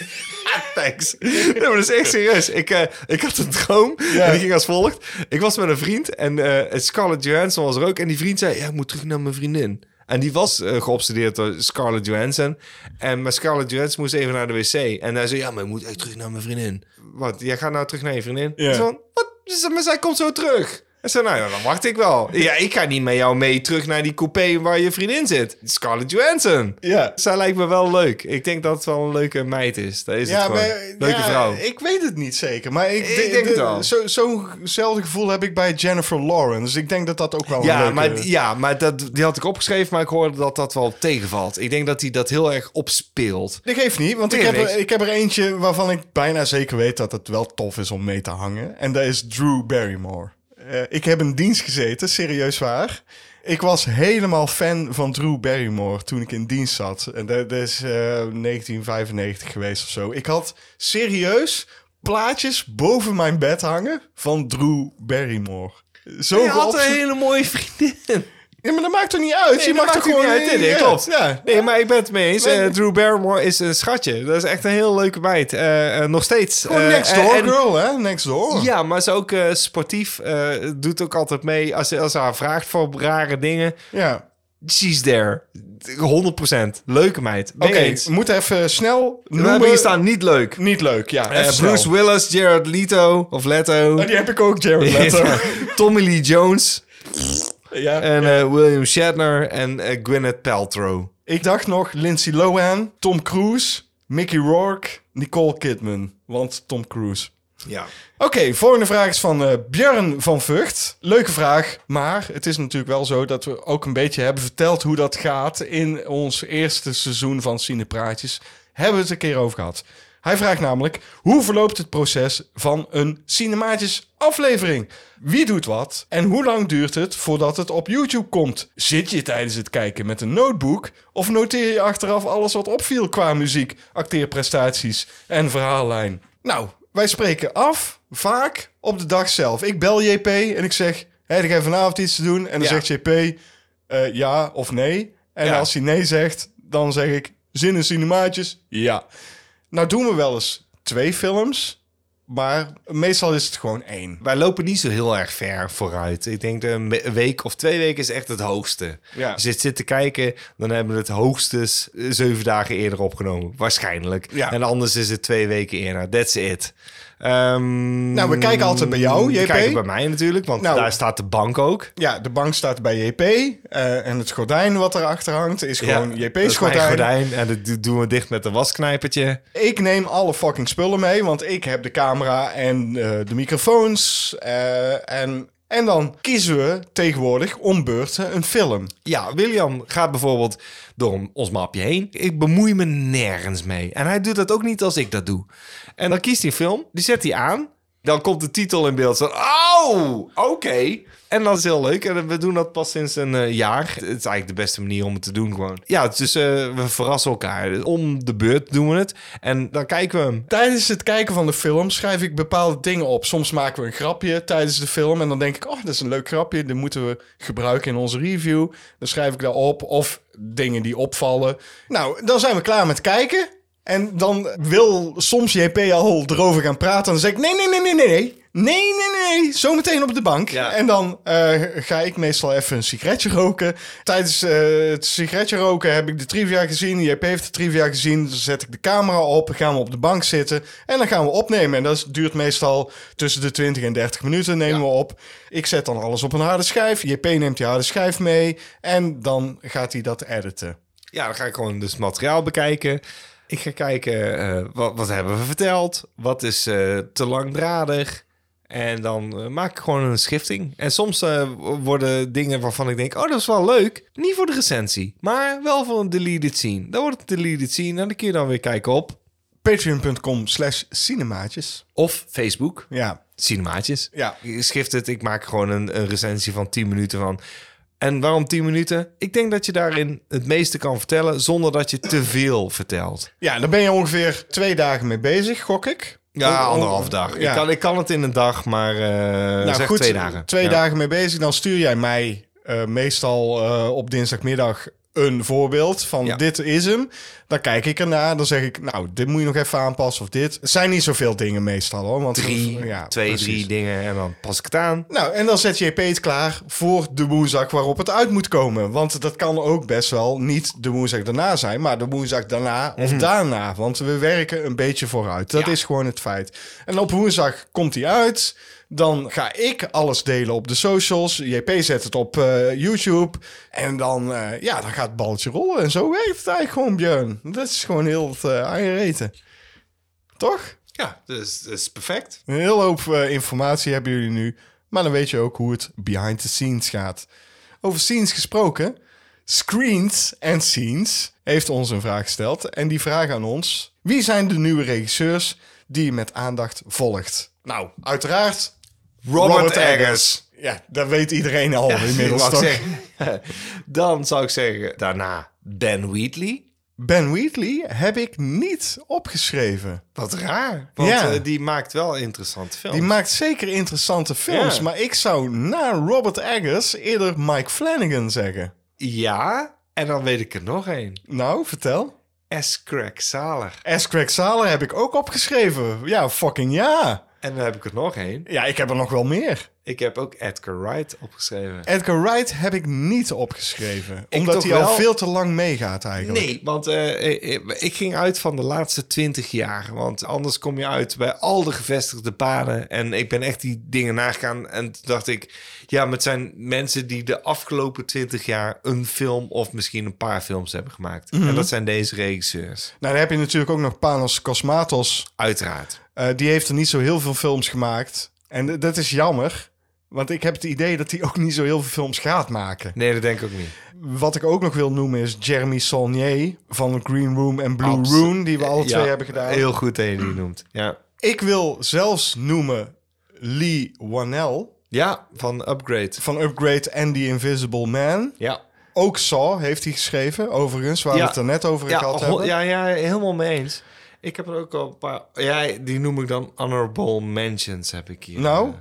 A: Thanks. Nee, maar dat is echt serieus. Ik, eh, ik had een droom
B: Ja.
A: en die ging als volgt. Ik was met een vriend en eh, Scarlett Johansson was er ook. En die vriend zei, ja, ik moet terug naar mijn vriendin. En die was eh, geobsedeerd door Scarlett Johansson. En maar Scarlett Johansson moest even naar de wc. En hij zei, ja, maar ik moet echt terug naar mijn vriendin. Wat, jij gaat nou terug naar je vriendin?
B: Ja.
A: Ik zei van, wat? Maar zij komt zo terug. En zei, nou ja, dan wacht ik wel. Ja, ik ga niet met jou mee terug naar die coupé waar je vriendin zit. Scarlett Johansson.
B: Ja.
A: Zij lijkt me wel leuk. Ik denk dat het wel een leuke meid is. Dat is het gewoon.
B: maar-
A: leuke
B: ja,
A: vrouw.
B: Ik weet het niet zeker, maar ik,
A: Ik denk het wel.
B: zo- Zo'nzelfde gevoel heb ik bij Jennifer Lawrence. Dus ik denk dat dat ook wel een
A: Ja,
B: leuke...
A: maar, ja, maar dat, die had ik opgeschreven, maar ik hoorde dat dat wel tegenvalt. Ik denk dat hij dat heel erg opspeelt.
B: Dat geeft niet, want ik
A: Nee,
B: heb, er,
A: niks.
B: ik heb er eentje waarvan ik bijna zeker weet dat het wel tof is om mee te hangen. En dat is Drew Barrymore. Eh, ik heb in dienst gezeten, serieus waar. Ik was helemaal fan van Drew Barrymore toen ik in dienst zat. En dat, dat is eh, 1995 geweest of zo. Ik had serieus plaatjes boven mijn bed hangen van Drew Barrymore. Zo
A: Hij had een
B: geobs-
A: hele mooie vriendin.
B: Ja, maar dat maakt toch niet uit?
A: Nee,
B: je
A: dat
B: mag er
A: maakt ook
B: gewoon...
A: niet uit. Nee, nee,
B: Ja,
A: klopt.
B: Ja.
A: Nee, maar ik ben het mee eens.
B: Nee.
A: Eh, Drew Barrymore is een schatje. Dat is echt een heel leuke meid. Eh, eh, nog steeds.
B: Gewoon
A: Eh,
B: next
A: en-
B: door
A: en-
B: girl, hè? Next door.
A: Ja, maar ze is ook eh, sportief. eh, doet ook altijd mee. Als ze, als ze haar vraagt voor rare dingen.
B: ja.
A: She's there. 100%. Leuke meid.
B: Oké,
A: Mee eens.
B: we moeten even snel
A: We
B: noemen.
A: hebben hier staan niet leuk.
B: Niet leuk, ja.
A: Eh,
B: even
A: Bruce
B: snel.
A: Willis, Jared Leto of Leto.
B: Oh, die [laughs] heb ik ook, Jared Leto. [laughs]
A: Tommy Lee Jones
B: ja.
A: en eh, William Shatner en eh, Gwyneth Paltrow.
B: ik dacht nog Lindsay Lohan, Tom Cruise, Mickey Rourke, Nicole Kidman. Want Tom Cruise.
A: Ja.
B: Oké, volgende vraag is van eh Björn van Vught. Leuke vraag, maar het is natuurlijk wel zo dat we ook een beetje hebben verteld hoe dat gaat in ons eerste seizoen van Cinepraatjes. Hebben we het een keer over gehad. Hij vraagt namelijk, hoe verloopt het proces van een Cinemaatjes aflevering? Wie doet wat en hoe lang duurt het voordat het op YouTube komt? Zit je tijdens het kijken met een notebook of noteer je achteraf alles wat opviel qua muziek, acteerprestaties en verhaallijn? Nou, wij spreken af, vaak op de dag zelf. Ik bel JP en ik zeg: Hé, ik heb vanavond iets te doen. En dan
A: Ja.
B: zegt JP eh, ja of nee. En
A: Ja.
B: als hij nee zegt, dan zeg ik: Zin in cinemaatjes? Ja. Nou, doen we wel eens twee films, maar meestal is het gewoon één.
A: Wij lopen niet zo heel erg ver vooruit. Ik denk eh, een we- week of twee weken is echt het hoogste.
B: Ja.
A: Als je het zit te kijken, dan hebben we het hoogstens eh, zeven dagen eerder opgenomen. Waarschijnlijk.
B: Ja.
A: En anders is het twee weken eerder. That's it. Ehm,
B: Nou, we kijken altijd bij jou,
A: We
B: JP.
A: kijken bij mij natuurlijk, want
B: Nou.
A: daar staat de bank ook.
B: Ja, de bank staat bij JP eh, en het gordijn wat erachter hangt is gewoon
A: Ja, dat
B: JP's
A: is mijn
B: gordijn.
A: gordijn. En dat do- doen we dicht met een wasknijpertje.
B: Ik neem alle fucking spullen mee, want ik heb de camera en eh, de microfoons. eh, en, en dan kiezen we tegenwoordig om beurten een film.
A: Ja, William gaat bijvoorbeeld door ons mapje heen. Ik bemoei me nergens mee. En hij doet dat ook niet als ik dat doe. En dan kiest hij een film, die zet hij aan. Dan komt de titel in beeld. Zo, oh, oké. En dat is heel leuk. En we doen dat pas sinds een eh, jaar. Het is eigenlijk de beste manier om het te doen gewoon. Ja, dus eh, we verrassen elkaar. Dus Om de beurt doen we het. En dan kijken we hem.
B: Tijdens het kijken van de film schrijf ik bepaalde dingen op. Soms maken we een grapje tijdens de film en dan denk ik, oh, dat is een leuk grapje. Dit moeten we gebruiken in onze review. Dan schrijf ik dat op of dingen die opvallen. Nou, dan zijn we klaar met kijken. En dan wil soms JP al erover gaan praten. En dan zeg ik, nee, nee, nee, nee, nee, nee. Nee, nee, nee. Zometeen op de bank.
A: Ja.
B: En dan eh, ga ik meestal even een sigaretje roken. Tijdens eh, het sigaretje roken heb ik de trivia gezien. JP heeft de trivia gezien. Dan zet ik de camera op. Gaan we op de bank zitten. En dan gaan we opnemen. En dat duurt meestal tussen de 20 en 30 minuten nemen we op. Ik zet dan alles op een harde schijf. JP neemt die harde schijf mee. En dan gaat hij dat editen.
A: Ja, dan ga ik gewoon dus materiaal bekijken. Ik ga kijken, eh, wat, wat hebben we verteld? Wat is eh, te langdradig? En dan eh, maak ik gewoon een schifting. En soms eh, worden dingen waarvan ik denk... oh, dat is wel leuk. Niet voor de recensie, maar wel voor een deleted scene. Dan wordt het een deleted scene en dan kun je dan weer kijken op...
B: Patreon.com slash cinemaatjes.
A: of Facebook,
B: Ja.
A: cinemaatjes.
B: Ja.
A: Je Schift het, ik maak gewoon een, een recensie van 10 minuten van... En waarom 10 minuten? Ik denk dat je daarin het meeste kan vertellen... zonder dat je te veel vertelt.
B: Ja, daar ben je ongeveer twee dagen mee bezig, gok ik.
A: Ja,
B: On- on-
A: anderhalf dag.
B: Ja.
A: Ik, kan, ik kan het in een dag, maar eh zeg twee dagen.
B: Nou Twee
A: Ja.
B: dagen mee bezig. Dan stuur jij mij eh, meestal eh, op dinsdagmiddag een voorbeeld van
A: Ja.
B: dit is hem. Dan kijk ik ernaar. Dan zeg ik, nou, dit moet je nog even aanpassen of dit. Het zijn niet zoveel dingen meestal hoor. Want
A: Drie,
B: ja,
A: twee,
B: precies.
A: drie dingen en dan pas ik het aan.
B: Nou, en dan zet JP het klaar voor de woensdag waarop het uit moet komen. Want dat kan ook best wel niet de woensdag daarna zijn, maar de woensdag daarna of daarna. Want we werken een beetje vooruit. Dat
A: Ja.
B: is gewoon het feit. En op woensdag komt hij uit. Dan ga ik alles delen op de socials. JP zet het op eh, YouTube. En dan, eh, ja, dan gaat het balletje rollen. En zo werkt het eigenlijk gewoon, Björn. Dat is gewoon heel het eh, aangereten. Toch?
A: Ja, dat is, dat is perfect.
B: Een hele hoop eh, informatie hebben jullie nu. Maar dan weet je ook hoe het behind the scenes gaat. Over scenes gesproken. Screens en Scenes heeft ons een vraag gesteld. En die vraag aan ons. Wie zijn de nieuwe regisseurs die je met aandacht volgt? Nou, uiteraard
A: Robert, [laughs] Eggers.
B: Ja, dat weet iedereen al
A: Ik
B: inmiddels
A: [laughs] wou
B: toch?
A: zeggen. Dan zou ik zeggen, daarna Ben Wheatley.
B: Ben Wheatley heb ik niet opgeschreven.
A: Wat raar. Want
B: Ja.
A: eh, die maakt wel interessante films.
B: Die maakt zeker interessante films.
A: Oh. Ja.
B: Maar ik zou na Robert Eggers eerder Mike Flanagan zeggen.
A: Ja, en dan weet ik er nog één.
B: Nou, vertel.
A: S. Craig Saler.
B: S. Craig Saler heb ik ook opgeschreven. Ja, fucking ja.
A: En dan heb ik er nog één.
B: Ja, ik heb er nog wel meer.
A: Ik heb ook Edgar Wright opgeschreven.
B: Edgar Wright heb ik niet opgeschreven.
A: Ik
B: omdat
A: toch
B: hij al
A: wel.
B: veel te lang meegaat eigenlijk.
A: Nee, want eh, eh, ik ging uit van de laatste twintig jaar. Want anders kom je uit bij al de gevestigde paden. En ik ben echt die dingen nagegaan. En toen dacht ik, ja, maar het zijn mensen die de afgelopen twintig jaar een film of misschien een paar films hebben gemaakt.
B: Mhm.
A: En dat zijn deze regisseurs.
B: Nou, dan heb je natuurlijk ook nog Panos Cosmatos.
A: Uiteraard.
B: Eh, die heeft er niet zo heel veel films gemaakt. En d- dat is jammer. Want ik heb het idee dat hij ook niet zo heel veel films gaat maken.
A: Nee, dat denk ik ook niet.
B: Wat ik ook nog wil noemen is Jeremy Saulnier van Green Room en Blue
A: Abs- Eh,
B: Room. Die we alle
A: Ja,
B: twee hebben gedaan.
A: Heel goed dat je die noemt. Ja.
B: Ik wil zelfs noemen Lee Wanell.
A: ja, van Upgrade.
B: van Upgrade en The Invisible Man.
A: Ja.
B: Ook Saw heeft hij geschreven, overigens, waar
A: Ja.
B: we het er net over
A: Ja,
B: gehad
A: ho-
B: hebben.
A: ja, ja, helemaal mee eens. Ik heb er ook al een paar... Ja, die noem ik dan honorable mentions, heb ik hier.
B: Nou,
A: eh.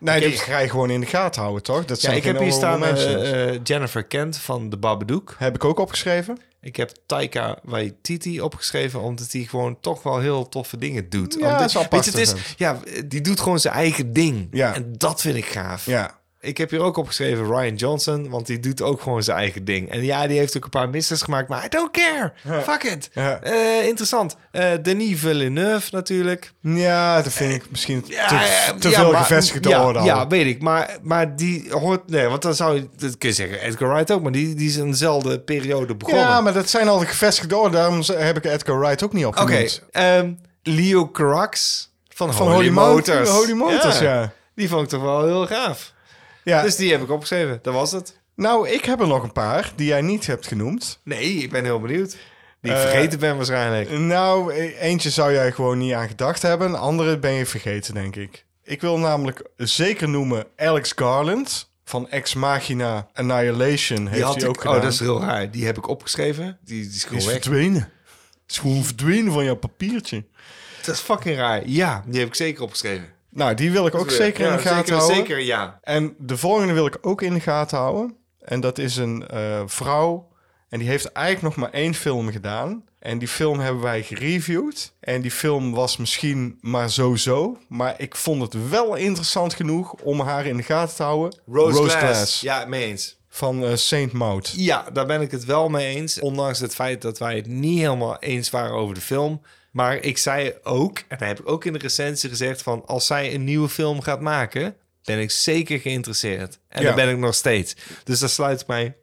B: nee,
A: ik
B: die
A: heb-
B: ga je gewoon in de gaten houden, toch? Dat
A: Ja,
B: zijn
A: ik heb
B: geen
A: hier staan
B: honorable
A: eh,
B: mentions.
A: eh, Jennifer Kent van de Babadook.
B: heb ik ook opgeschreven.
A: Ik heb Taika Waititi opgeschreven, omdat hij gewoon toch wel heel toffe dingen doet.
B: Ja,
A: Omdat-
B: is apart,
A: weet je, het
B: vind
A: is, ja, die doet gewoon zijn eigen ding.
B: Ja.
A: En dat vind ik gaaf.
B: Ja,
A: Ik heb hier ook opgeschreven Ryan Johnson, want die doet ook gewoon zijn eigen ding. En ja, die heeft ook een paar misses gemaakt, maar I don't care. Fuck it.
B: Ja.
A: Eh, interessant. Eh, Denis Villeneuve natuurlijk.
B: ja dat vind ik misschien te,
A: Eh, Ja,
B: te
A: ja,
B: veel
A: maar-
B: gevestigd
A: ja,
B: worden. al.
A: Ja, weet ik. Maar, maar die hoort... Nee, want dan zou je... Dat kun je zeggen, Edgar Wright ook. Maar die, die is in dezelfde periode begonnen.
B: Ja, maar dat zijn al de gevestigde orde. Daarom z- heb ik Edgar Wright ook niet
A: Oké.
B: opgenoemd.
A: ehm, Leo Carax van,
B: Van
A: Holy,
B: Holy Mo-
A: Motors.
B: Holy Motors, ja.
A: Die vond ik toch wel heel gaaf.
B: Ja.
A: Dus die heb ik opgeschreven. Dat was het.
B: Nou, ik heb er nog een paar die jij niet hebt genoemd.
A: Nee, ik ben heel benieuwd. Die ik
B: Eh,
A: vergeten ben waarschijnlijk.
B: Nou, e- eentje zou jij gewoon niet aan gedacht hebben. Een andere ben je vergeten, denk ik. Ik wil namelijk zeker noemen Alex Garland van Ex Machina Annihilation.
A: die
B: Heeft
A: had
B: hij
A: ik...
B: ook gedaan.
A: oh, dat is heel raar. Die heb ik opgeschreven. Die, die is
B: Die
A: gewoon
B: is
A: weg.
B: verdwenen. Is gewoon verdwenen van jouw papiertje.
A: Dat is fucking raar. Ja, die heb ik zeker opgeschreven.
B: Nou, die wil ik ook zeker
A: Ja,
B: in de gaten
A: zeker,
B: houden.
A: Zeker, ja.
B: En de volgende wil ik ook in de gaten houden. En dat is een eh, vrouw. En die heeft eigenlijk nog maar één film gedaan. En die film hebben wij gereviewd. En die film was misschien maar zo-zo. Maar ik vond het wel interessant genoeg om haar in de gaten te houden.
A: Rose, Glass.
B: Glass
A: Ja, mee eens.
B: Van eh Saint Maud.
A: Ja, daar ben ik het wel mee eens. Ondanks het feit dat wij het niet helemaal eens waren over de film. Maar ik zei ook, en dat heb ik ook in de recensie gezegd... van als zij een nieuwe film gaat maken... ben ik zeker geïnteresseerd. En
B: Ja.
A: daar ben ik nog steeds. Dus daar sluit ik mij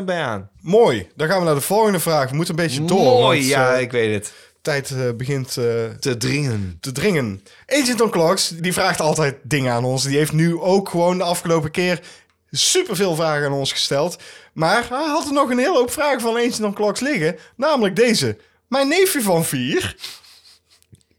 A: 100% bij aan.
B: Mooi. Dan gaan we naar de volgende vraag. We moeten een beetje door.
A: Mooi,
B: want,
A: ja,
B: eh,
A: ik weet het.
B: tijd eh, begint eh,
A: Te dringen.
B: te dringen. Agent on Clocks, die vraagt altijd dingen aan ons. Die heeft nu ook gewoon de afgelopen keer superveel vragen aan ons gesteld. Maar hij had er nog een hele hoop vragen van Agent on Clocks liggen. Namelijk deze. Mijn neefje van vier,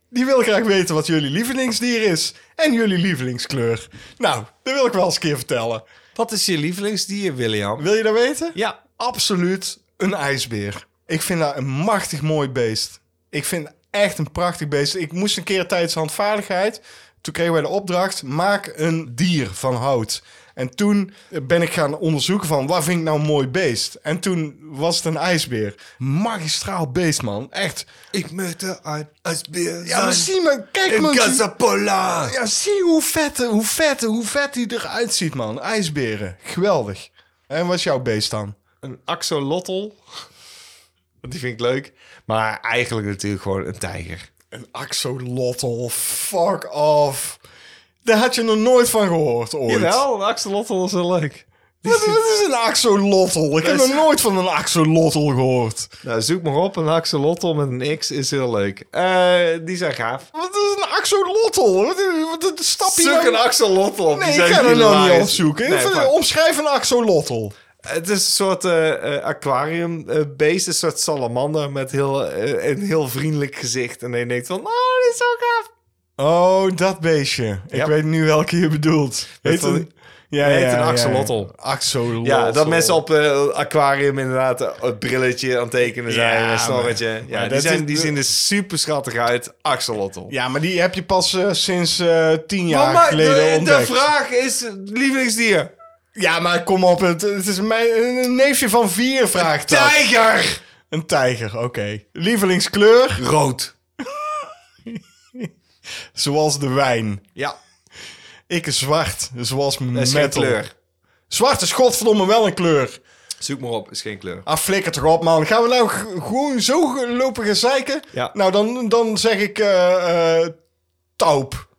B: die wil graag weten wat jullie lievelingsdier is. En jullie lievelingskleur. Nou, dat wil ik wel eens een keer vertellen.
A: Wat is je lievelingsdier, William?
B: Wil je dat weten?
A: Ja,
B: absoluut een ijsbeer. Ik vind dat een machtig mooi beest. Ik vind het echt een prachtig beest. Ik moest een keer tijdens handvaardigheid. Toen kregen wij de opdracht: maak een dier van hout. En toen ben ik gaan onderzoeken van wat vind ik nou een mooi beest. En toen was het een ijsbeer. Magistraal beest, man. Echt.
A: ik möchte een ijsbeer
B: Ja, maar zie me. Kijk
A: in
B: me.
A: Casapola.
B: Ja, zie hoe vet, hoe vet, hoe vet die eruit ziet, man. IJsberen. Geweldig. En wat is jouw beest dan?
A: een axolotl. Want die vind ik leuk. Maar eigenlijk natuurlijk gewoon een tijger.
B: Een axolotl, fuck oh, off. Daar had je nog nooit van gehoord ooit.
A: Jawel, een axolotl was heel leuk.
B: Wat, wat is een axolotl? Ik heb nog nooit van een axolotl gehoord.
A: Nou, zoek maar op. Een axolotl met een X is heel leuk. Eh, die zijn gaaf.
B: Wat is een axolotl? Wat, wat, wat stap je
A: Zoek
B: nou-
A: een axolotl op.
B: Nee, ik ga er nou niet opzoeken.
A: Nee,
B: Even,
A: maar-
B: omschrijf een axolotl.
A: Het is een soort eh, eh, aquariumbeest, een soort salamander met heel, eh, een heel vriendelijk gezicht. En je denkt van, oh, dit is zo gaaf.
B: Oh, dat beestje. Ik
A: Ja.
B: weet nu welke je bedoelt. Heet
A: van-
B: een, ja,
A: heet een axolotl.
B: Axolotl.
A: Ja, dat mensen op eh, aquarium inderdaad eh, het brilletje aan het tekenen zijn,
B: Ja,
A: een snorretje.
B: maar- maar
A: Ja, die,
B: dat
A: zijn,
B: is-
A: die zien er super schattig uit, axolotl.
B: Ja, maar die heb je pas eh, sinds eh, tien jaar
A: maar
B: geleden
A: de, de
B: ontdekt.
A: vraag is, lievelingsdier?
B: Ja, maar kom op. Het, het is mijn, een neefje van vier vraagt dat.
A: Tijger!
B: Een tijger, oké. Lievelingskleur?
A: Rood.
B: Zoals de wijn.
A: Ja,
B: Ik is zwart, zoals
A: dat is
B: metal.
A: geen kleur.
B: Zwart is godverdomme wel een kleur.
A: Zoek maar op, is geen kleur.
B: Ah, flikker toch op, man. Gaan we nou g- gewoon zo ge- lopen gaan zeiken?
A: Ja.
B: Nou, dan, dan zeg ik eh, eh, taup.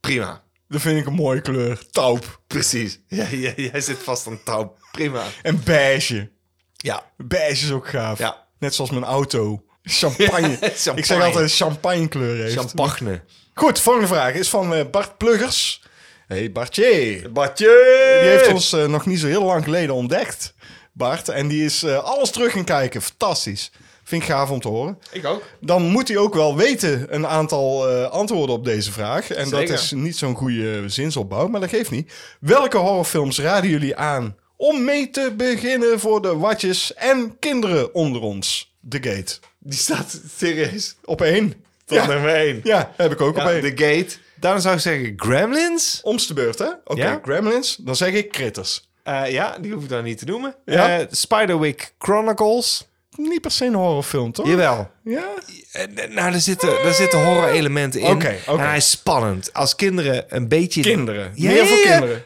A: Prima.
B: Dat vind ik een mooie kleur. Taup.
A: Precies. Ja, ja, jij zit vast aan touw. Prima.
B: En beige.
A: Ja.
B: Beige is ook gaaf.
A: Ja.
B: Net zoals mijn auto. Champagne.
A: [laughs] champagne.
B: Ik zeg altijd champagne kleur heeft.
A: Champagne.
B: Goed, volgende vraag is van eh, Bart Pluggers. hey Bartje.
A: Bartje!
B: Die heeft ons eh, nog niet zo heel lang geleden ontdekt, Bart. En die is eh, alles terug gaan kijken. Fantastisch. Vind ik gaaf om te horen.
A: Ik ook.
B: Dan moet hij ook wel weten een aantal eh, antwoorden op deze vraag. En
A: Zeker.
B: dat is niet zo'n goede zinsopbouw, maar dat geeft niet. Welke horrorfilms raden jullie aan om mee te beginnen voor de watjes en kinderen onder ons? The Gate.
A: Die staat serieus
B: Op één.
A: tot
B: Ja,
A: nummer 1.
B: ja, heb ik ook op één.
A: The Gate. Daarom zou ik zeggen Gremlins.
B: Omste beurt, hè? Oké,
A: Ja?
B: Gremlins. Dan zeg ik Critters.
A: Eh, ja, die hoef ik dan niet te noemen.
B: Ja.
A: Eh, Spiderwick Chronicles.
B: Niet per se een horrorfilm, toch?
A: Jawel.
B: Ja?
A: Eh, nou, daar zitten, daar zitten horror elementen in.
B: Oké, oké.
A: En hij is spannend. Als kinderen een beetje...
B: Kinderen.
A: Ja,
B: Meer voor
A: ja, ja.
B: kinderen.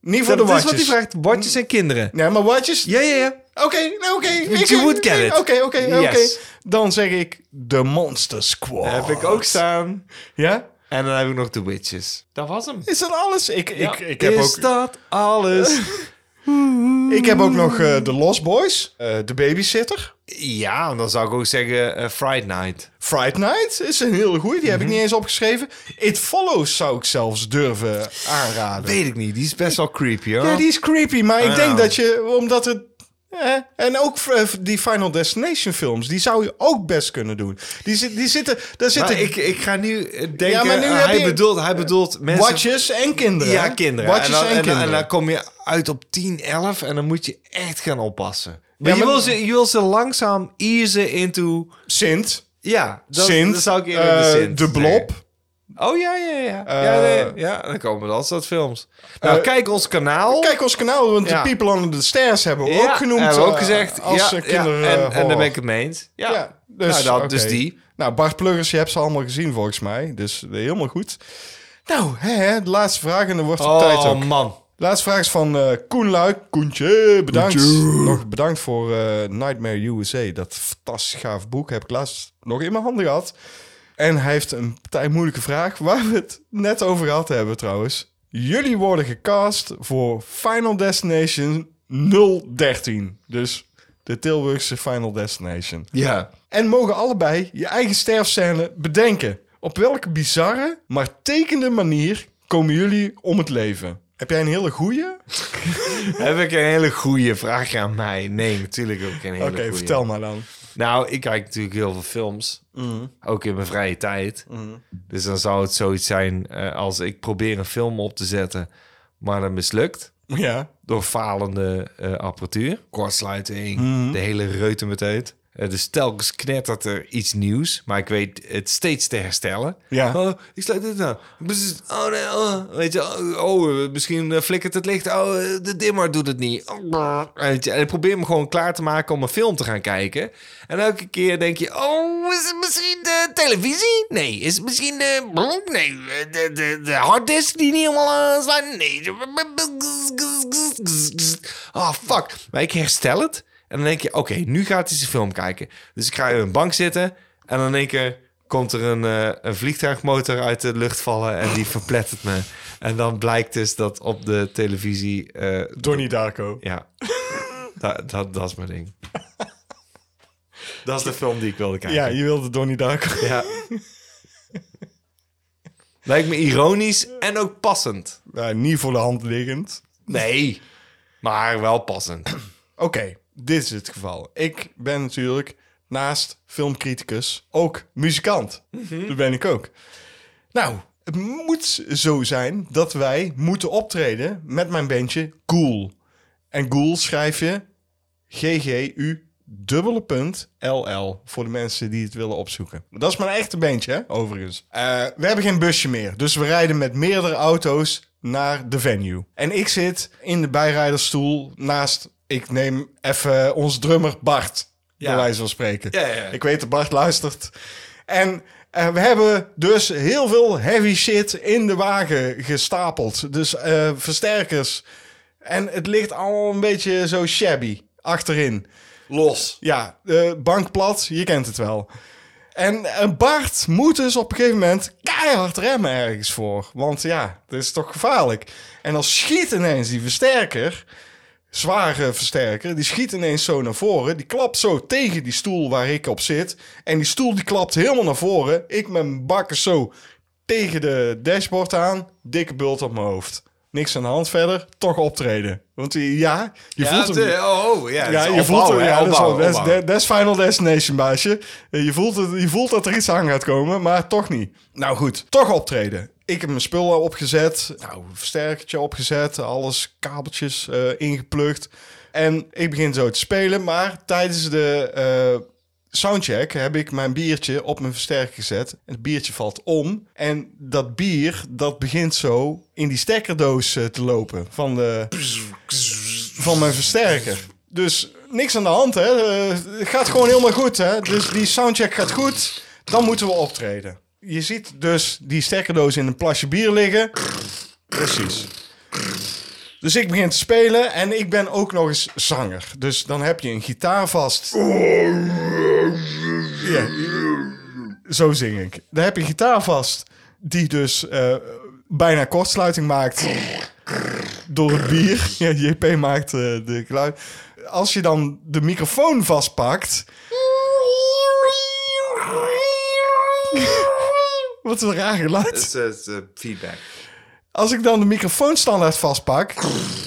B: Niet voor
A: Dat
B: de
A: is wat
B: watjes.
A: hij vraagt. Watjes en kinderen.
B: Nee, maar watjes...
A: Ja, ja, ja.
B: Oké, nou oké. Ik-
A: you would get it.
B: Oké, oké,
A: Yes.
B: oké. Dan zeg ik The Monster Squad.
A: Daar heb ik ook staan.
B: Ja?
A: En dan heb ik nog The Witches. Dat was hem.
B: Is dat alles? Ik, ik, ik, heb,
A: Is
B: ook,
A: dat [laughs] alles?
B: ik heb ook nog eh The Lost Boys, eh The Babysitter.
A: ja, dan zou ik ook zeggen eh, Friday Night.
B: Fright Night is een hele goeie, die heb ik niet eens opgeschreven. It Follows zou ik zelfs durven aanraden.
A: Weet ik niet. Die is best wel creepy, hoor.
B: Ja, die is creepy, maar ik
A: Oh. Ah.
B: denk dat je, omdat het... eh, en ook eh, die Final Destination films, die zou je ook best kunnen doen. Die, zit- die zitten, daar
A: Maar
B: zitten
A: ik, ik ga nu eh, denken...
B: Ja, maar nu
A: eh,
B: heb
A: hij,
B: je- Eh,
A: bedoelt, hij bedoelt mensen...
B: Watjes en kinderen.
A: Ja,
B: hè?
A: kinderen.
B: Watjes en,
A: en, dan, en, dan-
B: kinderen.
A: en dan kom je uit op 10, 11 en dan moet je echt gaan oppassen. Maar,
B: Ja,
A: je,
B: maar-
A: wil ze, je wil ze langzaam easen into...
B: Sint.
A: Ja, dat,
B: Sint.
A: dat zou ik eerder
B: eh,
A: de Sint
B: de Blob.
A: zeggen. Oh ja, ja, ja.
B: Eh,
A: ja, nee, ja, dan komen er al soort films. Nou,
B: Eh,
A: kijk ons kanaal.
B: Kijk ons kanaal, want
A: Ja.
B: de People Under the Stairs hebben we
A: Ja,
B: ook genoemd.
A: Hebben we ook
B: eh,
A: gezegd.
B: Als
A: ja,
B: eh,
A: ja,
B: kinderen.
A: en,
B: eh,
A: en daar ben ik
B: horror.
A: het mee eens. Ja,
B: Ja, dus,
A: nou, dat, dus
B: oké.
A: die.
B: Nou, Bart Pluggers, je hebt ze allemaal gezien volgens mij. Dus eh, helemaal goed. Nou, hè, hè, de laatste vraag en dan wordt de tijd ook.
A: Oh man.
B: Laatste vraag is van eh, Koen Luik. Koentje, bedankt. Nog bedankt voor eh, Nightmare USA. Dat fantastisch gaaf boek heb ik laatst nog in mijn handen gehad. En hij heeft een partij moeilijke vraag waar we het net over gehad hebben trouwens. Jullie worden gecast voor Final Destination 013. Dus de Tilburgse Final Destination.
A: Ja.
B: En mogen allebei je eigen sterfscène bedenken. Op welke bizarre, maar tekende manier komen jullie om het leven? Heb jij een hele goeie?
A: Heb ik een hele goede vraag aan mij? Nee, natuurlijk ook een hele
B: Oké,
A: goeie.
B: vertel maar dan.
A: Nou, ik kijk natuurlijk heel veel films.
B: Mhm.
A: Ook in mijn vrije tijd. Dus dan zou het zoiets zijn eh, als ik probeer een film op te zetten, maar dat mislukt.
B: Ja.
A: Door falende eh, apparatuur. Kortsluiting,
B: Mhm.
A: de hele reuter met uit. Eh, dus telkens knettert er iets nieuws, maar ik weet het steeds te herstellen.
B: Ja.
A: Oh, ik sluit dit aan. Bzz, Oh, nee, oh. Weet je, oh, oh, eh, misschien eh, flikkert het licht. Oh, eh, de dimmer doet het niet. Oh, brrr. Weet je, en ik probeer me gewoon klaar te maken om een film te gaan kijken. En elke keer denk je, oh, is het misschien de televisie? Nee. Is het misschien de... brrr? Nee. De, de, de harddisk die niet helemaal aansluit? Nee. Oh, fuck. Maar ik herstel Dus het. En dan denk je, oké, nu gaat hij zijn film kijken. Dus ik ga in een bank zitten. En dan denk ik... komt er een, eh, een vliegtuigmotor uit de lucht vallen en die verplettert me. En dan blijkt dus dat op de televisie... eh,
B: Donnie Darko.
A: ja, [laughs] dat, dat, dat is mijn ding. Dat is de film die ik wilde kijken.
B: Ja, je wilde Donnie Darko. [laughs]
A: Ja. Lijkt me ironisch en ook passend.
B: Nou, niet voor de hand liggend.
A: Nee, maar wel passend.
B: Oké, dit is het geval. Ik ben natuurlijk naast filmcriticus ook muzikant. Dat ben ik ook. Nou, het moet zo zijn dat wij moeten optreden met mijn bandje Ghoul. En Ghoul schrijf je GGU dubbele punt LL voor de mensen die het willen opzoeken. Dat is mijn echte bandje, hè, overigens. Eh, we hebben geen busje meer, dus we rijden met meerdere auto's naar de venue. En ik zit in de bijrijdersstoel naast, ik neem even ons drummer Bart,
A: Ja.
B: bij wijze van spreken.
A: [laughs] Ja, ja, ja.
B: Ik weet dat Bart luistert. En eh, we hebben dus heel veel heavy shit in de wagen gestapeld. Dus eh, versterkers. En het ligt allemaal een beetje zo shabby achterin.
A: Los.
B: Ja, eh, bank plat, je kent het wel. En eh, Bart moet dus op een gegeven moment keihard remmen ergens voor. Want ja, dat is toch gevaarlijk. En dan schiet ineens die versterker, zware versterker, die schiet ineens zo naar voren. Die klapt zo tegen die stoel waar ik op zit. En die stoel die klapt helemaal naar voren. Ik met mijn bakken zo tegen de dashboard aan. Dikke bult op mijn hoofd. Niks aan de hand verder, toch optreden. Want eh, ja, je
A: Ja,
B: voelt hem.
A: het- oh, oh, ja, het
B: Ja,
A: is
B: je voelt
A: opbouwen,
B: het.
A: hè,
B: Ja, dat is wel-
A: opbouwen,
B: dat is-
A: opbouwen.
B: dat is Final Destination, baasje. Eh, Je voelt, het, je voelt dat er iets aan gaat komen, maar toch niet. Nou goed, toch optreden. Ik heb mijn spullen opgezet, nou, een versterkertje opgezet, alles, kabeltjes eh, ingeplukt. En ik begin zo te spelen, maar tijdens de eh, soundcheck heb ik mijn biertje op mijn versterker gezet. Het biertje valt om en dat bier, dat begint zo in die stekkerdoos eh, te lopen van de van mijn versterker. Dus niks aan de hand, hè. Eh, het gaat gewoon helemaal goed, hè. Dus die soundcheck gaat goed. Dan moeten we optreden. Je ziet dus die stekkerdoos in een plasje bier liggen. Precies. Dus ik begin te spelen en ik ben ook nog eens zanger. Dus dan heb je een gitaar vast. Ja. Zo zing ik. Dan heb je een gitaar vast die dus eh, bijna kortsluiting maakt door het bier. Ja, JP maakt eh, de geluid. Als je dan de microfoon vastpakt. Wat een raar geluid.
A: Het is eh, feedback.
B: Als ik dan de microfoon standaard vastpak.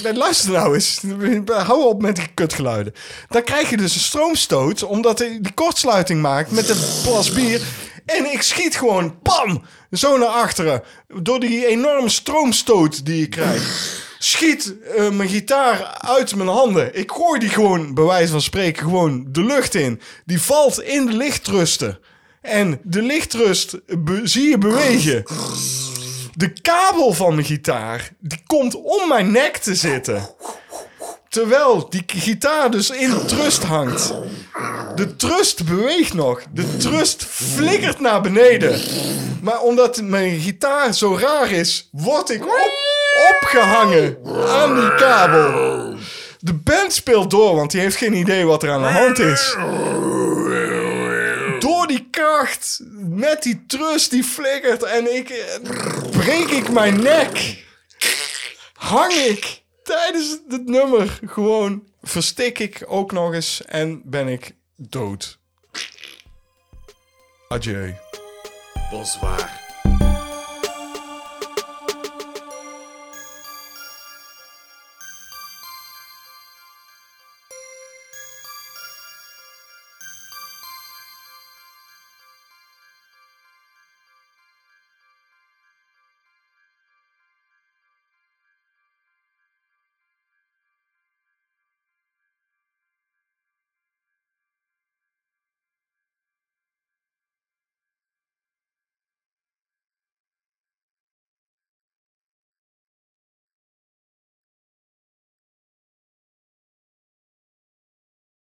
B: Nee, luister nou eens. Hou op met die kutgeluiden. Dan krijg je dus een stroomstoot. Omdat hij die kortsluiting maakt met de plas bier. En ik schiet gewoon, pam, zo naar achteren. Door die enorme stroomstoot die ik krijg. Schiet eh, mijn gitaar uit mijn handen. Ik gooi die gewoon, bij wijze van spreken, gewoon de lucht in. Die valt in de lichtrusten. En de lichtrust be- zie je bewegen. De kabel van mijn gitaar, die komt om mijn nek te zitten. Terwijl die k- gitaar dus in de trust hangt. De trust beweegt nog. De trust flikkert naar beneden. Maar omdat mijn gitaar zo raar is, word ik op- opgehangen aan die kabel. De band speelt door, want die heeft geen idee wat er aan de hand is door die kracht, met die trust die flikkert en ik eh, breek ik mijn nek. Hang ik tijdens het nummer gewoon verstik ik ook nog eens en ben ik dood. Adieu.
A: Bonsoir.